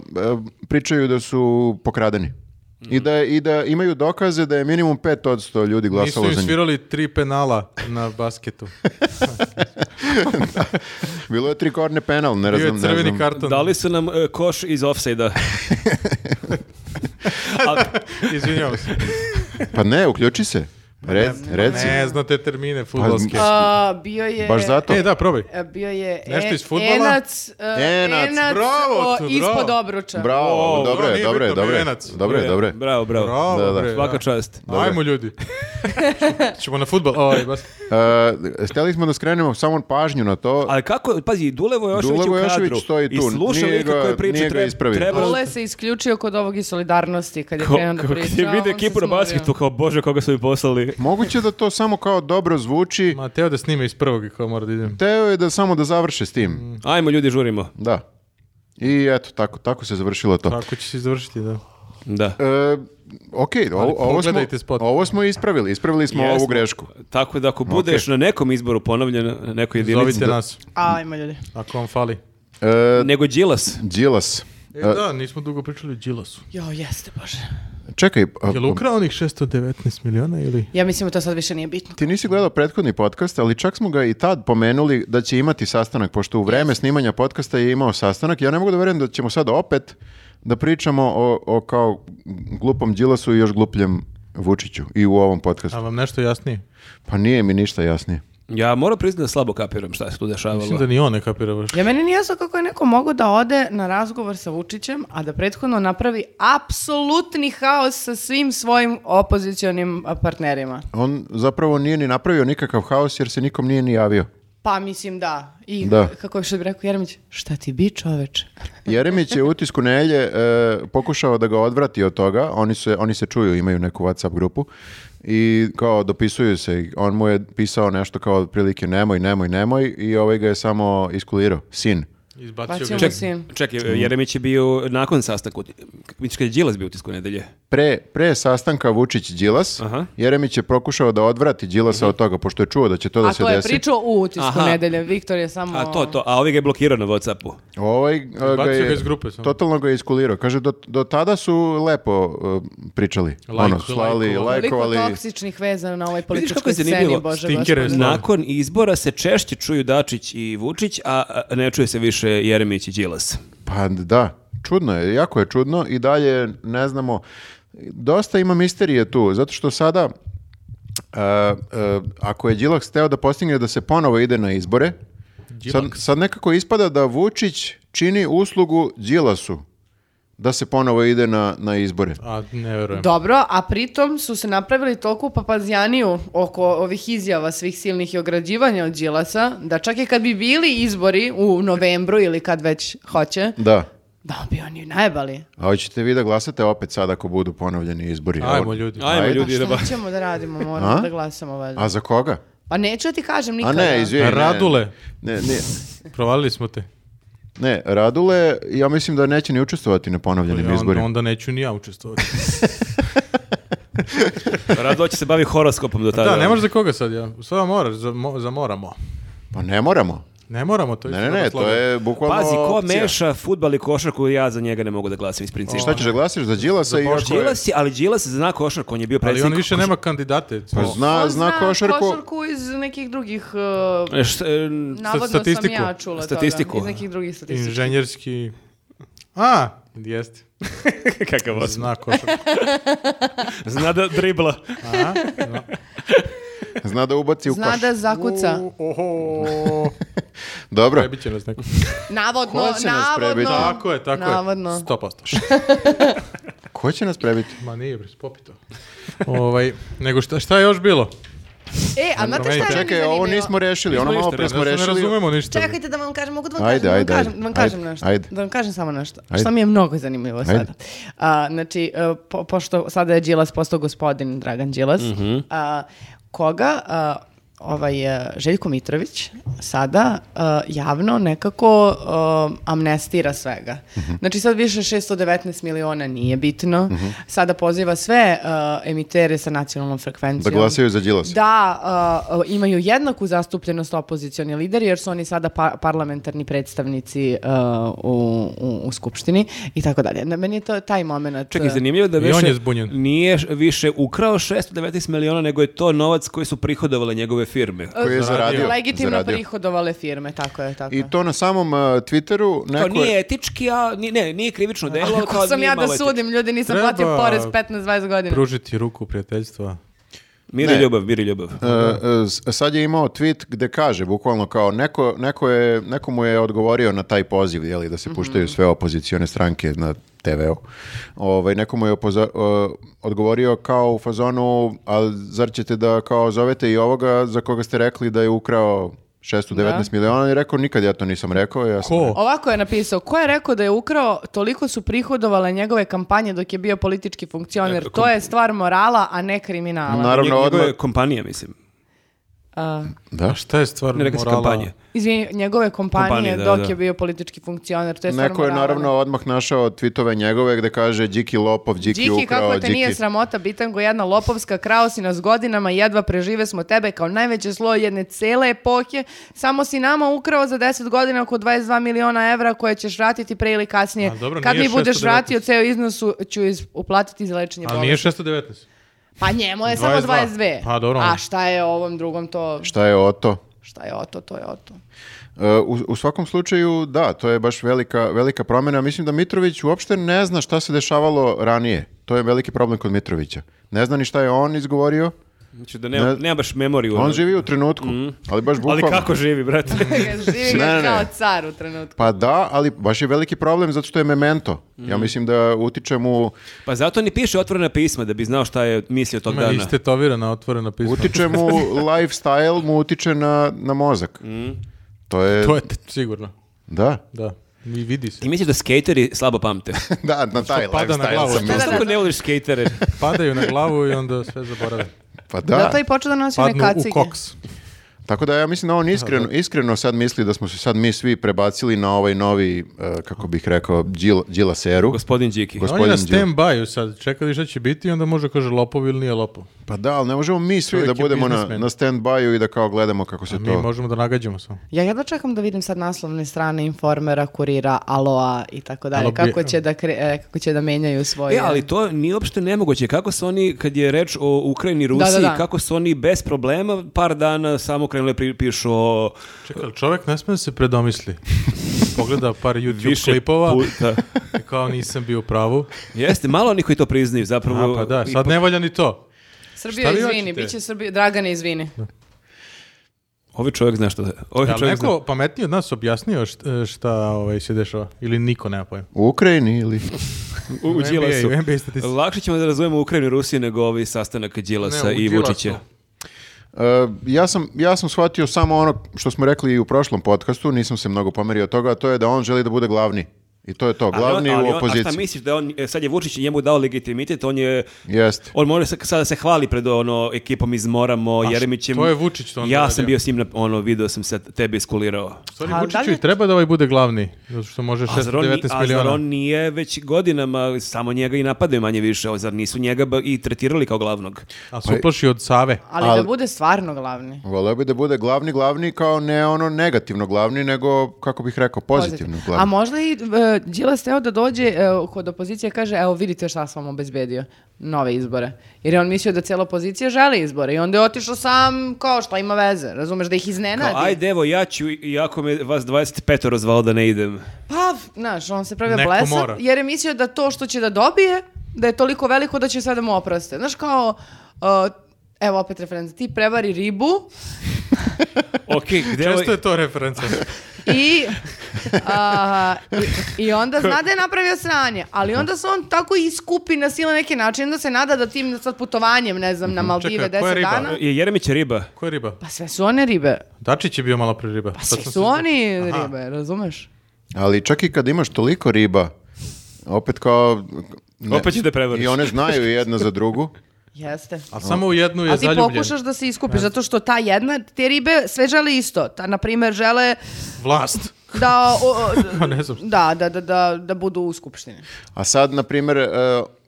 S3: e, pričaju da su pokradeni.
S1: Mhm.
S3: I da, I da imaju dokaze da je minimum 5% ljudi
S1: Nisu
S3: glasalo
S1: im
S3: za njih.
S1: svirali tri penala na basketu.
S3: Bilo je tri korne penal,
S1: Bio
S3: ne razum,
S1: je
S3: ne
S1: crveni
S3: znam.
S1: karton.
S2: Dali su nam e, koš iz offside-a. Ali
S1: Izvinjavam se.
S3: Pa ne, uključi se. Red, reci.
S1: Pa Ne, zna te termine futbolske.
S4: A, bio je...
S3: Baš zato.
S1: E, da, probaj.
S4: e, Bio je
S1: Nešto
S4: e-
S1: iz fudbala?
S4: Enac, e,
S3: Enac,
S1: bravo,
S4: o,
S1: tu, bravo.
S4: ispod obruča.
S3: Bravo,
S1: O,
S3: dobro
S1: bravo,
S3: je,
S1: nije
S3: dobro je,
S1: bitno,
S3: dobro je.
S1: Milenac.
S3: Dobro je, E, dobro je.
S2: Bravo, bravo.
S1: Bravo,
S3: Da, da.
S1: bre,
S2: Svaka
S1: da.
S2: čast.
S1: Ajmo ljudi. Ćemo na futbol. Ovaj, bas...
S3: E, htjeli smo da skrenemo samo pažnju na to.
S2: Ali kako, pazi, Dulevo Jošović
S3: Dulevo
S2: je u kadru.
S3: Jošević stoji tu,
S2: I slušao
S3: nije
S2: lika
S3: ga-
S2: koji priča,
S3: nije ga
S2: treba,
S3: ispravio.
S2: treba...
S4: Ole se isključio kod ovog i solidarnosti kad je
S2: Ko,
S4: krenuo da
S2: ko-
S4: priča.
S2: kad je vidio
S4: on se
S2: ekipu na
S4: smorio.
S2: basketu, kao bože koga su mi poslali.
S3: Moguće da to samo kao dobro zvuči.
S1: Ma, teo da snime iz prvog i kao mora da idem.
S3: Teo je da samo da završe s
S1: Mm.
S3: tim.
S2: Ajmo ljudi, žurimo.
S3: Da. I eto, tako, tako se završilo to.
S1: Tako će se izvršiti, da.
S2: Da.
S3: E, ok, ovo, ovo, smo,
S1: pogledajte spot.
S3: ovo smo ispravili. Ispravili smo
S2: Jesmo.
S3: ovu grešku.
S2: Tako da ako budeš na nekom izboru ponovljen, na nekoj jedinici,
S1: Zovite nas,
S4: Ajmo ljudi.
S1: ako vam fali.
S3: E,
S2: nego Đilas.
S3: Đilas.
S1: E, da, nismo dugo pričali o Đilasu.
S4: Jo, jeste, bože.
S3: Čekaj, a-
S1: Jel ukrao onih 619 miliona ili...
S4: Ja mislim da to sad više nije bitno.
S3: ti nisi gledao prethodni podcast, ali čak smo ga i tad pomenuli da će imati sastanak, pošto u vreme snimanja podcasta je imao sastanak. Ja ne mogu da verujem da ćemo sad opet da pričamo o, o kao glupom Đilasu i još glupljem Vučiću i u ovom podcastu.
S1: A vam nešto jasnije?
S3: Pa nije mi ništa jasnije.
S2: Ja moram priznati da slabo kapiram šta se tu dešavalo.
S1: Mislim da ni on ne kapira baš.
S4: Ja meni nije jasno kako je neko mogao da ode na razgovor sa Vučićem, a da prethodno napravi apsolutni haos sa svim svojim opozicionim a, partnerima.
S3: On zapravo nije ni napravio nikakav haos jer se nikom nije ni javio.
S4: Pa mislim da. I
S3: Da.
S4: kako je što bi rekao Jeremić, šta ti bi čoveče?
S3: Jeremić je u utisku nelje e, pokušao da ga odvrati od toga. Oni se, oni se čuju, imaju neku WhatsApp grupu i kao dopisuju se. I On mu je pisao nešto kao otprilike nemoj, nemoj, nemoj i ovaj ga je samo iskulirao. Sin.
S1: Izbacio
S4: Bacio
S1: ga.
S4: mu
S1: Ček,
S4: sin.
S2: Čekaj, Jeremić je bio nakon sastanka, mislim kad je Đilas bio u tisku nedelje.
S3: Pre, pre sastanka Vučić-Đilas,
S2: Aha.
S3: Jeremić je pokušao da odvrati Đilasa
S1: Mhm.
S3: od toga, pošto je čuo da će to da
S4: A
S3: se
S4: to je
S3: desi.
S4: pričao u utisku
S2: Aha.
S4: nedelje. Viktor je samo...
S2: A to, to, a ovi ga je blokirao na Whatsappu.
S3: Ovaj e, ga
S1: Bacio
S3: je,
S1: ga iz grupe samo.
S3: totalno ga je iskulirao. Kaže, do, do tada su lepo e, pričali.
S1: Lajko-
S3: ono, slali,
S1: lajkovali.
S4: Koliko
S3: lajkovali.
S4: toksičnih veza na ovoj
S2: kako
S4: političkoj
S2: je
S4: sceni,
S2: zanimljivo?
S4: Bože
S1: Stinkere
S4: gospode.
S1: znam.
S2: Nakon izbora se češće čuju Dačić i Vučić, a a, ne čuje se više Jeremić i Đilas.
S3: Pa da, čudno je, jako je čudno i dalje ne znamo. Dosta ima misterije tu, zato što sada e, e, ako je Đilak steo da postigne da se ponovo ide na izbore, sad, sad nekako ispada da Vučić čini uslugu Đilasu da se ponovo ide na, na izbore.
S1: A, ne verujem.
S4: Dobro, a pritom su se napravili toliko papazjaniju oko ovih izjava svih silnih i ograđivanja od Đilasa, da čak i kad bi bili izbori u novembru ili kad već hoće,
S3: Da.
S4: da bi oni najbali.
S3: A hoćete vi da glasate opet sad ako budu ponovljeni izbori?
S1: Ajmo ljudi.
S2: Ajmo
S3: Ajde.
S2: ljudi, da
S4: Šta
S2: ba-
S4: ćemo da radimo,
S3: A?
S4: moramo da glasamo valjda.
S3: A za koga?
S4: Pa neću da ti kažem
S3: A
S4: nikada.
S3: ne, izvini. ne, ne.
S1: Radule.
S3: Ne, ne,
S1: Provalili smo te.
S3: ne, Radule, ja mislim da neće ni učestvovati na ponovljenim
S1: Ja onda,
S3: izborima.
S1: E, onda neću ni ja učestvovati.
S2: Rado će se bavi horoskopom do tada.
S1: da, ne možeš za koga sad ja. Sada moraš, za, mo- za moramo.
S3: Pa ne moramo.
S1: Ne moramo, to je
S3: Ne, ne,
S1: sloboda
S3: ne, to
S1: slova.
S3: je bukvalno
S2: Pazi, ko
S3: opcija.
S2: meša futbal i košarku, ja za njega ne mogu da glasim iz principa.
S3: Šta ćeš da glasiš za Đilasa i još koje?
S2: Đilas je, ali Đilas zna košarku, on je bio
S1: Ali
S2: predsjednik.
S1: on više nema kandidate.
S3: Pa
S1: Smo-
S3: zna,
S4: On
S3: zna košarku.
S4: iz nekih drugih... uh,
S2: E, šta, e, n-
S4: navodno
S1: statistiku.
S4: sam ja čula
S2: Statistiku.
S4: toga. Iz nekih drugih statistika.
S1: Inženjerski... A, jeste.
S2: Kakav osm.
S1: Zna košarku.
S2: Zna da dribla.
S1: Aha, zna.
S3: Zna da ubaci u
S4: Zna
S3: koš.
S4: da zakuca.
S1: U, Oho.
S3: Dobro.
S1: Prebit će nas neko.
S4: Navodno,
S3: Ko će nas
S4: navodno.
S3: prebiti?
S1: Tako je, tako
S4: Navodno.
S1: je. Sto posto.
S3: Ko će nas prebiti?
S1: Ma nije, bre, popito. ovaj, nego šta, šta je još bilo?
S4: E, a znate šta je meni
S3: Čekaj, ovo
S4: zanimljivo?
S3: nismo rešili, ono
S2: Nismo
S3: malo
S2: ništa
S3: pre smo
S1: Ne
S3: rešili.
S1: razumemo ništa.
S4: Čekajte da vam kažem, mogu da vam
S3: Ajde,
S4: kažem,
S3: ajde,
S4: da vam
S3: ajde.
S4: kažem, da vam kažem
S3: Ajde,
S4: nešto.
S3: ajde.
S4: Da vam kažem samo nešto.
S3: Ajde.
S4: Što mi je mnogo zanimljivo
S3: Ajde.
S4: sada. A, znači, e, po- pošto sada je Đilas postao gospodin Dragan Đilas,
S3: Mhm.
S4: a, koga a, ovaj e, Željko Mitrović sada e, javno nekako e, amnestira svega.
S3: Mhm.
S4: Znači sad više 619 miliona nije bitno. Sada poziva sve e, emitere sa nacionalnom
S3: Da
S4: frekvencijom
S3: glasaju za Đilas.
S4: da a, a, imaju jednaku zastupljenost opozicioni lideri jer su oni sada pa- parlamentarni predstavnici a, u, u, u skupštini i tako dalje. Na meni je to taj moment. uh,
S2: Čekaj, zanimljivo da
S1: I
S2: više
S1: on je zbunjen.
S2: nije š- više ukrao 619 miliona, nego je to novac koji su prihodovale njegove firme.
S3: Koji je zaradio.
S4: Legitimno
S3: zaradio.
S4: prihodovale firme, tako je, tako je.
S3: I to na samom uh,
S2: Kao
S3: Twitteru neko
S2: nije
S3: je...
S2: etički, a ni- ne, nije krivično delo.
S4: Ali
S2: kao
S4: Ko sam
S2: nije
S4: ja da
S2: malo etički.
S4: sudim, ljudi, nisam
S1: Treba
S4: platio porez 15-20 godina.
S1: Pružiti ruku prijateljstva.
S2: Mir i
S3: Ne.
S2: ljubav, mir i ljubav.
S3: Uh, uh, s- sad je imao tweet gde kaže bukvalno kao neko, neko, je, neko mu je odgovorio na taj poziv jeli, da se
S4: Mhm.
S3: puštaju sve opozicione stranke na TV-u. Ovaj, neko mu je opozo- uh, odgovorio kao u fazonu a zar ćete da kao zovete i ovoga za koga ste rekli da je ukrao 619 miliona on je rekao nikad ja to nisam rekao. Ja sam
S1: Ko?
S4: Ovako je napisao, ko je rekao da je ukrao, toliko su prihodovale njegove kampanje dok je bio politički funkcioner. To je stvar morala, a ne kriminala. Uh,
S3: Naravno,
S2: Njeg- njegove
S3: odmah-
S2: kompanije, mislim.
S4: A,
S3: Da?
S1: Šta je stvar
S2: Ne rekao sam
S1: morala?
S2: kampanje.
S4: Izvini, njegove kompanije,
S2: Kompanije, da,
S4: dok
S2: da.
S4: je bio politički funkcioner. To je stvar
S3: Neko je
S4: morala.
S3: naravno odmah našao tweetove njegove gde kaže Điki Lopov, Điki,
S4: Điki,
S3: ukrao,
S4: kako te
S3: Điki.
S4: nije sramota, bitango, jedna lopovska kraosina s godinama, jedva prežive smo tebe kao najveće zlo jedne cele epohe, samo si nama ukrao za 10 godina oko 22 miliona evra koje ćeš vratiti pre ili kasnije.
S1: A dobro,
S4: Kad
S1: nije
S4: mi budeš
S1: 619.
S4: vratio ceo iznos, u- ću iz, uplatiti za lečenje
S1: Ali nije
S4: bolesti.
S1: 619.
S4: Pa njemu je
S1: 22.
S4: samo 22.
S1: Pa dobro.
S4: A šta je ovom drugom to,
S3: Šta je oto?
S4: šta je oto, to je oto.
S3: E, U, u svakom slučaju, da, to je baš velika, velika promjena. Mislim da Mitrović uopšte ne zna šta se dešavalo ranije. To je veliki problem kod Mitrovića. Ne zna ni šta je on izgovorio.
S2: Znači da nema,
S3: Ne-
S2: nema baš memoriju. ono.
S3: On živi u trenutku,
S1: Mhm.
S3: ali baš
S2: Ali
S3: bukvalno.
S2: kako živi, brate?
S4: Živi
S3: Ne,
S4: ga
S3: ne, ne.
S4: kao car u trenutku.
S3: Pa da, ali baš je veliki problem zato što je memento.
S1: Mhm.
S3: Ja mislim da utiče mu,
S2: pa zato ni piše otvorena pisma, da bi znao šta je mislio tog
S1: Ima
S2: dana.
S1: istetovirana, otvorena pisma.
S3: utiče mu lifestyle, mu utiče na, na mozak. To je,
S1: Mhm. To je te- sigurno.
S3: da,
S1: Da. I vidi se.
S2: Ti misliš da skateri slabo pamte?
S3: da, na taj
S1: pada na glavu,
S3: lifestyle
S1: što-
S3: sam mislio.
S2: Kako ne voliš skatere?
S1: Padaju na glavu i onda sve zaborave.
S3: Pa da.
S4: Zato je počeo da nosi one
S1: Padnu u
S4: kacige.
S1: koks.
S3: Tako da ja mislim da on iskreno, iskreno sad misli da smo se sad mi svi prebacili na ovaj novi, e, kako bih rekao, Đil- Đilaseru.
S2: Gospodin Điki.
S3: Gos-
S1: On je na
S3: Gospodin Đil.
S1: stand-by sad. Čekali šta će biti i onda može kaže lopov ili nije lopov.
S3: Pa da, ali ne možemo mi svi
S1: Čovjek
S3: da
S1: je
S3: budemo na,
S1: biznismen.
S3: na stand-by-u i da kao gledamo kako se
S1: Mi
S3: to...
S1: možemo da nagađamo samo.
S4: Ja jedno čekam da vidim sad naslovne strane Informera, Kurira, Aloa i tako dalje.
S1: Alo,
S4: Kako
S1: bi-
S4: će da, kre- e, kako će da menjaju svoje...
S2: E, ali to nije uopšte nemoguće. Kako su oni, kad je reč o Ukrajini i
S4: Da,
S2: Rusiji,
S4: da, da.
S2: kako su oni bez problema par dana samo krenuli pri- pišu o
S1: Čekaj, ali čovek ne sme da se predomisli. Pogleda par YouTube
S2: više
S1: klipova
S2: puta.
S1: i kao nisam bio u pravu.
S2: Jeste, malo oni koji to priznaju zapravo.
S1: A pa da,
S2: i
S1: sad ne valja ni to.
S4: Srbija
S1: Šta vi
S4: izvini,
S1: hoćete?
S4: bit će Srbija... Dragane, izvini.
S2: Ovi čovjek zna što je. Ovi
S1: Je li
S2: čovjek
S1: neko pametniji od nas objasnio šta, šta ovaj, se dešava? Ili niko nema pojma?
S3: U Ukrajini ili...
S2: zna. U, u
S1: U NBA,
S2: Đilasu.
S1: u NBA statistici.
S2: Lakše ćemo da razumemo Ukrajinu i Rusiju nego ovi sastanak Đilasa
S1: Ne, u
S2: i
S1: Đilasu.
S2: Vučića.
S3: E, ja, sam, ja sam shvatio samo ono što smo rekli i u prošlom podcastu, nisam se mnogo pomerio od toga, a to je da on želi da bude glavni. I to je to,
S2: Ali on-
S3: Pa glavni
S2: ali on-
S3: u
S2: A šta
S3: opoziciji.
S2: misliš da je on, e, sad je Vučić njemu dao legitimitet, on je...
S3: Jeste.
S2: On može sa- sada se hvali pred ono ekipom iz Moramo,
S1: š-
S2: Jeremićem.
S1: to je Vučić to onda
S2: Ja
S1: radio.
S2: sam bio s njim na ono video sam se tebi iskulirao.
S1: U Stvari,
S4: Ali da li
S1: Vučiću
S4: je-
S1: i treba da ovaj bude glavni, zato što može
S2: A zar, on, ni-
S1: 619
S2: a zar
S1: miliona.
S2: on nije već godinama samo njega i napadaju manje više, o, zar nisu njega ba- i tretirali kao glavnog?
S1: A se uplaši od Save.
S4: Ali,
S3: Ali-
S4: da bude stvarno glavni.
S3: Voleo bi da bude glavni, glavni kao ne ono negativno glavni, nego kako bih rekao pozitivno
S4: Pozitivno.
S3: glavni.
S4: A možda i e, Đilas teo da dođe e, kod opozicije i kaže evo vidite šta sam vam obezbedio, nove izbore. Jer je on mislio da cijela opozicija želi izbore i onda je otišao sam kao šta ima veze, razumeš, da ih
S2: Kao,
S4: iznenadi.
S2: ajde evo ja ću, iako me vas 25 razvalo da ne idem.
S4: Pa, znaš, on se pravio
S1: Neko
S4: blesav,
S1: mora.
S4: jer je mislio da to što će da dobije, da je toliko veliko da će sada mu oproste. Znaš, kao, uh, evo opet referenca, ti prevari ribu
S2: Ok, gde
S1: Često
S2: ovaj-
S1: je to referenca.
S4: I, a, i, i onda zna da je napravio sranje, ali onda se on tako iskupi na sile neki način, onda se nada da tim sad putovanjem, ne znam, na Maldive
S1: Mhm. Čekaj, koja
S4: 10
S1: riba?
S4: dana.
S2: Je Jeremić je riba.
S1: Ko je riba?
S4: Pa sve su one ribe.
S1: Dačić je bio malo pre riba.
S4: Pa svi su oni ribe, razumeš?
S3: Ali čak i kad imaš toliko riba, opet kao... ne.
S2: Opet će te prevariš.
S3: I one znaju jedna za drugu.
S4: Jeste.
S1: A samo u jednu je
S4: A ti
S1: zaljubljen.
S4: pokušaš da se iskupiš, zato što ta jedna, te ribe sve žele isto. Ta, na primjer, žele
S1: Vlast.
S4: da, o- o-
S1: Pa ne znam.
S4: da, da, da, da, da budu u skupštini.
S3: A sad, na primjer, e,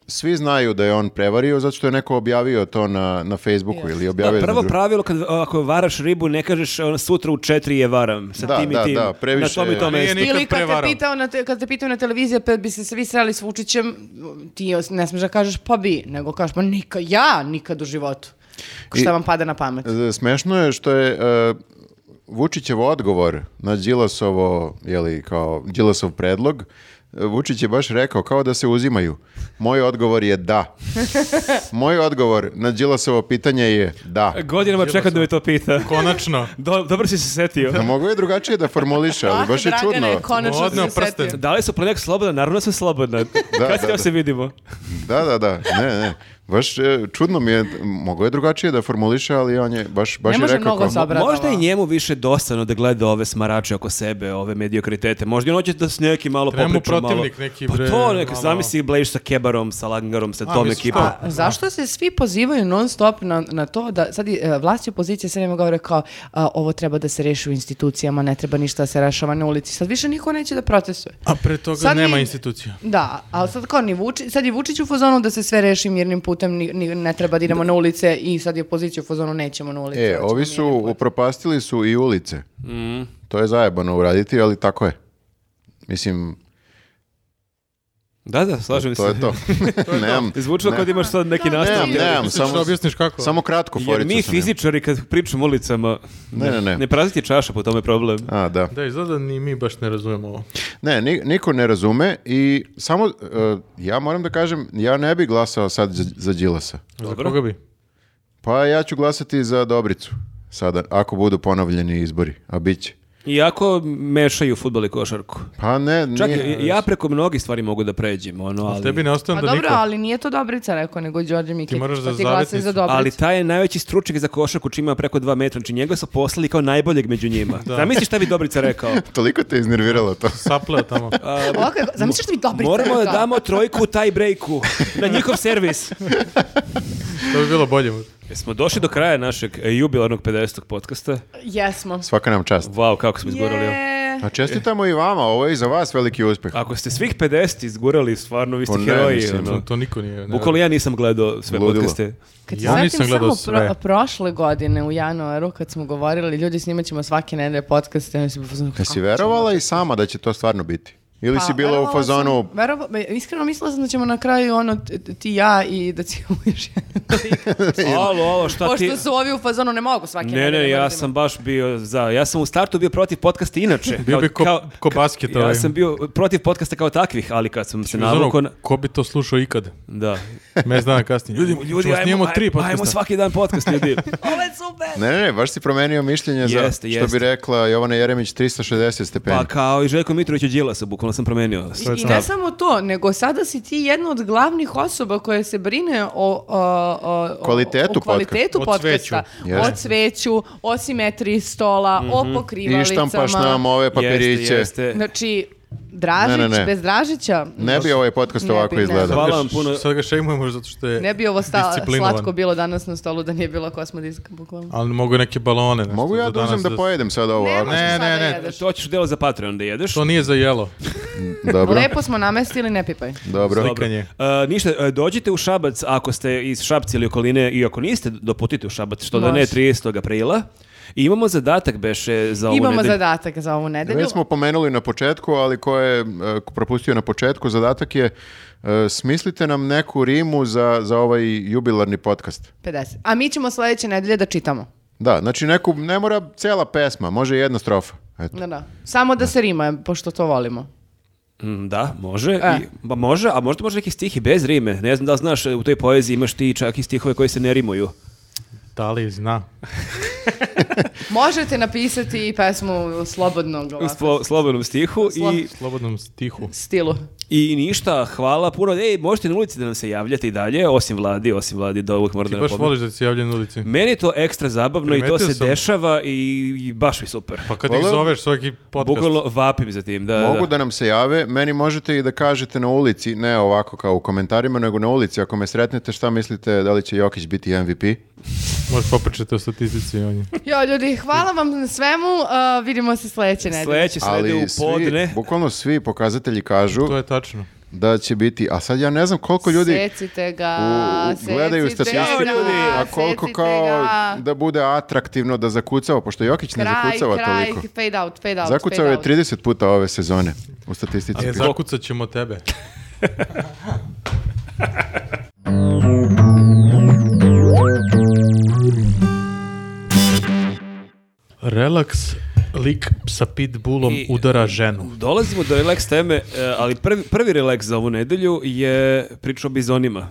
S3: svi znaju da je on prevario zato što je neko objavio to na, na Facebooku ili
S2: Da,
S3: objavio...
S2: prvo
S3: na dru-
S2: pravilo kad ako varaš ribu ne kažeš ono, sutra u četiri je varam sa
S3: Da,
S2: tim i
S3: da,
S2: tim.
S3: da, previše
S2: Na tom i
S3: je.
S2: tom
S1: Nije
S2: mestu.
S1: nikad
S4: Ili kad te,
S1: prevarao.
S4: pitao na te, kad te pitao na televiziji, pa bi se svi sreli s Vučićem, ti ne smiješ da kažeš pa bi, nego kažeš pa nikad, ja nikad u životu. Šta
S3: I-
S4: vam pada na pamet?
S3: E, Smešno je što je e, Vučićev odgovor na Đilasovo, jeli, kao Đilasov predlog, e, Vučić je baš rekao kao da se uzimaju. Moj odgovor je da. Moj odgovor na Đilasovo pitanje je da.
S2: Godinama čekam
S3: ono.
S2: da me to pita.
S1: Konačno.
S2: Do- dobro si se setio.
S3: Da Pa mogu je drugačije da formuliše, ali baš je
S4: Ah, Pa, Dragane,
S3: čudno.
S4: konačno si
S1: Odneo
S4: se setio.
S1: prsten.
S2: Da li su planek slobodna? Naravno sam slobodna.
S3: da,
S2: Kad se
S3: da.
S2: se vidimo?
S3: Da, da, da, ne, ne. Baš e, čudno mi je, mogo je drugačije da formuliše, ali on je baš, baš
S4: Ne
S3: je
S4: može
S3: rekao
S4: mnogo
S3: kao-
S4: sa- Obradala.
S2: Možda je njemu više dosadno da gleda ove smarače oko sebe, ove mediokritete. Možda i on hoće da s nekim malo
S1: Treba mu
S2: popriča malo.
S1: protivnik neki, bre,
S2: Pa to, neka,
S1: malo.
S2: zamisli Blejiš sa Kebarom, sa Langarom, sa
S1: A,
S2: tom
S1: misliš
S2: ekipom.
S1: to?
S4: A zašto se svi pozivaju non stop na, na to da sad i, e, vlast i opozicija sve nema govore kao a, ovo treba da se reši u institucijama, ne treba ništa da se rešava na ulici. Sad više niko neće da protestuje.
S1: A pre toga
S4: Sad
S1: nema
S4: mi-
S1: institucija.
S4: Da, ali sad kao ni Vuči, sad je Vučić u fazonu da se sve reši mirnim putem, ni, ni- ne treba da idemo na ulice i sad je opozicija u fazonu nećemo na ulice.
S3: E,
S4: hoćemo
S3: ovi
S4: mirnim
S3: su, upropastili su i ulice. To je zajebano uraditi, ali tako je. Mislim,
S2: Da, da, slažem se.
S3: to je to. nemam,
S2: Zvučilo kao da imaš sad neki
S4: Ne,
S2: nastavak.
S3: nemam,
S4: ne,
S3: nemam,
S1: Misliš da
S3: samo,
S1: objasniš kako?
S3: samo kratko
S2: Jer
S3: foricu
S2: mi
S3: sam imao.
S2: fizičari kad pričamo ulicama
S3: Ne, ne, ne.
S2: ne praziti čaša po tome je problem.
S3: A, da.
S1: Da, izgleda da ni mi baš ne razumemo ovo.
S3: Ne, ni- niko ne razume i samo, e, ja moram da kažem, ja ne bi glasao sad za, za Đilasa.
S1: Za
S2: Dobro.
S1: koga bi?
S3: Pa ja ću glasati za Dobricu sada, ako budu ponovljeni izbori, a bit će.
S2: Iako mešaju futbol i košarku.
S3: Pa ne,
S2: Čak
S3: nije-
S2: i- ja preko mnogih stvari mogu da pređem, ono, ali...
S1: Tebi ne
S4: Pa
S1: ostane do
S4: dobro,
S1: niko.
S4: ali nije to Dobrica rekao, nego Đorđe Mikić.
S1: moraš
S4: pa
S1: za
S4: ti glasaj
S1: zavetnicu.
S4: za Dobricu.
S2: Ali taj je najveći stručnjak za košarku, čiji ima preko dva metra, znači njega su poslali kao najboljeg među njima. da. Zamisli šta bi Dobrica rekao.
S3: Toliko te iznerviralo to.
S1: Sapleo tamo.
S4: Ovako je- zamisliš da bi Dobrica
S2: Moramo da
S4: rekao?
S2: damo trojku u taj brejku, na njihov servis.
S1: To bi bilo bolje.
S2: Jesmo došli do kraja našeg e, jubilarnog 50. podcasta.
S4: Jesmo.
S3: Svaka nam čast.
S2: Vau, kako smo izgurali ovo.
S4: Je.
S3: A čestitamo i vama, ovo je i za vas veliki uspeh.
S2: Ako ste svih 50 izgurali, stvarno vi ste
S3: Pa ne,
S2: heroji.
S3: mislim,
S2: ono.
S1: To, to niko nije. ne-
S2: Bukvalno ja nisam gledao sve
S3: Ludilo.
S2: podcaste.
S4: Kad
S1: Ja
S4: se
S1: nisam
S4: setim
S1: gledao
S4: samo
S1: sve.
S4: pro- prošle godine u januaru kad smo govorili ljudi snimat ćemo svake nedelje podcaste, ja sam pozvao.
S3: Jesi verovala i sama da će to stvarno biti?
S4: Pa,
S3: Ili si bila u fazonu...
S4: iskreno mislila sam da ćemo na kraju ono t- t- ti i ja i da ćemo još jedan lik.
S2: Alo, alo, šta ti...
S4: Pošto su ovi u fazonu ne mogu svake
S2: Ne,
S4: nedelje,
S2: ne, ja
S4: mrzim.
S2: sam baš bio za... Ja sam u startu bio protiv podcasta inače.
S1: Bio bi ko- ko basket
S2: Ja
S1: ovaj.
S2: sam bio protiv podcasta kao takvih, ali kad sam se
S1: Uz ono,
S2: navukao... na-
S1: Ko bi to slušao ikad?
S2: Da.
S1: Mes dana kasnije. Ljudi, ljudi, snimamo tri podcasta.
S2: ajmo svaki dan podcast, ljudi.
S4: Ovo je super.
S3: Ne, ne, ne, baš si promenio mišljenje za,
S2: Jeste,
S3: što
S2: jeste.
S3: bi rekla Jovana Jeremić, 360 stepeni.
S2: pa kao i Željko Mitrović u Đilasa, bukvalno sam promenio.
S1: To je
S4: I
S1: to.
S4: ne samo to, nego sada si ti jedna od glavnih osoba koja se brine o, o, o- o-
S3: Kvalitetu
S4: o kvalitetu
S1: podca- o cveću. Mhm.
S4: podcasta,
S3: Jeste.
S4: o cveću, o simetriji stola,
S3: I
S4: o
S3: štampaš nam
S4: pokrivalicama.
S3: ove papiriće.
S2: Jeste, jeste.
S4: Znači, Dražić,
S3: Ne, ne, ne.
S4: bez Dražića,
S3: Ne bi ovaj podcast
S4: Ne bi,
S3: ovako
S4: ne.
S3: izgledao.
S2: Hvala vam puno.
S1: Sad ga šejmujemo zato što je
S4: ne bi ovo sta-
S1: disciplinovan.
S4: slatko bilo danas na stolu da nije bilo kosmodiska, bukvalno.
S1: Ali mogu neke balone. nešto
S3: Mogu ja
S1: za
S3: da uzem
S1: danas
S3: da pojedem sad ovo?
S4: Ne,
S3: ako-
S1: Ne,
S4: ne,
S1: ne,
S4: ne,
S1: ne.
S2: E, To ćeš delo za Patreon da jedeš.
S1: To nije za jelo.
S3: Dobro,
S4: Lepo smo namestili, ne pipaj.
S3: dobro.
S2: Dobro.
S1: Slikanje.
S2: E, ništa, e, dođite u Šabac ako ste iz Šabca ili okoline i ako niste, doputite u Šabac, što da ne,
S4: Može.
S2: 30. aprila. I imamo zadatak, beše, za ovu
S4: Imamo
S2: nedelju.
S4: zadatak za ovu nedelju.
S3: Već smo pomenuli na početku, ali ko je e, ko propustio na početku, zadatak je e, smislite nam neku rimu za, za ovaj jubilarni podcast.
S4: 50. A mi ćemo sledeće nedelje da čitamo.
S3: Da, znači neku, ne mora cela pesma, može jedna strofa. Eto.
S4: Da, da. Samo da se rima, pošto to volimo.
S2: Mm, Da, može.
S4: E.
S2: I, ba može, a možda može neki stih i bez rime. Ne znam da li e, znaš, u toj poeziji imaš ti čak i stihove koji se ne rimuju.
S1: Da li zna?
S4: Možete napisati i pesmu slobodnog
S2: U
S4: ovako,
S2: slo- slobodnom stihu i,
S1: Slobodnom stihu.
S4: stilu.
S2: i ništa, hvala puno. Ej, možete na ulici da nam se javljate i dalje, osim vladi, osim vladi, do ovog moram
S1: Ti
S2: da
S1: baš
S2: napomenem.
S1: voliš da si javljen na ulici.
S2: Meni je to ekstra zabavno i to
S1: Primetio
S2: se
S1: sam.
S2: dešava i, i baš mi super.
S1: Pa kad ih
S3: Voleo-
S1: zoveš svaki podcast.
S2: Bukvalno vapim za tim, da,
S3: Mogu
S2: da.
S3: da nam se jave, meni možete i da kažete na ulici, ne ovako kao u komentarima, nego na ulici. Ako me sretnete, šta mislite, da li će Jokić biti MVP?
S1: Možeš popričati o statistici. On je.
S4: Jo, ljudi, hvala vam na svemu. a, vidimo se sledeće nedelje.
S2: Sledeće slede u
S3: Ali svi,
S2: podne.
S3: bukvalno svi pokazatelji kažu
S1: To je tačno.
S3: da će biti, a sad ja ne znam koliko ljudi
S4: Secite ga,
S3: u- u-
S4: secite
S3: gledaju statistiku,
S4: ga,
S3: a koliko
S4: secite
S3: kao
S4: ga.
S3: da bude atraktivno da zakucava, pošto Jokić ne
S4: Kraj,
S3: zakucava
S4: kraj,
S3: toliko.
S4: fade out, fade out,
S3: Zakucao
S4: fade
S3: je
S4: out.
S3: 30 puta ove sezone u statistici.
S1: E, zakucat ćemo tebe. Relaks, lik sa pitbullom
S2: I-
S1: udara ženu.
S2: Dolazimo do relax teme, e, ali prvi, prvi relax za ovu nedelju je priča o bizonima.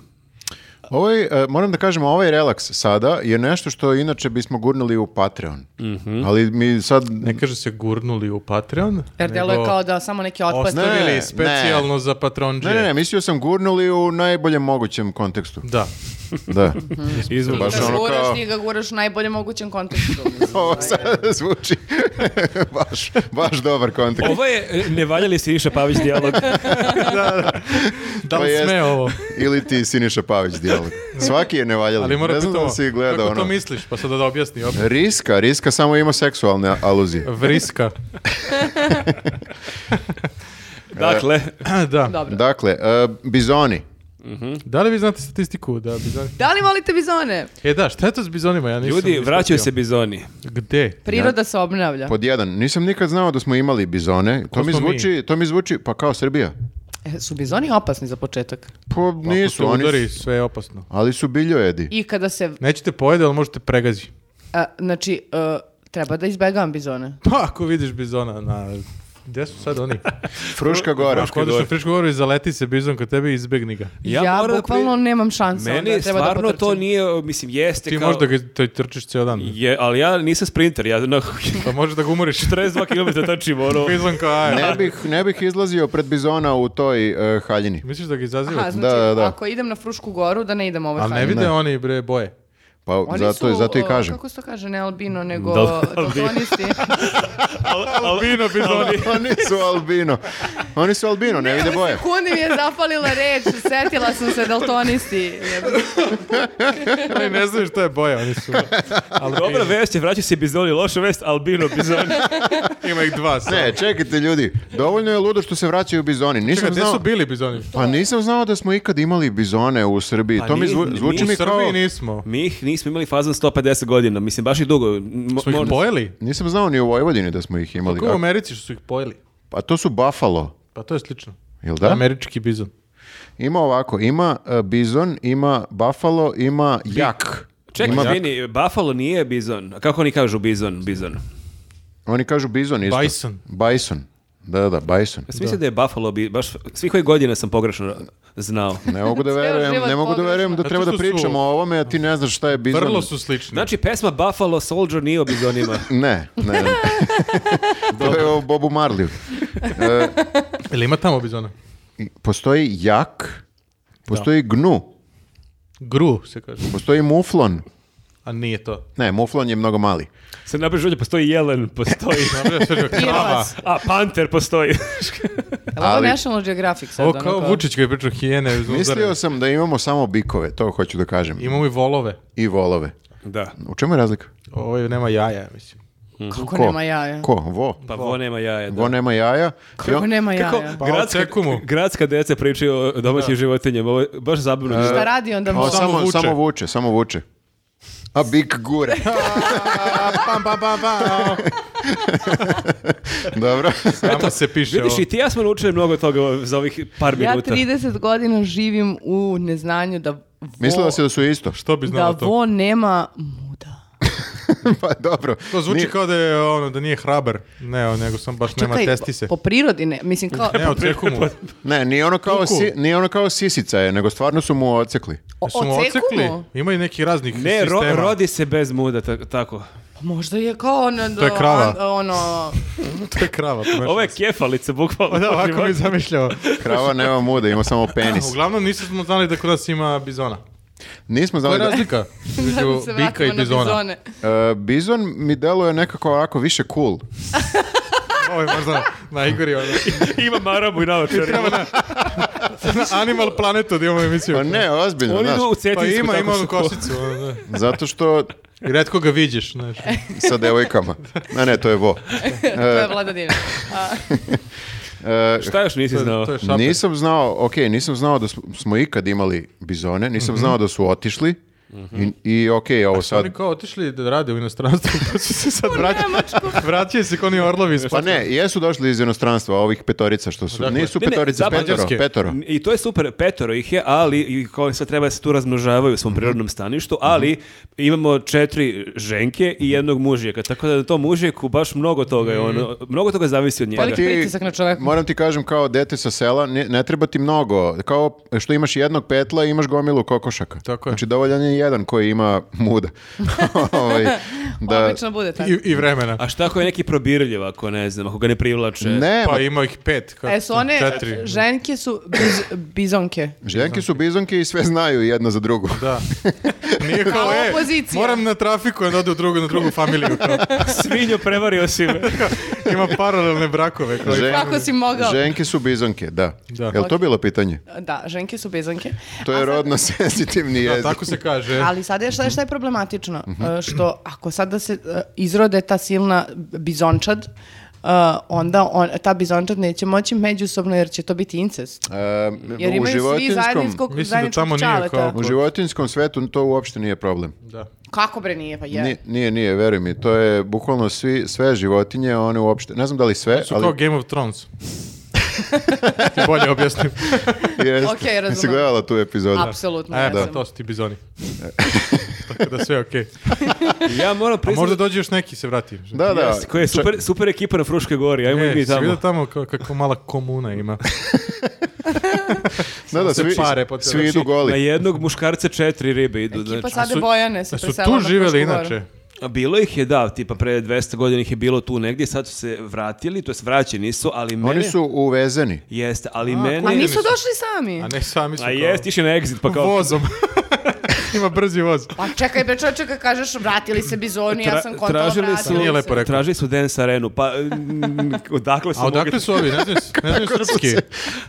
S3: Ovaj, e, moram da kažem, ovaj relaks sada je nešto što inače bismo gurnuli u Patreon.
S1: Mhm.
S3: Ali mi sad...
S1: Ne kaže se gurnuli u Patreon.
S4: Jer delo je
S1: nego
S4: kao da samo neki otpad.
S1: Ostavili
S3: Ne,
S1: specijalno za patronđe.
S3: Ne, ne, ne, mislio sam gurnuli u najboljem mogućem kontekstu.
S1: Da.
S3: Da.
S2: Izvuk.
S3: Baš
S4: Ga
S3: ono
S4: guraš,
S3: kao-
S4: ti ga guraš u najboljem mogućem kontekstu.
S3: Ovo sad zvuči baš, baš dobar kontekst.
S2: Ovo je e, ne valjali se Iša Pavić dijalog.
S1: E, Da
S3: To
S1: li
S3: jest-
S1: sme ovo?
S3: Ili ti Siniša Pavić dijalog. Svaki je nevaljali.
S1: Ali mora
S3: ne znam da li
S1: pitamo,
S3: si gledao
S1: kako to
S3: ono.
S1: misliš? Pa sada da objasni opet.
S3: Riska, Riska samo ima seksualne aluzije.
S1: Vriska.
S2: dakle,
S1: da.
S4: Dobro.
S3: Dakle, e, bizoni.
S1: Da li vi znate statistiku? Da, bizoni...
S4: Da li volite bizone?
S1: E da, šta je to s bizonima? Ja nisam
S2: ljudi,
S1: ispratio.
S2: vraćaju se bizoni.
S1: Gde?
S4: Priroda se obnavlja.
S3: Pod jedan, nisam nikad znao da smo imali bizone. To mi,
S1: smo mi?
S3: zvuči, to mi zvuči, pa kao Srbija.
S4: E, su bizoni opasni za početak?
S3: Pa
S1: Ako
S3: nisu,
S1: se
S3: oni su-
S1: udari, sve je opasno.
S3: Ali su biljojedi.
S4: I kada se,
S1: Nećete pojede, ali možete pregazi.
S4: a, znači, e, treba da izbegavam bizone.
S1: Pa ako vidiš bizona na... Gde su sad oni?
S3: Fruška gora.
S1: Ako odeš na frišku govoru i zaleti se bizon kod tebe i izbegni ga.
S4: Ja,
S2: moram da
S4: bukvalno
S2: pri-
S4: nemam šanse.
S2: Meni
S4: onda, treba da
S2: stvarno to
S4: potrčim.
S2: nije, mislim, jeste
S1: Ti
S2: kao...
S1: možda ga te trčiš cijel dan.
S2: Je, ali ja nisam sprinter, ja na
S1: Pa možeš da ga umoriš.
S2: 42 km trčim, ono...
S1: bizon kao aja.
S3: Ne bih, ne bih izlazio pred bizona u toj e, haljini.
S1: Misliš da ga izazivate?
S4: Aha, znači,
S3: Da, da, da.
S4: ako idem na Frušku goru, da ne idem ovoj
S1: Ali ne
S4: haljini.
S1: vide
S3: Ne.
S1: oni bre boje.
S3: Pa
S4: Oni
S3: zato,
S4: su,
S3: zato i
S4: e,
S3: kažem.
S4: Kako se to kaže, ne albino, nego
S2: Da,
S4: daltonisti.
S1: Albino bizoni.
S3: Oni su Pa albino. Oni su albino, ne vide boje.
S4: Kundi mi je zapalila reč, setila sam se daltonisti.
S1: Oni ne znaju što je boja, oni su... albino.
S2: Dobra vest je, vraćaju se bizoni, loša vest, albino bizoni.
S1: Ima ih dva sad.
S3: Ne, čekajte ljudi, dovoljno je ludo što se vraćaju bizoni. Nisam
S1: Čekaj, gde
S3: znao,
S1: su bili bizoni?
S3: pa nisam znao da smo ikad imali bizone u Srbiji. to mi
S2: ni-
S3: zvu- zvuči
S1: Pa U
S3: mi kao...
S1: Srbiji nismo.
S2: Mi ih nismo imali fazan 150 godina, mislim, baš i dugo. Mo-
S1: Su ih
S2: možda-
S1: pojeli?
S3: Nisam znao ni u Vojvodini da smo ih imali.
S1: Kako u
S3: A-
S1: Americi što su ih pojeli?
S3: Pa to su buffalo,
S1: Pa to je slično.
S3: jel da?
S1: Američki bizon.
S3: Ima ovako, ima e, bizon, ima buffalo, ima jak.
S2: Čekaj,
S3: Ima-
S2: izvini, Buffalo nije bizon. A kako oni kažu bizon, bizon?
S3: Oni kažu bizon isto.
S1: Bison.
S3: Bison. Da, da, da, bison.
S2: Ja sam mislio da je Buffalo, bi, baš svih ovih godina sam pogrešno znao.
S3: Ne mogu da
S4: Ceo
S3: verujem,
S4: život
S3: ne mogu da
S4: pogrešno.
S3: verujem da
S1: Zato
S3: treba da
S1: što su-
S3: pričamo o ovome, a ti ne znaš šta je bizon.
S1: Vrlo su slični.
S2: Znači, pesma Buffalo Soldier nije o bizonima.
S3: Ne, ne. ne. to je o Bobu Marliju.
S1: Jel ima tamo bizona?
S3: I Postoji jak, postoji gnu,
S1: Gru se kaže.
S3: postoji muflon.
S1: A nije to.
S3: Ne, muflon je mnogo mali.
S2: Se napiš ovdje, postoji jelen, postoji...
S1: Dobro, ja sve rekao, krava.
S4: Irvas.
S2: A, panter postoji.
S4: Ali ovo
S3: Ali-
S4: je National Geographic sad.
S1: Ovo
S4: ono
S1: kao Vučić koji je pričao hijene.
S3: Mislio
S1: uzare.
S3: sam da imamo samo bikove, to hoću da kažem.
S1: Imamo i volove.
S3: I volove.
S2: da.
S3: U čemu je razlika?
S1: Ovo je- nema jaja, ja mislim.
S4: Kako nema
S1: E.
S4: jaja?
S3: Ko? Vo?
S2: Pa vo nema jaja, da.
S3: Vo nema jaja. I
S4: Kako
S3: on-
S4: nema jaja?
S2: Kako,
S1: Pa
S2: gradska,
S1: odsekumu.
S2: gradska deca pričaju o domaćim životinjama, ovo je baš zabavno.
S4: Šta radi onda
S3: O,
S4: mol?
S1: samo
S3: samo,
S1: vuče.
S3: samo vuče, samo vuče. A bik gure.
S1: Pam, pam, pam, pam.
S3: Dobro.
S1: Samo se piše
S2: Vidiš,
S1: ovo.
S2: i ti i ja smo naučili mnogo toga za ovih par
S4: Ja
S2: minuta.
S4: 30 godina živim u neznanju da vo,
S3: Mislila si da su isto.
S1: Što bi
S4: da
S1: znao to?
S4: vo nema muda.
S3: pa dobro.
S1: To zvuči
S3: Ni-
S1: kao da je, ono, da nije hrabar. Ne, o, nego sam baš nema testise.
S4: po prirodi ne. Mislim kao...
S1: Ne, odseku mu.
S3: Ne, nije ono kao,
S1: Kuku.
S3: si, nije ono kao sisica je, nego stvarno su mu ocekli.
S4: O-
S1: Jesu mu
S4: oceku
S1: odsekli?
S4: mu?
S1: Ima i nekih raznih
S2: Ne, ro-
S1: sistema.
S2: rodi se bez muda, ta- tako.
S4: Pa možda je kao ono...
S1: To je krava.
S4: an- ono...
S1: to je krava. pomešala
S2: Ovo je
S1: se.
S2: kefalica, bukvalno.
S1: Pa da, ovako mi zamišljamo.
S3: Krava nema muda, ima samo penis.
S1: Uglavnom nismo znali da kod nas ima bizona.
S3: Nismo
S1: To je
S3: znali da...
S1: razlika
S4: da
S1: između
S4: se
S1: bika
S4: vratimo
S1: i
S4: na
S1: bizona.
S4: bizone.
S3: E, bizon mi deluje nekako ovako više cool.
S1: Ovo je možda najgori. ono.
S2: Ima marabu i naočar.
S1: Treba na, na Animal Planetu da imamo emisiju.
S3: Pa ne, ozbiljno,
S2: Oni
S3: znaš.
S2: idu u cetinsku.
S1: Pa ima,
S2: tako
S1: ima
S2: su
S1: onu
S2: ko-
S1: kosicu. ono, da.
S3: Zato što
S1: I redko ga viđeš. Znaš.
S3: sa devojkama. Ne, ne, to je vo.
S4: to je Vlada Dina.
S3: E,
S2: Šta još nisi
S1: To je-
S2: znao?
S1: to je šaper.
S3: Nisam znao, ok, nisam znao da smo, smo ikad imali bizone, nisam znao da su otišli i, i ok, ovo sad...
S1: Oni kao otišli da rade u inostranstvu, pa su se sad vraćali.
S4: Nemačku.
S1: Vraćaju se kao oni orlovi. iz
S3: Pa
S1: pakla.
S3: ne, jesu došli iz inostranstva, ovih petorica što su...
S1: Odakle?
S3: Nisu
S2: Ne, ne,
S3: petorica,
S2: zapravo-
S3: petoro,
S1: Mađarske.
S3: petoro.
S2: I to je super, petoro ih je, ali i kao sad treba da se tu razmnožavaju u svom
S3: Mhm.
S2: prirodnom staništu, ali imamo četiri ženke
S3: Mhm.
S2: i jednog mužijeka, tako da na tom mužijeku baš mnogo toga je
S3: Mhm.
S2: ono, mnogo toga zavisi od njega.
S4: Ali- pritisak na čoveka.
S3: Moram ti kažem, kao dete sa sela, ne, ne treba ti mnogo. Kao što imaš jednog petla, imaš gomilu kokošaka.
S1: Tako je.
S3: Znači, dovoljan je jedan koji ima muda. Ovaj, da,
S4: Obično bude tako.
S1: Pa I, I vremena.
S2: A šta ako je neki probirljiv, ako ne znam, ako ga ne privlače?
S3: ne,
S1: Pa
S3: ma,
S1: ima ih pet. kako-
S4: E su one,
S1: Četiri.
S4: ženke su biz- bizonke.
S3: ženke su bizonke i sve znaju jedna za drugu.
S1: Da. Nije kao,
S4: Kao
S1: e,
S4: opozicija.
S1: moram na trafiku, onda ode u drugu, na drugu familiju. Kao,
S2: Svinjo prevario si me.
S1: ima paralelne brakove. Kao,
S3: Žen-
S4: Kako si mogao?
S3: Ženke su bizonke, da.
S1: Da.
S3: Jel to bilo pitanje?
S4: Da, ženke su bizonke.
S3: To je rodno senzitivni
S1: da,
S3: jezik.
S1: tako se kaže.
S4: Ali sad je šta je, šta je problematično?
S3: Mhm.
S4: E, Što ako sad da se e, izrode ta silna bizončad, e, onda on, ta bizončad neće moći međusobno jer će to biti incest.
S3: Ehm,
S4: Jer
S3: u,
S4: imaju svi
S3: životinjskom,
S4: zajedničkog,
S1: Mislim da
S4: zajedničkog
S1: tamo nije
S4: čaleta.
S1: kao-
S3: u životinjskom svetu to uopšte nije problem.
S1: Da.
S4: Kako bre nije? Pa je.
S3: Ni- Nije, nije, veruj mi. To je bukvalno svi, sve životinje, one uopšte, ne znam da li sve,
S1: Su kao
S3: ali
S1: Game of Thrones. Ti bolje objasnim.
S3: jeste.
S4: Ok, razumem.
S3: Jesi gledala tu epizodu?
S4: Apsolutno.
S1: E,
S4: ja
S1: da,
S4: sam-
S1: to su ti bizoni. Tako da sve je okej.
S4: Pa
S2: Ja moram
S1: A
S2: priznati.
S1: možda dođe još neki i se vrati.
S3: Da, da.
S2: Koja je super, super ekipa na Fruškoj gori, ajmo i
S1: E,
S2: mi
S1: si vidio
S2: tamo.
S1: tamo ka- kako mala komuna ima.
S3: Da, da,
S1: se
S3: svi,
S1: pare po
S3: svi
S1: celoj
S3: idu
S2: Na
S3: goli.
S2: jednog muškarca četiri ribe
S1: pa
S2: idu.
S4: Ekipa
S2: znači.
S4: Sade
S1: su-
S4: Bojane se
S1: Da su
S4: preselila
S1: tu
S4: na
S1: živeli
S4: Frušku goru.
S1: inače.
S2: A bilo ih je, da, tipa pre 200 godina ih je bilo tu negdje, sad su se vratili, to jest vraćeni su, ali mene...
S3: Oni su uvezeni.
S2: Jeste, ali
S4: A
S2: mene...
S1: ni-
S4: nisu došli sami.
S1: A ne sami su
S2: A
S1: kao
S2: jest, išli na exit, pa kao...
S1: vozom. ima brzi voz.
S4: Pa čekaj bre čovječe kad kažeš vratili se bizoni, ja
S2: Tra-
S4: sam kontala
S2: tražili
S4: vratili
S2: su,
S1: Pa nije lepo
S4: se.
S1: rekao.
S2: tražili su Dance Arenu, pa mm, odakle su
S1: A odakle
S2: mogli-
S1: su ovi? Ne znaju, ne znaju srpski.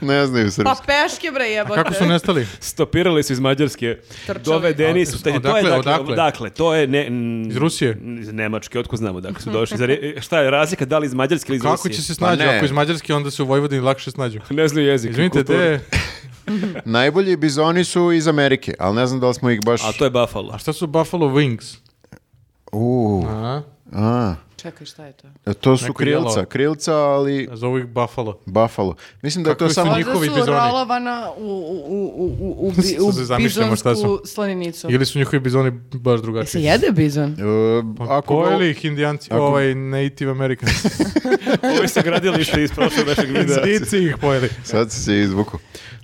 S3: Ne znaju
S4: Pa
S3: srpski.
S4: peške bre jebote.
S1: Kako su nestali?
S2: Stopirali su iz Mađarske,
S4: Trčali.
S2: dovedeni su, taj, to je
S1: Odakle,
S2: dakle,
S1: odakle?
S2: odakle, to je... Ne, mm,
S1: Iz Rusije?
S2: Iz Nemačke, otko znamo dakle su došli. Zar je- šta je razlika, da li iz Mađarske ili iz
S1: Kako
S2: Rusije?
S1: će se
S3: Pa
S1: snađu?
S3: ne.
S1: Ako iz Mađarske, onda se u Vojvodini lakše snađu.
S2: Ne znaju jezik. i
S1: Izvinite,
S2: kulturu.
S1: te,
S4: Pa-
S3: Najbolji bizoni su iz Amerike, ali ne znam da li smo ih baš...
S2: A to je Buffalo.
S1: a šta su Buffalo Wings?
S3: U,
S1: A?
S3: a,
S4: Čekaj šta je to?
S3: to su
S1: Neko
S3: krilca,
S1: jelo.
S3: krilca, ali
S1: Zovu ih Buffalo.
S3: Buffalo. Mislim da je to
S1: Kakvi su
S3: samo...
S1: njih-
S4: Možda
S1: Pa njihovi
S4: su
S1: bizoni.
S4: rolovana u, u, u, u, u, u, bi-
S1: Sad
S4: u
S1: se zamišljamo šta su.
S4: bizonsku slaninicu.
S1: Ili su njihovi bizoni baš drugačiji?
S4: E, Se jede bizon?
S3: E,
S1: Pa
S3: ako ga-
S1: Pojeli ih indijanci,
S3: Ako-
S1: ovaj Native Americans.
S2: Ovi su gradilište iz prošlog našeg videa.
S1: Indici ih pojeli.
S3: Sad si se izvuku.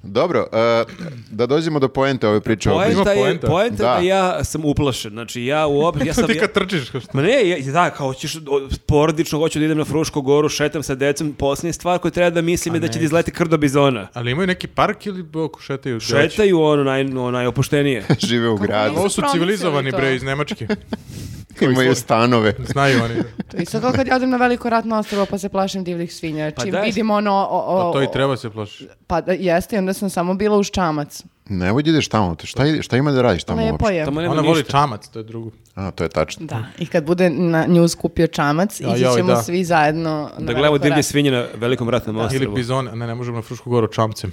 S3: Dobro, e, da dođemo do poente ove priče. o
S2: Poenta
S1: Ima
S2: je,
S1: poenta.
S2: poenta da.
S3: Da.
S2: ja sam uplašen. Znači ja uopšte, ja sam...
S1: Ti
S2: ja-
S1: kad trčiš, kao što-
S2: Ma ne, ja, da, kao hoćeš, o, porodično hoću da idem na Frušku goru, šetam sa decom, posljednja stvar koju treba da mislim je da će ti izleti krdo bizona.
S1: Ali imaju neki park ili oko šetaju? djeci?
S2: Šetaju ono naj, ono, najopuštenije.
S3: žive u gradu,
S1: Ali Ovo su
S4: Promislili
S1: civilizovani
S4: to.
S1: bre iz Nemačke.
S3: imaju
S1: izgleda?
S3: stanove.
S1: Znaju oni.
S4: To je isto kao kad ja odem na veliko ratno ostrvo pa se plašim divljih svinja.
S2: Pa
S4: Čim
S2: da,
S4: vidim ono... O, o,
S1: Pa To i treba se plaši.
S4: Pa da, jeste, i onda sam samo bila uz čamac.
S3: Nemoj da ideš tamo, te šta, ide- šta ima da radiš tamo
S4: Lepo
S3: uopšte?
S4: je.
S2: Tamo nema
S1: Ona voli
S2: ništa.
S1: čamac, to je drugo.
S3: A, to je tačno.
S4: Da, i kad bude na nju skupio čamac,
S1: Ja,
S4: ići
S1: joj,
S4: ćemo
S1: da.
S4: svi zajedno na
S2: Da gledamo
S4: veliko
S2: divlje
S4: ratno.
S2: svinje na velikom ratnom
S1: Ili
S2: ostrvu.
S1: bizone, a ne, ne možemo na Frušku goru čamcem.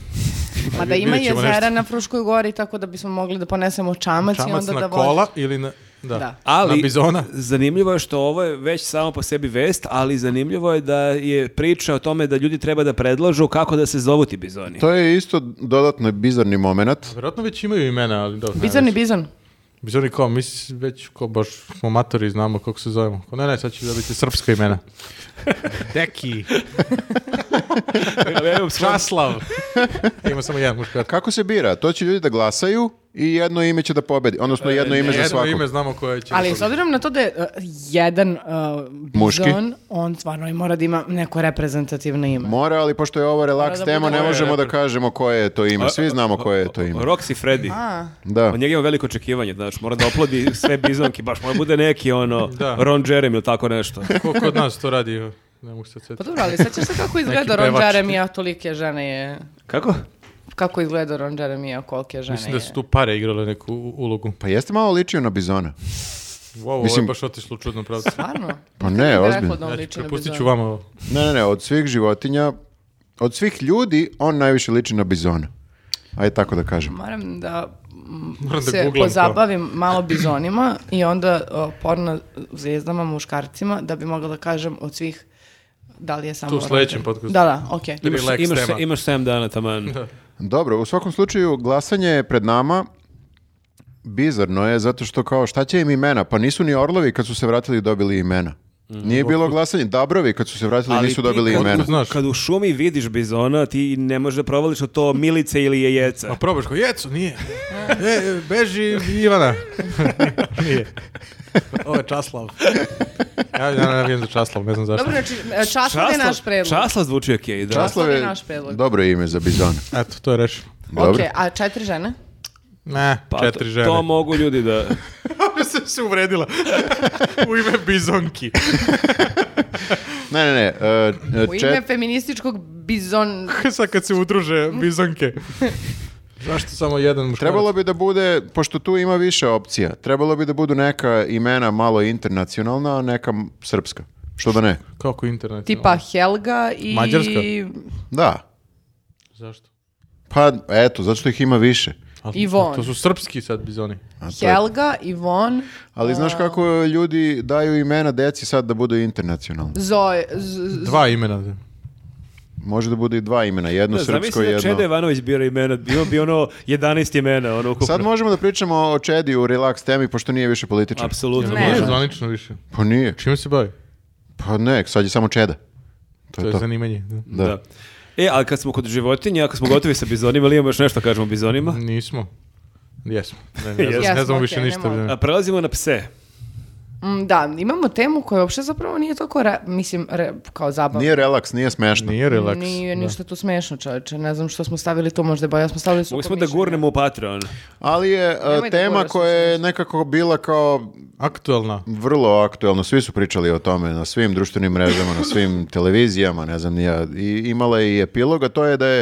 S4: Pa da ima
S1: Vidjet ćemo
S4: jezera
S1: nešto.
S4: na Fruškoj gori, tako da bismo mogli da ponesemo čamac, i
S1: Čamac
S4: onda da
S1: na
S4: vozi-
S1: kola ili na... Da.
S4: Da.
S2: Ali,
S1: Na bizona.
S2: zanimljivo je što ovo je već samo po sebi vest, ali zanimljivo je da je priča o tome da ljudi treba da predlažu kako da se zovu ti bizoni.
S3: To je isto dodatno bizarni moment.
S1: Vjerojatno već imaju imena, ali dobro. ne
S4: Bizarni
S1: veze.
S4: bizon.
S1: Bizoni kao, mi s- već kao baš smo matori, znamo kako se zovemo. Kao, ne, ne, sad će da biti srpska imena. Deki,
S2: Ali ja imam svoj-
S1: Časlav. Ima samo jedan muškarac.
S3: Kako se bira? To će ljudi da glasaju i jedno ime će da pobedi. Odnosno, jedno ime za
S1: E, Jedno
S3: svakog.
S1: ime znamo koje će.
S4: Ali
S1: da
S4: s obzirom na to da je uh, jedan uh,
S3: Muški?
S4: bizon, on stvarno i mora da ima neko reprezentativno ime.
S3: Mora, ali pošto je ovo relaks
S4: da
S3: tema,
S4: bude-
S3: ne
S4: Ko je
S3: možemo da
S1: reper?
S3: kažemo koje je to ime. Svi znamo koje je to ime.
S2: Roxy Freddy.
S4: A,
S3: Da.
S2: Od njega ima veliko očekivanje, znaš, mora da oplodi sve bizonke, baš mora bude neki ono
S1: Da.
S2: Ron Jeremy ili tako nešto.
S1: Ko kod nas to radi, ne mogu se
S4: pa
S1: setiti.
S4: dobro, ali sećaš se kako izgleda Ron
S1: pevač.
S4: Jeremy, a tolike žene je...
S2: Kako? Kako?
S4: Kako izgleda Ron Jeremy, a kolike žene
S1: Mislim da
S4: je.
S1: su tu pare igrale neku u- ulogu.
S3: Pa jeste malo ličio na bizona.
S1: Wow,
S3: Mislim-
S1: ovo je baš otišlo u čudnom pravcu.
S4: Stvarno?
S3: Pa ne,
S4: Kako bi
S3: ozbiljno.
S4: rekla da on
S1: Ja
S4: liči
S1: ću
S4: na
S1: prepustit ću
S4: bizona?
S1: vama ovo.
S3: Ne, ne, ne, od svih životinja, od svih ljudi, on najviše liči na bizona. Ajde tako da kažem.
S4: Moram da mm,
S1: Moram da
S4: se
S1: googlam to.
S4: pozabavim malo bizonima i onda o, porno zvijezdama, muškarcima, da bi mogla da kažem od svih da li je samo...
S1: Tu u
S4: Ron
S1: sledećem
S4: Jeremy.
S1: podcastu.
S4: Da, da, okej.
S1: Ili
S2: Imaš,
S1: Lex
S2: imaš,
S1: tema.
S2: imaš 7 dana taman.
S3: Dobro, u svakom slučaju glasanje je pred nama. Bizarno je, zato što kao šta će im imena? Pa nisu ni orlovi kad su se vratili dobili imena. Nije bilo glasanje. Dabrovi kad su se vratili nisu
S2: ti
S3: dobili
S2: kad-
S3: imena.
S1: Znaš.
S2: Kad u šumi vidiš bizona, ti ne možeš da provališ da to milice ili je jeca.
S1: A Pa probaš kao, jecu, nije. E, beži Ivana. nije. Ovo je Časlav. Ja, ja ne vidim za Časlav, ne znam zašto.
S4: Dobro, znači, e, Časlav je naš predlog.
S2: Časlav zvuči okej, da.
S3: Časlav
S4: Ostavi
S3: je
S4: naš predlog.
S3: dobro ime za bizona.
S1: Eto, to je rešeno.
S3: Dobro.
S4: Okej, a četiri žene?
S1: Ne,
S2: Pa
S1: četiri
S2: to-
S1: žene.
S2: To mogu ljudi da...
S1: Ona se se uvredila. U ime bizonki.
S3: Ne, ne, ne. e, e,
S4: U ime
S3: čet-
S4: feminističkog bizon...
S1: Sad kad se udruže bizonke. Zašto samo jedan muškarac?
S3: Trebalo bi da bude, pošto tu ima više opcija, trebalo bi da budu neka imena malo internacionalna, a neka m- srpska. Što da ne?
S1: Kako internet? Ono,
S4: Tipa Helga i...
S1: Mađarska?
S3: Da.
S1: Zašto?
S3: Pa, eto, zato što ih ima više.
S1: A-
S4: Ivon.
S1: a To su srpski sad bizoni.
S3: A to je-
S4: Helga, Ivon,
S3: Ali znaš kako ljudi daju imena deci sad da budu internacionalni?
S4: Zoe... Z- z-
S1: Dva imena.
S3: Može da bude i dva imena, jedno
S2: Da,
S3: srpsko
S2: zamisli
S3: i
S2: da Čeda
S3: jedno...
S2: Ivanović bira imena, bio bi ono 11 imena, ono ukupno.
S3: Sad možemo da pričamo o Čedi u relax temi, pošto nije više političar.
S2: Apsolutno.
S4: Ne.
S1: Nije
S2: može.
S1: zvanično više.
S3: Pa nije.
S1: Čime se bavi?
S3: Pa ne, sad je samo Čeda. To
S1: To
S3: je
S1: je
S3: to.
S1: zanimanje. da.
S3: Da.
S2: Da. E, ali kad smo kod životinja, kad smo gotovi sa bizonima, ili imamo još nešto da kažemo o bizonima?
S1: Nismo. Jesmo. Ne, ne,
S2: Jesmo,
S1: znam- ne znamo
S4: Pa. okej,
S1: više ništa.
S4: nemamo.
S1: ne.
S2: A prelazimo na pse.
S4: Mm, Da, imamo temu koja uopšte zapravo nije toliko, re- mislim, re- kao zabavna.
S3: Nije relax, nije smešno.
S1: Nije relaks.
S4: Nije
S1: da.
S4: ništa tu smešno, čovječe. Ne znam što smo stavili tu, možda je bolje. da Smo stavili sukob
S2: Mogli smo da
S4: mišljenja.
S2: gurnemo u Patreon.
S3: Ali je e,
S4: Nemoj da
S3: tema
S4: govoriš,
S3: koja je nekako bila kao
S1: Aktualna.
S3: vrlo aktuelno, svi su pričali o tome na svim društvenim mrežama, na svim televizijama, ne znam ni ja, i imala je i epilog, a to je da je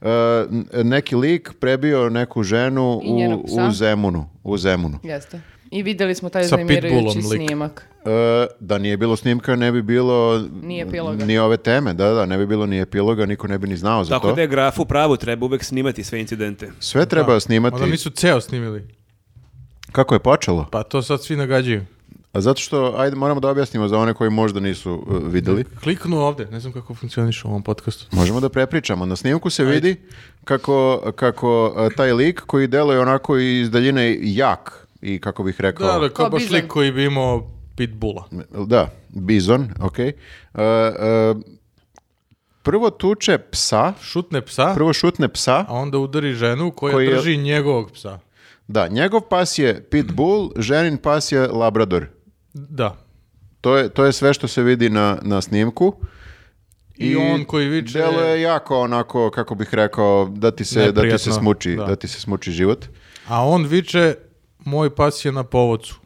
S3: e, n- neki lik prebio neku ženu
S4: I
S3: u,
S4: njenog psa.
S3: u Zemunu. U Zemunu.
S4: Jeste. I vidjeli smo taj
S1: Sa
S4: zanimirajući
S1: pitbullom lik.
S4: snimak.
S3: E, da nije bilo snimka, ne bi bilo
S4: Ni
S1: Mm,
S4: epiloga.
S3: ni ove teme, da, da, ne bi bilo ni epiloga, niko ne bi ni znao za
S2: Tako
S3: to.
S2: da je grafu pravu, treba uvek snimati sve incidente.
S3: Sve treba snimati.
S1: Mada nisu ceo snimili.
S3: Kako je počelo?
S1: Pa to sad svi nagađaju.
S3: A zato što, ajde, moramo da objasnimo za one koji možda nisu e, videli.
S1: Kliknu ovde. Ne znam kako funkcioniš u ovom podcastu.
S3: Možemo da prepričamo. Na snimku se vidi kako, kako e, taj lik koji deluje onako iz daljine jak i kako bih rekao...
S1: Da,
S3: Da,
S1: ali kao
S4: Ko
S1: baš
S4: bizon.
S1: lik koji bi imao pitbula.
S3: bizon, ok. E, prvo tuče psa,
S1: Šutne psa,
S3: prvo šutne psa.
S1: a onda udari ženu koja
S3: Koji je-
S1: drži njegovog psa.
S3: Da, njegov pas je pitbull, ženin pas je labrador.
S1: Da.
S3: To je, to je sve što se vidi na, na snimku.
S1: I on koji viče-
S3: Deluje jako onako, kako bih rekao, da ti se, da ti se
S1: Neprijatno,
S3: smuči, da.
S1: da.
S3: ti se smuči život.
S1: A on viče, moj pas je na povocu.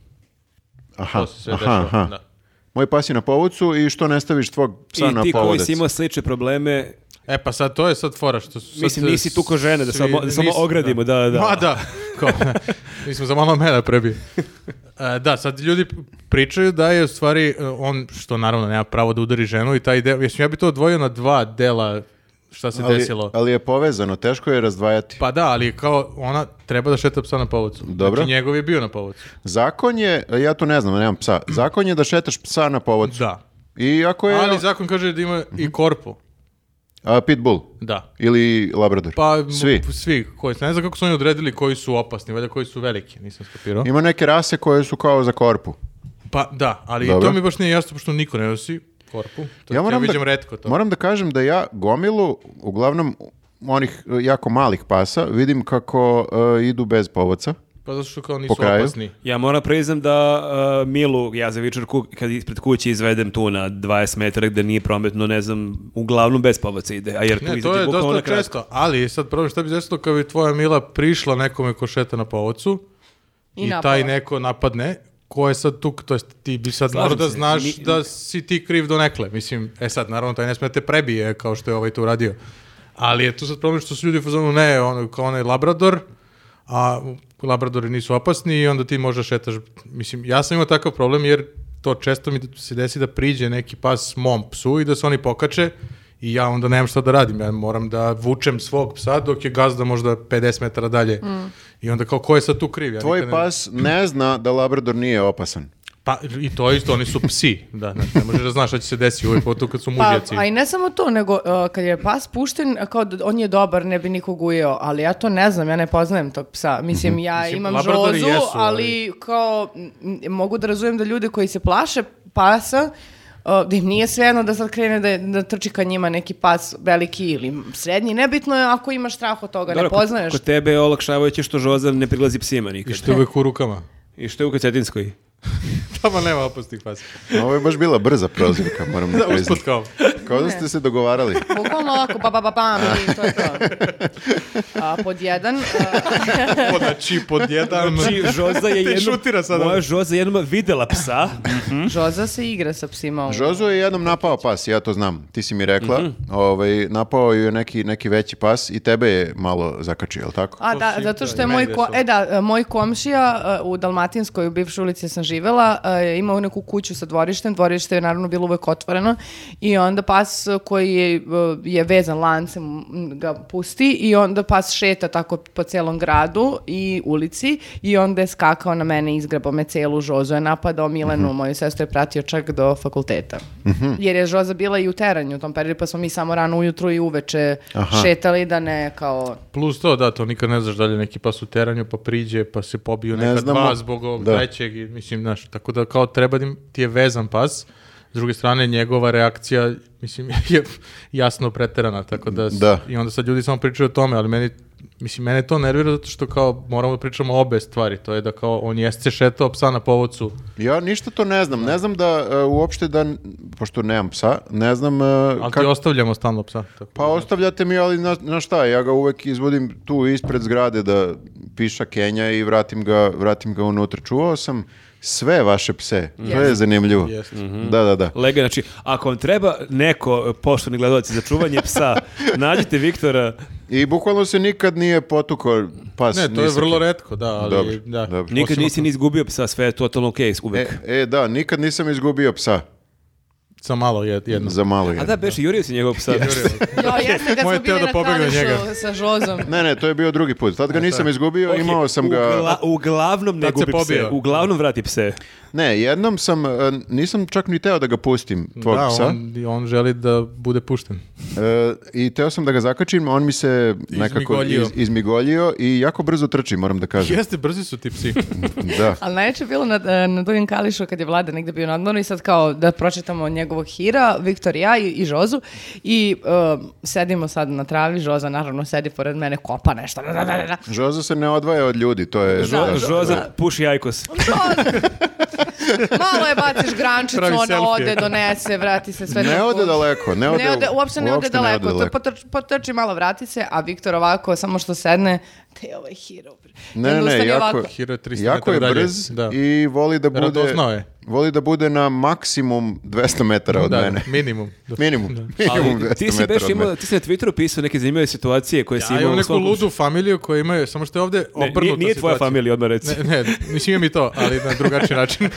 S3: Aha,
S1: To se sve
S3: aha,
S1: dešava.
S3: aha.
S1: Da.
S3: Moj pas je na povucu i što ne staviš tvog psa
S2: I
S3: na
S2: ti koji
S3: povodac?
S2: si imao slične probleme,
S1: E pa sad to je sad fora što su sad
S2: Mislim, nisi tu ko žene, da
S1: svi-
S2: samo- da samo
S1: nisi-
S2: ogradimo, da, da.
S1: Ma da. Kao, mi smo za malo mene prebili. E, da, sad ljudi pričaju da je u stvari e, on, što naravno nema pravo da udari ženu i taj deo, jesam ja bi to odvojio na dva dela šta se
S3: ali,
S1: desilo.
S3: ali je povezano, teško je razdvajati.
S1: Pa da, ali kao ona treba da šeta psa na povodcu.
S3: Dobro.
S1: Znači njegov je bio na povodcu.
S3: Zakon je, ja to ne znam, nemam psa. Zakon je da šetaš psa na povodcu.
S1: Da.
S3: I ako je
S1: Ali zakon kaže da ima
S3: Mhm.
S1: i korpu.
S3: a, pitbull
S1: Da.
S3: ili labrador.
S1: Pa m-
S3: Svi.
S1: svi koji, ne znam kako su oni odredili koji su opasni, valjda koji su veliki, nisam skapirao.
S3: Ima neke rase koje su kao za korpu.
S1: Pa da, ali
S3: Dobro.
S1: to mi baš nije jasno pošto niko ne nosi korpu. To ja, vidim retko to.
S3: moram da kažem da ja gomilu uglavnom onih e, jako malih pasa, vidim kako e, idu bez povodca.
S1: Pa zato što kao nisu
S3: Po kraju?
S1: opasni.
S2: Ja moram priznam da uh, Milu, ja za vičer ku- kad ispred kuće izvedem tu na 20 metara gde nije prometno, ne znam, uglavnom bez povaca ide, a jer tu
S1: Ne, to
S2: izađe
S1: je
S2: bukvalno
S1: dosta
S2: na kraju.
S1: često, ali sad problem šta bi se desilo kad bi tvoja mila prišla nekome ko šeta na povodcu
S4: I
S1: i,
S4: napala.
S1: taj neko napadne, ko je sad tu, to jest ti bi sad
S2: Slažem
S1: morao da
S2: se.
S1: znaš
S2: Mi-
S1: da si ti kriv do nekle. Mislim, e sad, naravno, taj ne sme da te prebije kao što je ovaj tu radio. Ali je tu sad problem što su ljudi u fazonu, ne, ono, kao onaj Labrador, a Labradori nisu opasni i onda ti možda šetaš. Mislim, ja sam imao takav problem jer to često mi se desi da priđe neki pas mom psu i da se oni pokače i ja onda nemam šta da radim, ja moram da vučem svog psa dok je gazda možda 50 metara dalje. I onda kao, ko je sad tu kriv? Ja
S3: Tvoj
S1: nikad ne-
S3: pas ne zna da Labrador nije opasan.
S1: Pa i to je isto, oni su psi, da, znači, ne možeš da znaš šta će se desiti uvijek, pogotovo kad su
S4: Pa,
S1: mužjaci.
S4: a i ne samo to, nego uh, kad je pas pušten, kao d- on je dobar, ne bi nikog ujeo, ali ja to ne znam, ja ne poznajem tog psa. Mislim, ja
S1: Mislim,
S4: imam
S1: labradori
S4: žozu,
S1: jesu,
S4: ali kao m, m, mogu da razumijem da ljudi koji se plaše pasa, uh, da im nije svejedno da sad krene da, da trči ka njima neki pas veliki ili srednji. Nebitno je ako imaš strah od toga,
S2: Dobro,
S4: ne
S2: kod-
S4: poznaješ.
S2: Kod tebe je olakšavajuće što Žozan ne prilazi psima nikad.
S1: I što je uvijek u rukama.
S2: I što je u Kacetinskoj.
S1: Tamo nema opustih pasa.
S3: Ovo je baš bila brza prozivka, moram da
S1: Da, usput
S3: priznati.
S1: kao.
S3: Kao da ste se dogovarali.
S4: Bukvalno ovako, pa, pa, pa, pam, i to je to. A, pod jedan, a,
S1: Pod, znači, pod jedan...
S2: Znači, Žoza je
S1: Ti
S2: jednom...
S1: šutira sad
S2: moja
S1: ovo.
S2: Žoza je jednom videla psa.
S4: Žoza se igra sa psima. ovo.
S3: Žozu je jednom napao pas, ja to znam. Ti si mi rekla.
S1: Mhm.
S3: ovaj, napao ju je neki, neki veći pas i tebe je malo zakačio, jel tako?
S4: A
S1: To
S4: da,
S1: svi-
S4: zato što
S1: da,
S4: je
S1: i
S4: moj,
S1: meni
S4: ko-
S1: dešava.
S4: e da, e, moj komšija e, u Dalmatinskoj, u bivšoj ulici sam živela, e, je imao neku kuću sa dvorištem, dvorište je naravno bilo uvek otvoreno i onda pas e, koji je, e, je vezan lancem m, ga pusti i onda pas šeta tako po celom gradu i ulici i onda je skakao na mene, izgrabao me celu žozu, je napadao Milenu,
S1: Mhm.
S4: moju sestru je pratio čak do fakulteta. Jer je žoza bila i u teranju u tom periodu, pa smo mi samo rano ujutru i uveče šetali da ne kao...
S1: Plus to, da, to nikad ne znaš da li je neki pas u teranju, pa priđe, pa se pobiju
S3: Ne
S1: neka
S3: znamo.
S1: dva zbog ovog
S3: Da.
S1: trećeg. i, Mislim, znaš, tako da kao treba da im- ti je vezan pas. S druge strane, njegova reakcija, mislim, je jasno preterana, tako da... s-
S3: Da.
S1: I onda sad ljudi samo pričaju o tome, ali meni Mislim, mene to nervira zato što kao moramo da pričamo obe stvari. To je da kao on jeste šetao psa na povodcu.
S3: Ja ništa to ne znam. Ne znam da e, uopšte da, pošto nemam psa, ne znam e,
S1: Ali ti
S3: kako...
S1: ostavljamo stalno psa. Tako.
S3: Pa ostavljate mi, ali na, na šta, ja ga uvek izvodim tu ispred zgrade da piša Kenja i vratim ga, vratim ga unutra. Čuvao sam sve vaše pse. To je zanimljivo.
S1: Jeste. Mhm.
S3: Da, da, da.
S2: Lega, znači, ako vam treba neko, e, poštovani gledalci, za čuvanje psa, nađite Viktora.
S3: I bukvalno se nikad nije potukao pas.
S1: Ne, to je
S3: ni sa
S1: vrlo
S3: kim.
S1: retko, da, ali
S3: Dobro,
S1: da.
S3: dobro.
S2: Nikad
S1: Osim
S2: nisi ni izgubio psa, sve je totalno okej uvek.
S3: E, e, da, nikad nisam izgubio psa.
S1: ako- Sa malo jed- jedno.
S3: Za malo je.
S2: A da, Beše, jurio si njegov psa.
S4: Jo, jeste,
S1: Moj
S4: kad smo
S1: je teo
S4: bili
S1: da
S4: na
S1: pobegne od
S4: Kladušu
S1: njega.
S4: sa Žozom.
S3: Ne, ne, to je bio drugi put.
S4: E,
S3: Tad ga nisam izgubio, imao sam ga...
S2: Ugla- uglavnom ne
S1: Tad se
S2: gubi pse.
S1: pobio.
S2: Uglavnom vrati pse.
S3: Ne, jednom sam, e, nisam čak ni teo da ga pustim, tvog
S1: da,
S3: psa.
S1: On, on želi da bude pušten.
S3: E, I teo sam da ga zakačim, on mi se nekako
S1: Izmigoljio.
S3: iz- izmigoljio i jako brzo trči, moram da kažem.
S1: Jeste, brzi su ti psi.
S3: Da.
S4: Ali najveće je bilo na, e, na Dugim Kališu kad je Vlada negde bio na odmoru i sad kao da pročitamo njegovog hira, Viktor i ja i, i Žozu i um, sedimo sad na travi, Žoza naravno sedi pored mene, kopa nešto. da, da, da, da.
S3: Žozo se ne odvaja od ljudi, to je...
S2: Žo-
S3: da.
S2: Žoza puši ajkos.
S4: Žozo! Malo je baciš grančicu,
S1: Pravi
S4: ona
S1: selfie.
S4: ode, donese, vrati se sve.
S3: Ne
S4: to-
S3: ode daleko, ne ode,
S4: Ne ode, uopšte ne ode daleko. To potrč- potrči malo, vrati se, a Viktor ovako, samo što sedne, te ovaj hiro. bre. I
S3: Ne,
S4: onda
S3: ne,
S4: ustane
S3: jako,
S4: ovako.
S1: Hiro je 300
S3: jako je
S1: metara dalje.
S3: brz
S1: Da.
S3: i voli da bude...
S1: Radoznao je.
S3: Voli da bude na maksimum 200 metara od
S1: da,
S3: mene.
S1: minimum. Da.
S3: Minimum. minimum
S2: Ali
S3: 200
S2: ti si
S3: metara
S2: Beš
S3: od
S2: imao,
S3: mene.
S2: ti si na Twitteru pisao neke zanimljive situacije koje si
S1: Ja
S2: imao
S1: imam
S2: u
S1: neku
S2: svom
S1: ludu familiju koja imaju, samo što je ovdje
S2: Ne,
S1: obrnuta
S2: nije, nije tvoja
S1: situacija.
S2: familija, odmah reci.
S1: Ne, ne, mislim imam i to, ali na drugačiji način.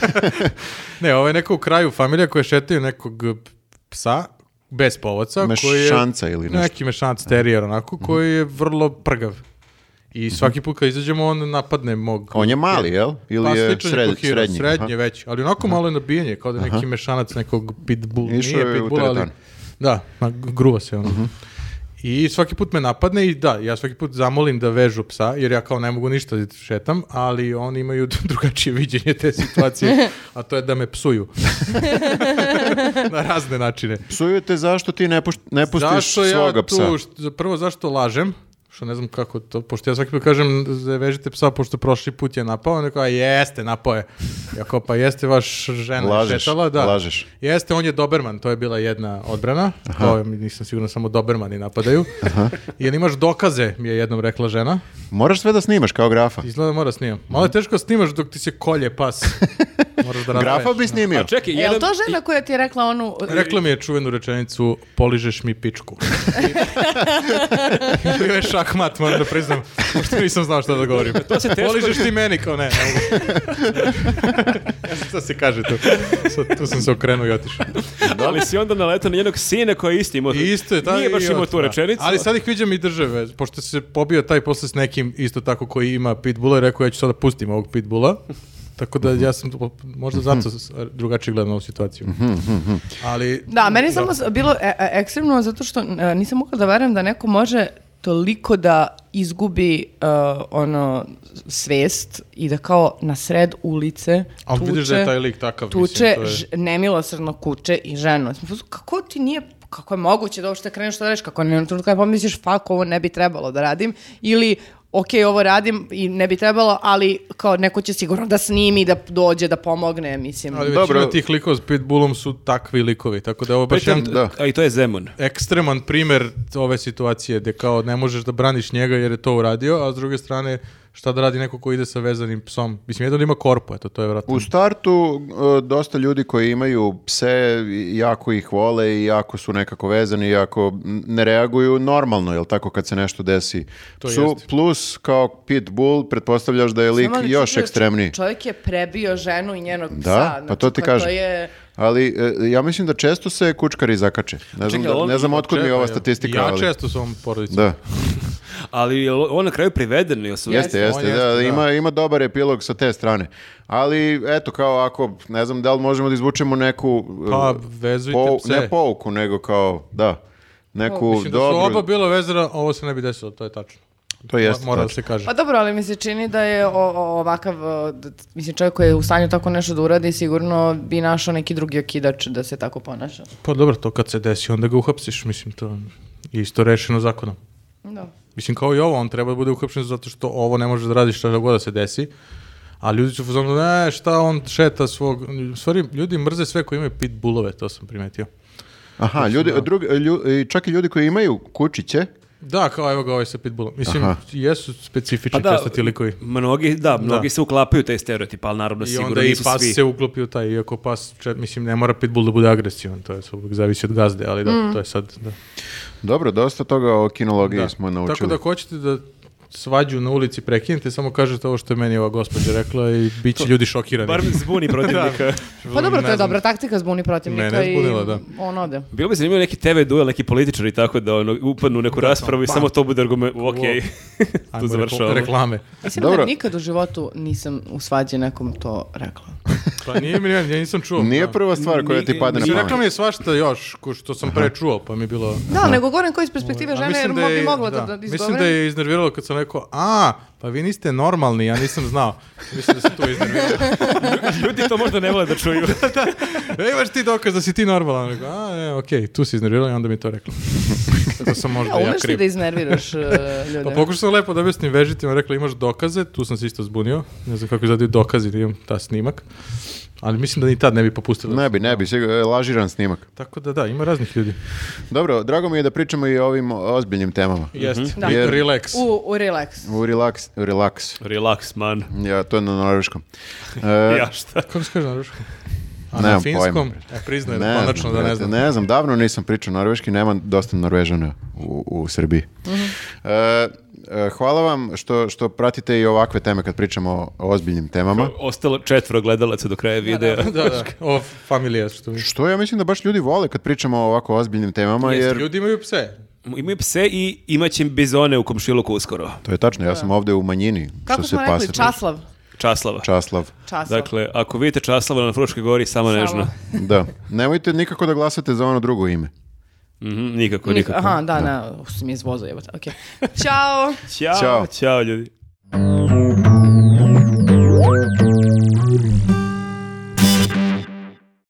S1: ne, ovo je neko u kraju familija koja šetaju nekog psa bez povodca. koji je-
S3: Mešanca ili nešto. Mhm.
S1: Neki mešanac terijer onako, koji je vrlo prgav. I svaki put kad izađemo, on napadne mog...
S3: On je mali, jel? Ili
S1: pa
S3: je
S1: sličan
S3: sred,
S1: ko Hiro,
S3: srednji?
S1: srednje
S3: Aha.
S1: već, ali onako malo je nabijanje, kao da je neki mešanac nekog pitbull,
S3: Išao
S1: nije
S3: je u Mhm.
S1: pitbull, ali...
S3: teretan.
S1: Da, ma, gruva se ono. I svaki put me napadne i da, ja svaki put zamolim da vežu psa, jer ja kao ne mogu ništa da šetam, ali oni imaju drugačije viđenje te situacije, a to je da me psuju. Na razne načine.
S3: Psuju te zašto ti ne, puš- ne pustiš
S1: Zašto ja
S3: svoga
S1: tu,
S3: psa.
S1: št- prvo zašto lažem, što ne znam kako to, pošto ja svaki put kažem "Z- vežite psa, pošto prošli put je napao, on je kao, jeste, napao je. Ja kao, pa jeste vaš žena
S3: Lažeš,
S1: šetala, da.
S3: lažeš.
S1: Jeste, on je Doberman, to je bila jedna odbrana, to je, nisam siguran, samo Dobermani napadaju. Jel imaš dokaze, mi je jednom rekla žena,
S3: Moraš sve da snimaš kao grafa.
S1: izgleda mora snimam. Malo je teško snimaš dok ti se kolje pas. Moraš da
S3: Grafa
S1: razdvaješ.
S3: bi snimio.
S2: A čekaj,
S4: Je
S2: jedan...
S4: to žena koja ti je rekla onu...
S1: Rekla mi je čuvenu rečenicu poližeš mi pičku. Bio je šahmat, moram da priznam, pošto nisam znao šta da govorim.
S2: To se teško-
S1: Poližeš ti meni, kao ne. ne mogu. šta se kaže tu? Sad, tu sam se okrenuo i otišao.
S2: Ali si onda naletao na jednog sine koji je isti imao...
S1: I isto je. ta-
S2: Nije baš
S1: i
S2: imao
S1: od-
S2: tu
S1: da.
S2: rečenicu.
S1: Ali sad ih viđam i države, pošto se pobio taj posle s nekim isto tako koji ima pitbula i rekao ja ću sada pustim ovog pitbula. Tako da ja sam tu- možda zato s- drugačije gledam na ovu situaciju. mhm. Ali
S4: Da, meni je samo s- bilo e, e, ekstremno zato što e, nisam mogla da verujem da neko može toliko da izgubi e, ono svest i da kao na sred ulice
S1: A
S4: tuče,
S1: vidiš da je taj lik takav, mislim,
S4: tuče
S1: to je-
S4: ž- nemilosrdno kuče i ženu. Mislim, fuz- Kako ti nije kako je moguće da uopšte kreneš to da radiš, kako ne trenutku kad pomisliš, fuck, ovo ne bi trebalo da radim, ili ok, ovo radim i ne bi trebalo, ali kao neko će sigurno da snimi, da dođe, da pomogne, mislim.
S1: Ali većina
S3: Dobro.
S1: tih likova s Pitbullom su takvi likovi, tako da ovo je baš
S2: Pritom,
S1: jedan
S3: da.
S2: A i to je Zemun.
S1: ekstreman primer ove situacije gde kao ne možeš da braniš njega jer je to uradio, a s druge strane šta da radi neko ko ide sa vezanim psom. Mislim, jedan ima korpu, eto, to je vratno.
S3: U startu e, dosta ljudi koji imaju pse jako ih vole i jako su nekako vezani, jako ne reaguju normalno, jel tako, kad se nešto desi.
S1: To
S3: Psu,
S1: jeste.
S3: plus kao pitbull, pretpostavljaš da je lik
S4: Samo da ti
S3: još
S4: čuješ,
S3: ekstremniji.
S4: Čovjek je prebio ženu i njenog psa.
S3: Da, pa to ti kažem.
S4: To je...
S3: Ali e, ja mislim da često se kučkari zakače. Ne znam,
S2: Čekaj,
S3: da-
S2: on-
S3: ne znam otkud mi je ova statistika.
S1: Ja
S3: ali-
S1: često sam porodicu.
S3: Da,
S2: Ali je on na kraju priveden ili su...
S3: jeste,
S1: on
S3: jeste, da,
S1: jeste, da.
S3: Ima, ima dobar epilog sa te strane. Ali, eto, kao ako, ne znam da li možemo da izvučemo neku... e,
S1: Pa, vezujte
S3: pou-
S1: pse.
S3: Ne pouku, nego kao, da, neku
S1: Mislim da su
S3: dobru...
S1: oba bila vezana, ovo se ne bi desilo, to je tačno.
S3: To jeste
S1: Mora da
S3: tačno.
S1: se kaže.
S4: Pa dobro, ali mi se čini da je o- o- ovakav, o, d- mislim čovjek koji je u stanju tako nešto da uradi, sigurno bi našao neki drugi okidač da se tako ponaša.
S1: Pa dobro, to kad se desi, onda ga uhapsiš, mislim, to je isto rešeno zakonom.
S4: Da.
S1: Mislim, kao i ovo, on treba da bude uhapšen zato što ovo ne može da radi šta god da se desi. A ljudi su u fazonu, ne, šta on šeta svog... U stvari, ljudi mrze sve koji imaju pitbullove, to sam primetio.
S3: Aha, ljudi, drugi, lju- i čak i ljudi koji imaju kučiće,
S1: Da, kao evo ga ovaj sa pitbullom. Mislim,
S3: Aha.
S1: jesu specifični
S2: Pa
S1: pa
S2: da,
S1: često ti likovi.
S2: Mnogi, da, mnogi
S1: Da.
S2: se uklapaju u taj stereotip, ali naravno
S1: I
S2: sigurno
S1: onda i
S2: nisu
S1: pas
S2: svi.
S1: se uklopi u taj, iako pas, če- mislim, ne mora pitbull da bude agresivan, to je sve uvijek zavisi od gazde, ali da, to je sad, da.
S3: dobro, dosta toga o kinologiji
S1: Da.
S3: smo naučili.
S1: Tako da, ako hoćete da svađu na ulici prekinite, samo kažete ovo što je meni ova gospođa rekla i bit će ljudi šokirani.
S2: Bar zbuni protivnika.
S4: Pa
S1: Ne
S4: dobro, to je
S1: znam.
S4: dobra taktika, zbuni protivnika
S1: Mene je zbunila,
S4: i
S1: da.
S4: on ode.
S2: Bilo bi zanimljivo neki TV duel, neki političari tako da ono, upadnu u neku raspravu i samo to bude argument, ok,
S1: Ajmo,
S2: tu
S1: rekla-
S2: završavamo.
S1: Reklame.
S4: Mislim
S3: Dobro.
S4: da nikad u životu nisam u svađi nekom to rekla.
S1: Pa nije mi, ja nisam čuo.
S3: Nije
S1: da.
S3: prva stvar koja ti
S2: Ni-
S3: padne
S1: Mislim,
S3: na
S1: rekla mi
S3: pamet.
S1: je svašta još, ko što sam pre čuo, pa mi je bilo...
S4: Da, nego govorim koji iz perspektive
S1: A
S4: žene, jer
S1: mislim da
S4: mo-
S1: je-
S4: bi mogla da,
S1: da,
S4: da
S1: Mislim da
S4: izgovorim.
S1: je iznerviralo kad sam rekao, a, pa vi niste normalni, ja nisam znao. Mislim da se tu iznerviralo.
S2: Ljudi to možda ne vole da čuju.
S1: E, imaš ti dokaz da si ti normalan. Rekao, a, e, okej, tu si iznervirala i onda mi je to rekla. To sam možda
S4: Da,
S1: ja
S4: umeš ti
S1: kriv.
S4: da iznerviraš e, ljude.
S1: Pa pokušao sam lepo da objasnim vežitima, rekla imaš dokaze, tu sam se isto zbunio, ne znam kako izgledaju dokazi, imam ta snimak, ali mislim da ni tad ne bi popustila.
S3: Ne bi, ne bi, sigurno, e, lažiran snimak.
S1: Tako da da, ima raznih ljudi.
S3: Dobro, drago mi je da pričamo i o ovim ozbiljnim temama.
S1: Jeste,
S4: Da.
S1: Jer- relax.
S4: U, u relax.
S3: U relax, relax.
S2: Relax, man.
S3: Ja, to je na norveškom. E,
S2: Ja šta?
S1: Kako se kaže na ruškom? A na
S3: Nemam
S1: finskom?
S3: pojma.
S1: E, priznajem,
S3: znam,
S1: konačno da ne
S3: brate,
S1: znam.
S3: Ne znam, davno nisam pričao norveški, nema dosta norvežana u, u Srbiji.
S1: Mhm.
S3: E, e, hvala vam što, što pratite i ovakve teme kad pričamo o ozbiljnim temama.
S2: Ostalo četvro gledalaca do kraja videa.
S1: Da, da, o familije što mi.
S3: Što ja mislim da baš ljudi vole kad pričamo o ovako ozbiljnim temama,
S1: Jer...
S3: jer...
S1: Ljudi imaju pse.
S2: Imaju pse i imaće bizone u komšiluku uskoro.
S3: To je tačno, ja sam ovdje u manjini. što
S4: Kako
S3: se
S4: smo rekli,
S3: pasa tiče.
S4: Časlav.
S2: Časlava.
S3: Časlav.
S4: Časlav.
S2: Dakle, ako vidite Časlava na Fruškoj gori, samo
S4: Samo.
S2: nežno.
S3: Da. Nemojte nikako da glasate za ono drugo ime.
S2: Mhm, nikako,
S4: Nik-
S2: nikako.
S4: Aha, da, na, uf, sam je izvozao, jebote, okej. Ćao!
S2: Ćao,
S3: Ćao.
S2: ćao ljudi.